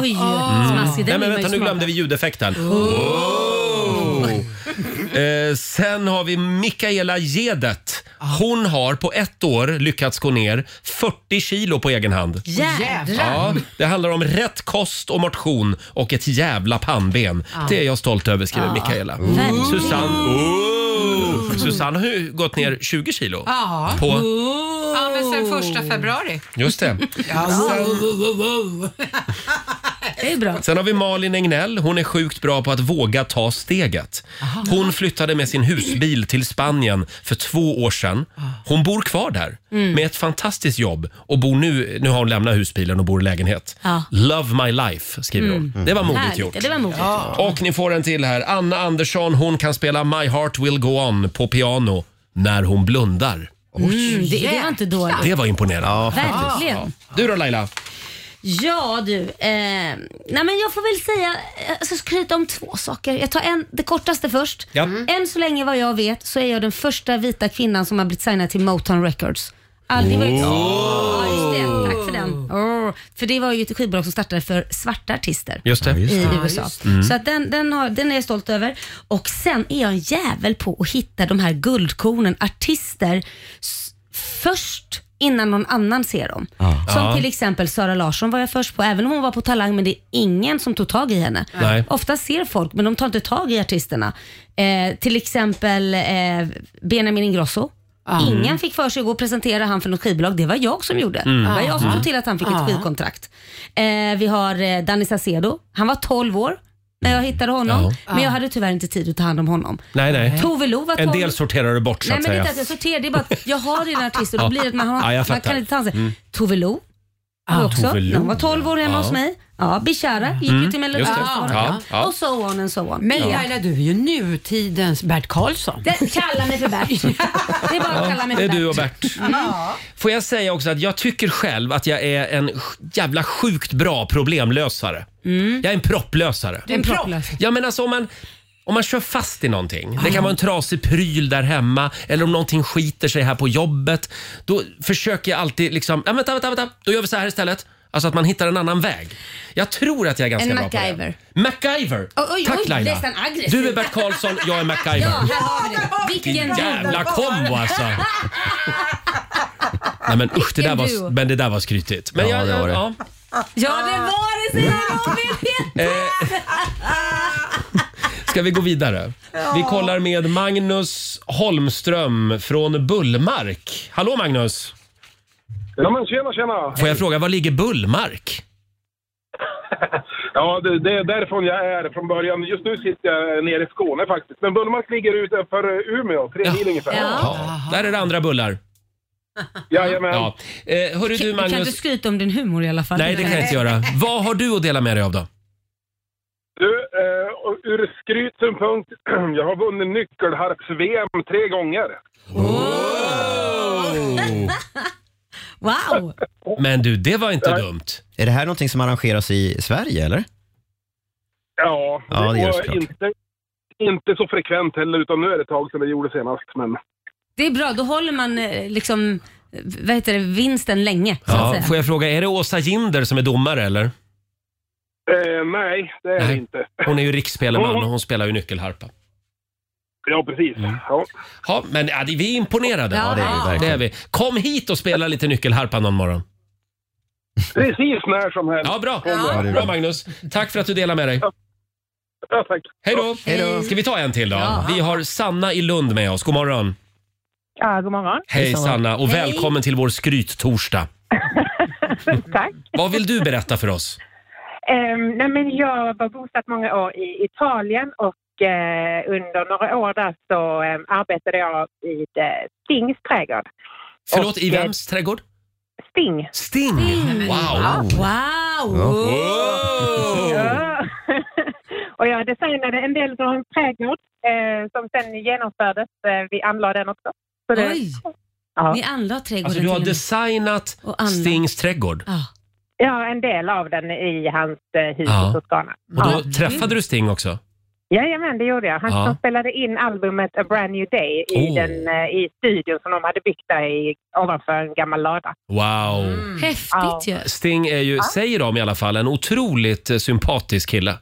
S2: Oj, smaskigt. Den
S1: Nej,
S2: vill man
S1: men
S2: ju
S1: vänta, nu
S2: smaka.
S1: glömde vi ljudeffekten. Oh. Eh, sen har vi Mikaela Gedet.
S2: Ah.
S1: Hon har på ett år lyckats gå ner 40 kilo på egen hand. Ja,
S5: Jädrar!
S1: det handlar om rätt kost och motion och ett jävla pannben.
S5: Ja.
S1: Det är jag stolt över, skriver
S5: Ja.
S1: Mikaela.
S5: Verkligen.
S1: Susanne, oh. Susanne har ju gått ner 20 kilo.
S5: Ja. Mm.
S1: På,
S5: Ja, men sen första februari.
S1: just det.
S2: Det är bra.
S1: Sen har vi Malin Egnell. Hon är sjukt bra på att våga ta steget. Hon flyttade med sin husbil till Spanien för två år sedan. Hon bor kvar där
S2: Mm.
S1: med ett fantastiskt jobb och bor nu, nu har hon lämnat husbilen och bor i lägenhet.
S2: Ja.
S1: Love my life, skriver hon.
S2: Mm.
S1: Det var modigt
S2: Härligt.
S1: gjort.
S2: Det var modigt.
S1: Ah. Och ni får en till här. Anna Andersson, hon kan spela My Heart Will Go On på piano när hon blundar.
S2: Mm, det, det var inte dåligt.
S1: Det var imponerande.
S2: Verkligen.
S1: Ja. Du då Laila?
S2: Ja du, eh, nej men jag får väl säga, eh, jag ska skryta om två saker. Jag tar en, det kortaste först. Mm.
S1: Ja.
S2: Än så länge vad jag vet så är jag den första vita kvinnan som har blivit signad till Motown Records. Aldrig varit Ja, just det. Tack för den. Oh. För det var ju ett skivbolag som startade för svarta artister
S1: Just det.
S2: i
S1: Ja, just
S2: USA.
S1: det. Mm.
S2: Så att den, den, har, den är jag stolt över. Och sen är jag en jävel på att hitta de här guldkornen, artister, s- först innan någon annan ser dem.
S11: Ja.
S2: Som
S11: Ja.
S2: till exempel Sara Larsson var jag först på, även om hon var på Talang, men det är ingen som tog tag i henne.
S11: Nej.
S2: Ofta ser folk, men de tar inte tag i artisterna. Eh, till exempel eh, Benjamin Ingrosso.
S11: Ja. Mm.
S2: Ingen fick för sig att gå och presentera han för något skivbolag. Det var jag som gjorde.
S11: Mm.
S2: Det var jag som
S11: Ja.
S2: såg till att han fick
S11: Ja.
S2: ett skivkontrakt. Eh, vi har eh, Danny Saucedo. Han var 12 år när jag hittade honom,
S1: Mm. Ja.
S2: men jag hade tyvärr inte tid att ta hand om honom.
S1: Nej, nej.
S2: Tove Lo var
S1: En
S2: 12.
S1: del sorterar du bort så
S2: Nej
S1: att
S2: men det är
S1: säga.
S2: inte att jag sorterar, det är bara att jag har redan artister och då blir det att man,
S1: Ja,
S2: har,
S1: jag
S2: man
S1: fattar.
S2: kan inte ta hand om sig.
S1: Mm.
S2: Tove Lo. var
S1: Ah,
S2: också.
S1: Tove Lo,
S2: När hon var 12 år hemma
S1: ja.
S2: hos mig. Ja, Bishara gick
S1: Mm,
S2: ju till
S1: just det. Ja,
S2: Melodifestivalen.
S1: ja.
S2: Och so on and so on.
S5: Men
S2: Ja.
S5: Laila, du är ju nutidens Bert Karlsson.
S2: Det, kalla mig för Bert. Det är bara att kalla mig för
S1: det är
S2: Bert. Mm.
S1: du och Bert.
S2: Ja.
S1: Får jag säga också att jag tycker själv att jag är en sj- jävla sjukt bra problemlösare. Jag är en propplösare.
S11: Mm. Du är en propplösare. Ah.
S1: Ja men alltså om man, om man kör fast i någonting. Det kan vara en trasig pryl där hemma eller om någonting skiter sig här på jobbet. Då försöker jag alltid liksom, ja, vänta, vänta, vänta, då gör vi så här istället. Alltså att man hittar en annan väg. Jag tror att jag är ganska
S2: En
S1: bra på det.
S2: MacGyver.
S1: MacGyver!
S2: Oj, oj,
S1: Tack
S2: oj,
S1: Laila!
S2: nästan aggressiv.
S1: Du är Bert Karlsson, jag är MacGyver.
S2: Ja, här har vi det.
S1: Vilken
S2: Vilken
S1: jävla kombo alltså! Nej men usch, det där
S2: Vilken
S1: var,
S2: duo.
S1: men det där var skrytigt. Men
S2: Ja,
S1: jag,
S2: det var det.
S1: Ja.
S2: Ja, det var det säger Robin!
S1: Eh, ska vi gå vidare?
S2: Ja.
S1: Vi kollar med Magnus Holmström från Bullmark. Hallå Magnus!
S10: Ja, men tjena, tjena!
S1: Får jag fråga, var ligger Bullmark?
S10: Ja, det, det är därifrån jag är från början. Just nu sitter jag eh, nere i Skåne faktiskt. Men Bullmark ligger utanför eh, Umeå, tre mil ungefär.
S1: Ja, där är det andra bullar.
S10: Jajamän.
S1: Ja. Eh, hörru du
S2: Du kan inte
S1: Magnus.
S2: skryta om din humor i alla fall.
S1: Nej, det kan jag inte göra. Vad har du att dela med dig av då?
S10: Du, eh, och ur skrytsynpunkt, jag har vunnit nyckelharps-VM tre gånger.
S2: Wow!
S1: Men du, det var inte dumt.
S3: Är det här någonting som arrangeras i Sverige eller?
S10: Ja,
S3: Ja, det gör det
S10: och
S3: såklart.
S10: inte, inte så frekvent heller, utan nu är det ett tag sedan det gjorde senast. Men...
S2: Det är bra, då håller man eh, liksom, eh, vad heter det, vinsten länge. Så att
S1: Ja,
S2: säga.
S1: får jag fråga, är det Åsa Ginder som är domare eller?
S10: Eh, nej, det är det
S1: Nej.
S10: inte.
S1: Hon är ju riksspelman och hon spelar ju nyckelharpa.
S10: Ja, precis. Ja.
S1: Mm. Ja, men ja, det- vi är imponerade.
S10: Ja, det är vi verkligen.
S1: det är vi. Kom hit och spela lite nyckelharpa någon morgon.
S10: Precis när som helst.
S1: Ja, bra.
S10: Kommer.
S1: Bra Magnus. Tack för att du delar med dig.
S10: Ja, tack.
S1: Hej då! Ska vi ta en till då?
S10: Ja.
S1: Vi har Sanna i Lund med oss. God morgon.
S7: Ja, god morgon.
S1: Hej Sanna och välkommen till vår skryttorsdag.
S7: Tack.
S1: Vad vill du berätta för oss?
S7: Ehm, nej men jag var bosatt många år i Italien och eh, under några år där så eh, arbetade jag vid eh, Stings trädgård.
S1: Förlåt,
S7: Och,
S1: i
S7: eh,
S1: vems trädgård?
S7: Sting.
S1: Sting?
S7: Ja.
S1: Wow!
S2: Wow!
S7: Ja. och jag designade en del av hans trädgård eh, som sen genomfördes. Eh, vi anlade den också. Så det-
S2: Oj!
S7: Ja.
S2: Ni anlade trädgården
S1: Alltså du har
S2: till och med.
S1: designat
S2: Och anlagt.
S1: Stings trädgård.
S7: Ja, en del av den i hans eh, hus
S1: Ja.
S7: i Toscana.
S1: Och då träffade du Sting också?
S7: Jajamän, det gjorde jag. Han
S1: Ja.
S7: som spelade in albumet A Brand New Day i,
S1: Oh.
S7: den, eh, i studion som de hade byggt där i, ovanför en gammal lada.
S1: Wow!
S7: Mm.
S2: Häftigt ju.
S1: Sting är ju, säger de i alla fall, en otroligt eh, sympatisk kille.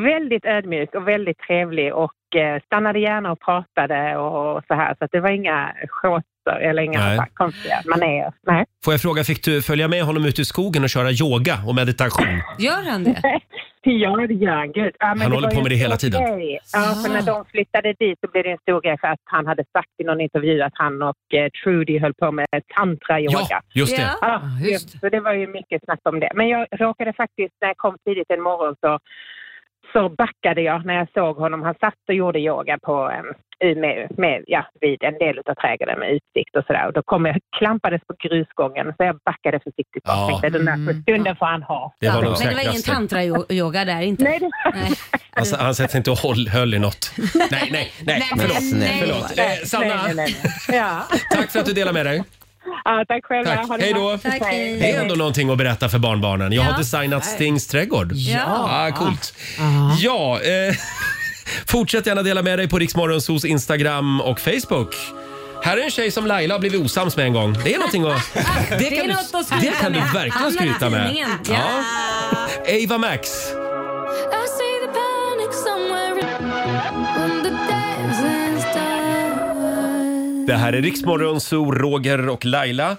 S7: Väldigt ödmjuk och väldigt trevlig och eh, stannade gärna och pratade och så här. Så att det var inga shotter eller inga
S1: Nej.
S7: så här konstiga manér. Nej.
S1: Får jag fråga, fick du följa med honom ut i skogen och köra yoga och meditation?
S2: Gör han det?
S7: ja, det gör han. Gud. Ja, men
S1: Han håller
S7: var
S1: på
S7: ju
S1: med det
S7: en
S1: hela
S7: stor
S1: tiden.
S7: grej. Ja, för
S2: Ah.
S7: när de flyttade dit så blev det en stor grej för att han hade sagt i någon intervju att han och eh, Trudy höll på med tantra-yoga.
S1: Ja, just det.
S7: Ja,
S2: Ah,
S7: Så det var ju mycket snack om det. Men jag råkade faktiskt, när jag kom tidigt en morgon så, så backade jag när jag såg honom. Han satt och gjorde yoga på, eh, med, med, ja, vid en del av trädgården med utsikt och sådär. Och då kom jag, klampades på grusgången så jag backade försiktigt.
S1: Ja.
S7: Ja. Tänkte, den
S2: Mm.
S7: där stunden får han ha.
S1: Ah. Det var nog
S2: Men det var ingen
S1: säkraste.
S2: tantra-yoga där inte? Nej,
S1: Han, sa- Alltså, han satt inte och håll, höll i något. Nej, nej, nej.
S2: Nej,
S1: Förlåt.
S2: nej.
S1: förlåt. Eh, Sanna,
S7: Nej, nej, nej. Ja.
S1: tack för att du delade med dig.
S7: Ja, tack själva.
S1: Tack.
S7: Ha det
S1: Hej
S7: bra.
S1: då.
S7: Tack, hej.
S1: Det är ändå någonting att berätta för barnbarnen. Jag
S7: Ja.
S1: har designat Stings trädgård.
S7: Ja.
S1: Ah, coolt. Ja, eh, fortsätt gärna dela med dig på Riksmorgonsos Instagram och Facebook. Här är en tjej som Laila har blivit osams med en gång. Det är någonting att...
S2: Det, är något att skryta
S1: det kan du
S2: med.
S1: verkligen
S2: Hamnar i
S1: skryta med.
S2: tidningen.
S1: Ja.
S2: Ja.
S1: Ava Max.
S9: I see the panic somewhere in- when the dancing's done.
S1: Det här är Riksmorgonso, Roger och Laila.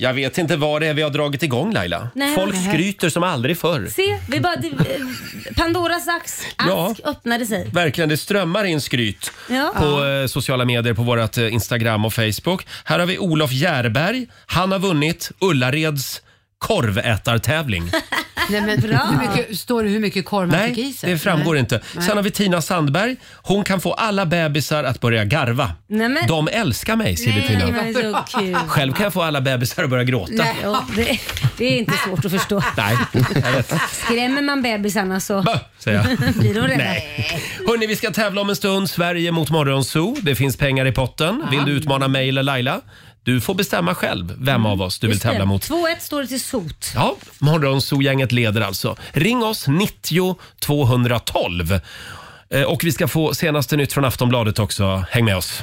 S1: Jag vet inte vad det är vi har dragit igång Laila.
S2: Nej.
S1: Folk
S2: Nej.
S1: skryter som aldrig förr.
S2: Se, vi bara, det, eh, Pandoras ask,
S1: Ja.
S2: ask öppnade sig.
S1: Verkligen, det strömmar in skryt
S2: Ja.
S1: på eh, sociala medier, på vårt eh, Instagram och Facebook. Här har vi Olof Järberg. Han har vunnit Ullareds korvätartävling.
S5: Nej, men,
S2: Bra.
S5: hur mycket, står det hur mycket korv man fick i
S1: Nej,
S5: sig?
S1: det framgår
S5: Nej.
S1: inte.
S5: Nej.
S1: Sen har vi Tina Sandberg. Hon kan få alla bebisar att börja garva.
S2: Nej, men-
S1: De älskar mig, skriver
S2: Nej,
S1: Tina.
S2: men så kul.
S1: Själv kan jag få alla bebisar att börja gråta.
S2: Nej, ja, det, det är inte svårt att förstå.
S1: Nej, jag vet.
S2: Skrämmer man bebisarna så
S1: Säger jag.
S2: blir de rädda.
S1: Nej. Hörni, vi ska tävla om en stund. Sverige mot Morgonzoo. Det finns pengar i potten. Vill du utmana mig eller Laila? Du får bestämma själv vem av oss du vill
S2: Mm. Just det.
S1: tävla mot.
S2: 2-1 står det till sot.
S1: Ja, Morgonzoo-gänget leder alltså. Ring oss 90 212. Eh, Och vi ska få senaste nytt från Aftonbladet också. Häng med oss.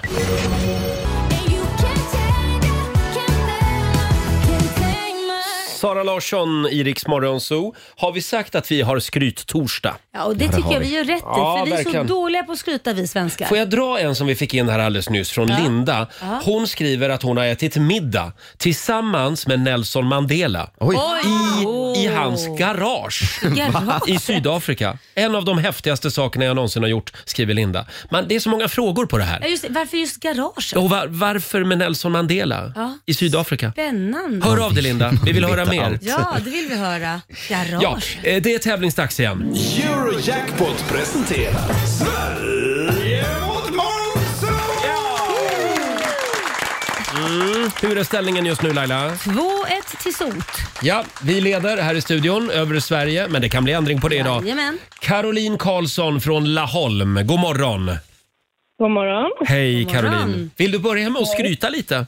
S1: Sara Larsson, i Rix Morgonzoo. Har vi sagt att vi har skryttorsdag?
S2: Ja, och det,
S1: Ja, det
S2: tycker
S1: har
S2: jag vi
S1: vi.
S2: gör rätt i,
S1: Ja,
S2: för vi är
S1: verkligen.
S2: så dåliga på att skryta vi svenskar.
S1: Får jag dra en som vi fick in här alldeles nyss från
S2: Ja.
S1: Linda?
S2: Ja.
S1: Hon skriver att hon har ätit middag tillsammans med Nelson Mandela
S2: Oj.
S1: i hans garage
S2: Garage?
S1: i Sydafrika. En av de häftigaste sakerna jag någonsin har gjort, skriver Linda. Men det är så många frågor på det
S2: Ja,
S1: här.
S2: just, det. varför just garage?
S1: Och var, varför med Nelson Mandela
S2: Ja.
S1: i Sydafrika?
S2: Spännande.
S1: Hör av dig Linda, vi vill höra mer.
S2: Ja, det vill vi höra. Garage.
S1: Ja, eh, det är tävlingsdags igen.
S14: Eurojackpot presenterar Sverige mot Monzo!
S1: Mm. Hur är ställningen just nu Laila?
S2: 2-1 till sot.
S1: Ja, vi leder här i studion över Sverige, men det kan bli ändring på det idag.
S2: Jajamän.
S1: Caroline Karlsson från Laholm, god morgon.
S17: God morgon.
S1: Hej
S17: God morgon.
S1: Caroline. Vill du börja med att skryta lite?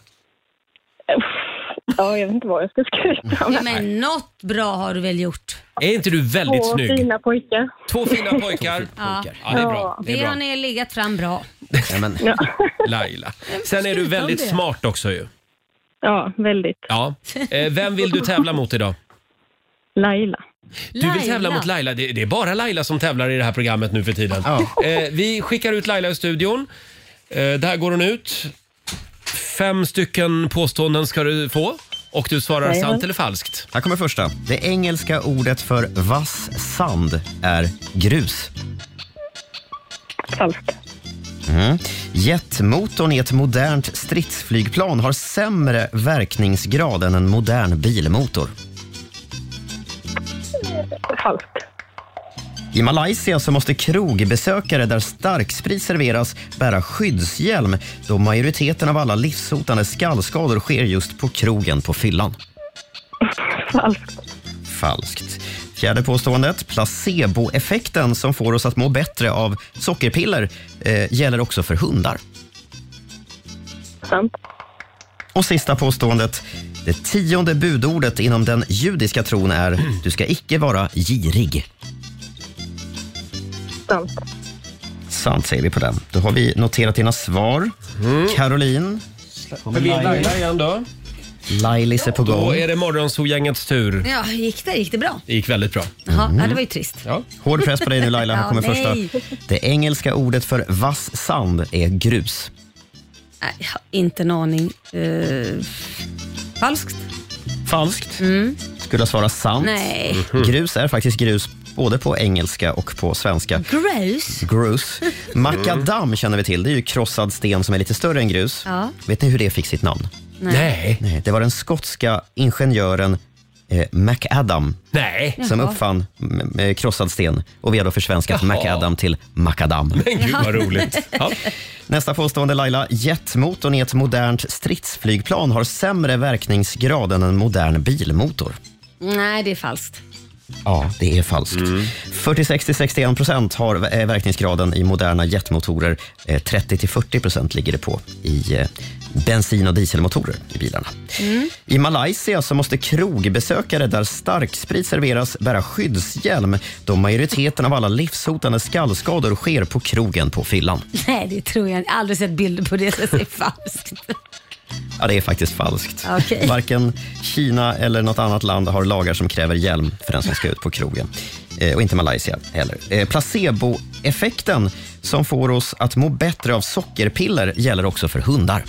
S17: Ja, jag vet inte vad jag ska skryta om.
S2: Ja, men något bra har du väl gjort?
S1: Är inte du väldigt
S17: Två
S1: snygg?
S17: fina pojkar.
S1: Två fina pojkar.
S2: Ja.
S1: Ja, det är bra. Det är
S2: har
S1: bra.
S2: ni legat fram bra.
S1: Laila. Sen är du
S2: skryta om
S1: väldigt
S2: det.
S1: smart också ju.
S17: Ja, väldigt.
S1: Ja. Eh, Vem vill du tävla mot idag?
S17: Laila.
S1: Du vill tävla mot Laila. Det, det är bara Laila som tävlar i det här programmet nu för tiden. Eh, vi skickar ut Laila i studion. Eh, där går hon ut. Fem stycken påståenden ska du få. Och du svarar
S3: Jajamän.
S1: sant eller falskt.
S3: Här kommer första. Det engelska ordet för vass sand är grus.
S17: Falskt.
S3: Mm. Jetmotorn i ett modernt stridsflygplan har sämre verkningsgrad än en modern bilmotor.
S17: Falskt.
S3: I Malaysia så måste krogbesökare där starksprit serveras bära skyddshjälm då majoriteten av alla livshotande skallskador sker just på krogen på fyllan.
S17: Falskt.
S3: Falskt. Fjärde påståendet. Placeboeffekten som får oss att må bättre av sockerpiller eh, gäller också för hundar.
S17: Sant.
S3: Och sista påståendet. Det tionde budordet inom den judiska tron är du ska icke vara girig.
S17: Sant.
S3: Sant säger vi på den. Då har vi noterat dina svar.
S1: Mm.
S3: Caroline.
S1: Kommer Laila igen då?
S3: Lailis är på gång.
S1: Då är det Morgonzoo-gängets tur.
S2: Ja, gick det? Gick det bra?
S1: Det gick väldigt bra.
S2: Jaha, ja, det var ju trist.
S3: Mm. Hård press på dig nu Laila. Här
S2: Ja,
S3: kommer
S2: nej.
S3: första. Det engelska ordet för vass sand är grus.
S2: Nej, jag har inte en aning. Eh, falskt?
S3: Falskt.
S2: Mm.
S3: Skulle jag svara sant? Mhm.
S2: Nej.
S3: Grus är faktiskt grus både på engelska och på svenska.
S2: Gross?
S3: Grus. Makadam känner vi till. Det är ju krossad sten som är lite större än grus.
S2: Ja.
S3: Vet ni hur det fick sitt namn?
S2: Nej. Nej.
S3: det var den skotska ingenjören eh, MacAdam
S1: Nej.
S3: som
S1: Jaha.
S3: uppfann mm, eh, krossad sten och vi har då försvenskat
S1: Jaha.
S3: MacAdam till Macadam.
S1: Men gud, vad roligt.
S3: Nästa påstående Laila. Jetmotorn i ett modernt stridsflygplan har sämre verkningsgrad än en modern bilmotor.
S2: Nej, det är falskt.
S3: Ja, det är falskt. 40-60-61 procent har eh, verkningsgraden i moderna jetmotorer. Eh, 30-40 procent ligger det på i eh, bensin och dieselmotorer i bilarna. I Malaysia så måste krogbesökare där starksprit serveras bära skyddshjälm då majoriteten av alla livshotande skallskador sker på krogen på fyllan.
S2: Nej, det tror jag inte. Aldrig sett bilder på det, så jag säger falskt.
S3: Ja, det är faktiskt falskt.
S2: Okej.
S3: Varken Kina eller något annat land har lagar som kräver hjälm för den som ska ut på krogen. Eh, och inte Malaysia heller. Eh, placeboeffekten som får oss att må bättre av sockerpiller gäller också för hundar.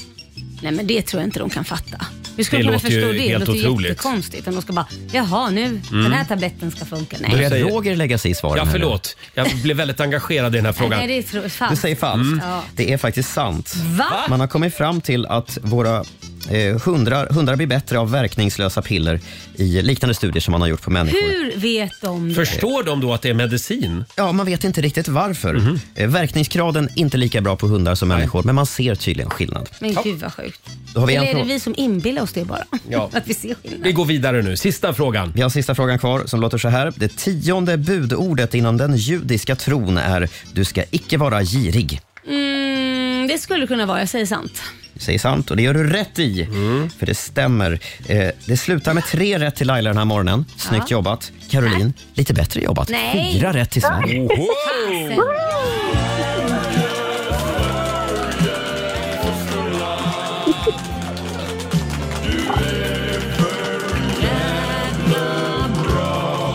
S2: Nej, men det tror jag inte de kan fatta. Hur skulle
S3: Det
S2: de kunna
S3: låter ju
S2: förstå det?
S3: helt
S2: det låter
S3: otroligt. Mm.
S2: jättekonstigt om de ska bara, jaha nu, den här tabletten ska funka. Nej.
S1: Du säger-
S3: Roger lägga sig i svaren
S1: Ja,
S3: här nu.
S1: förlåt. Jag blev väldigt engagerad i den här frågan. Mm.
S2: Nej, det tror jag
S3: Du
S2: falskt.
S3: säger falskt.
S2: Ja.
S3: Det är faktiskt sant.
S2: Va?
S3: Man har kommit fram till att våra eh, hundar, hundar blir bättre av verkningslösa piller i liknande studier som man har gjort på människor.
S2: Hur vet de det?
S1: Förstår de då att det är medicin?
S3: Ja, man vet inte riktigt varför.
S1: Mhm.
S3: Eh, Verkningsgraden är inte lika bra på hundar som människor, men man ser tydligen skillnad.
S2: Men gud vad sjukt.
S3: Då har vi en
S2: Eller är det
S3: fråga.
S2: vi som inbillar oss det bara?
S1: Ja.
S2: Att vi ser skillnad.
S1: Vi går vidare nu. Sista frågan.
S3: Vi har sista frågan kvar som låter så här. Det tionde budordet inom den judiska tron är du ska icke vara girig.
S2: Mm, det skulle kunna vara, jag säger sant.
S3: Du säger sant och det gör du rätt i,
S1: Mm.
S3: för det stämmer. Eh, det slutar med tre rätt till Laila den här morgonen. Snyggt
S2: Ja.
S3: jobbat. Caroline, lite bättre jobbat.
S2: Nej.
S3: Fyra rätt till Sverige.
S2: Fasen.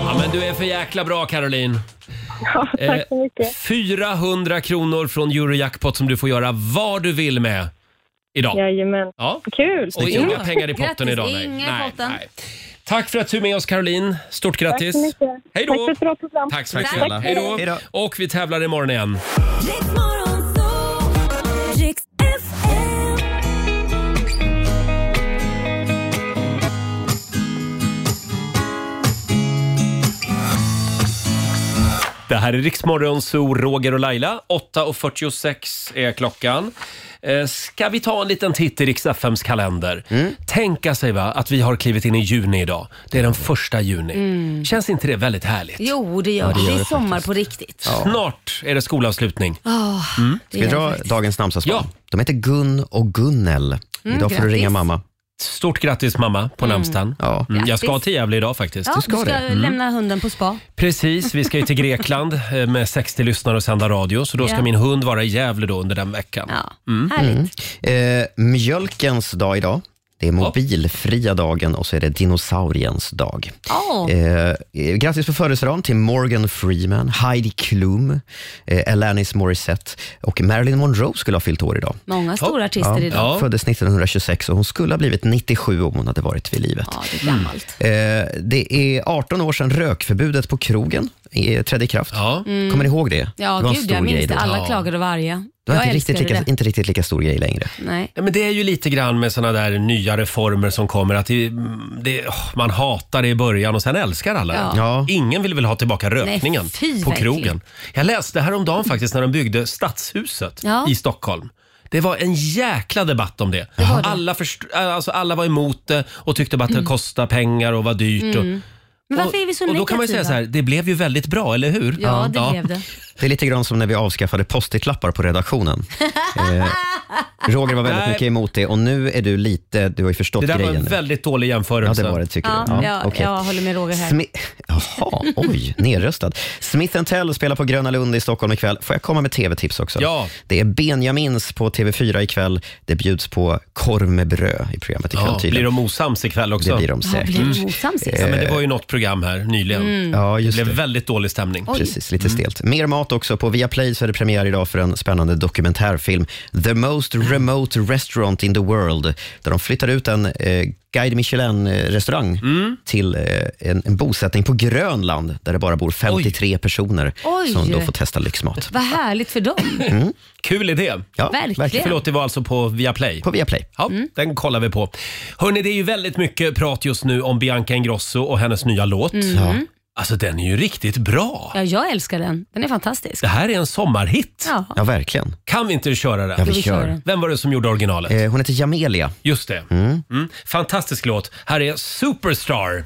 S1: Ja, men du är för jäkla bra Caroline.
S17: Ja,
S1: Eh,
S17: tack så mycket.
S1: 400 kronor från Eurojackpot som du får göra vad du vill med idag.
S17: Jajamän.
S1: Ja.
S17: Kul!
S1: Och inga pengar i potten idag. Nej.
S2: Inga i
S1: Nej,
S2: potten.
S1: nej. Tack för att du är med oss Caroline. Stort grattis.
S17: Tack så mycket.
S1: Hej då.
S17: Tack för ett bra program.
S1: Tack så mycket.
S17: Tack.
S1: snälla. Hej då. Och vi tävlar imorgon igen.
S9: Riks FM.
S1: Det här är Riksmorgon Zoo, Roger och Laila. 8.46 är klockan. Eh, Ska vi ta en liten titt i Rix FMs kalender?
S2: Mm.
S1: Tänka sig va, att vi har klivit in i juni idag. Det är den första juni.
S2: Mm.
S1: Känns inte det väldigt härligt?
S2: Jo, det gör
S1: Ja,
S2: det. Det är
S1: det
S2: sommar på riktigt.
S1: Snart är det skolavslutning.
S2: Åh,
S1: Mm.
S2: Ah, det gör det.
S3: dagens namnsdagsbarn? De heter Gun och Gunnel.
S2: Mm,
S3: Idag får du
S2: grattis.
S3: ringa mamma.
S1: Stort grattis mamma på namnsdagen.
S3: Ja.
S1: Mm, jag ska
S2: Grattis.
S1: till Gävle idag faktiskt.
S2: Ja, du ska,
S1: Mm.
S2: lämna hunden på spa.
S1: Precis, vi ska ju till Grekland eh, med 60 lyssnare och sända radio. Så då ska
S2: Ja.
S1: min hund Mm. vara i Gävle då under den veckan.
S2: Härligt.
S3: Eh, Mm. mjölkens dag idag. Det är mobilfria dagen och så är det dinosauriens dag. Eh, eh, grattis på födelsedagen till Morgan Freeman, Heidi Klum, eh, Alanis Morissette och Marilyn Monroe skulle ha fyllt år idag.
S2: Många stora artister
S3: Ja,
S2: idag.
S3: Föddes 1926 och hon skulle ha blivit 97 om hon hade varit vid livet.
S2: Ja, det är gammalt.
S3: Eh, det är 18 år sedan rökförbudet på krogen eh, trädde i kraft.
S2: Mm.
S3: Kommer ni ihåg det?
S2: Ja,
S3: det var en
S2: gud
S3: stor
S2: jag minns
S3: grej
S2: det.
S3: då.
S2: Alla klagade över arga.
S3: Det var
S2: jag
S3: inte riktigt,
S2: älskade
S3: lika, inte riktigt lika stor grej längre.
S2: det. Nej.
S1: Ja, men det är ju lite grann med såna där nya reformer som kommer att det, det, åh, man hatar det i början och sen älskar alla
S2: Ja.
S1: det. Ingen vill väl ha tillbaka rökningen
S2: Nej, fy,
S1: på
S2: verkligen.
S1: krogen. Jag läste häromdagen faktiskt när de byggde Stadshuset
S2: Ja.
S1: i Stockholm. Det var en jäkla debatt om det. Alla, först, alltså alla var emot det och tyckte bara att det
S2: Mm.
S1: kostade pengar och var dyrt. Och,
S2: Mm. Men varför är vi så
S1: och
S2: negativa?
S1: då kan man ju säga så här, det blev ju väldigt bra, eller hur?
S2: Ja, det blev det.
S3: Det är lite grann som när vi avskaffade post-it-lappar på redaktionen. Eh, Roger var väldigt
S1: Nej.
S3: mycket emot det och nu är du lite, du har ju förstått
S1: Det där var
S3: grejen.
S1: en
S3: nu.
S1: väldigt dålig jämförelse.
S3: Ja, det var det tycker
S2: Ja,
S3: du. Ja,
S2: jag,
S3: okej.
S2: jag håller med Roger här.
S3: Smi- Jaha, oj, nedröstad. Smith Tell spelar på Gröna Lund i Stockholm ikväll. Får jag komma med tv-tips också?
S1: Ja.
S3: Det är Benjamins på TV4 ikväll. Det bjuds på korv med bröd i programmet ikväll
S1: Ja, blir
S3: tydligen.
S1: de osams ikväll också?
S3: Det blir de Ja, säkert. Eh. blir de
S1: Mm.
S3: osams ikväll?
S1: ja, men det var ju något program här nyligen.
S3: Mm. Ja, just
S1: det blev
S3: det.
S1: väldigt dålig stämning.
S3: Precis, lite
S1: Mm.
S3: stelt. Mer mat också. På Viaplay så är det premiär idag för en spännande dokumentärfilm. The most remote restaurant in the world. Där de flyttar ut en eh, Guide Michelin-restaurang
S1: Mm.
S3: till eh, en, en bosättning på Grönland där det bara bor 53 personer
S2: Oj.
S3: som då får testa lyxmat.
S2: Vad härligt för dem.
S3: Mm.
S1: Kul idé.
S3: Ja,
S2: Verkligen. verkligen.
S1: Förlåt, det var alltså på Viaplay?
S3: På Viaplay.
S1: Ja, den kollar vi på. Hörni, det är ju väldigt mycket prat just nu om Bianca Ingrosso och hennes nya låt.
S2: Mm. Ja.
S1: Alltså den är ju riktigt bra.
S2: Ja, jag älskar den. Den är fantastisk.
S1: Det här är en sommarhit.
S2: Ja.
S3: verkligen.
S1: Kan vi inte köra den?
S3: Ja, vi kör.
S1: Vem var det som gjorde originalet?
S3: Eh, hon heter Jamelia.
S1: Just det. Mm. Fantastisk låt. Här är Superstar.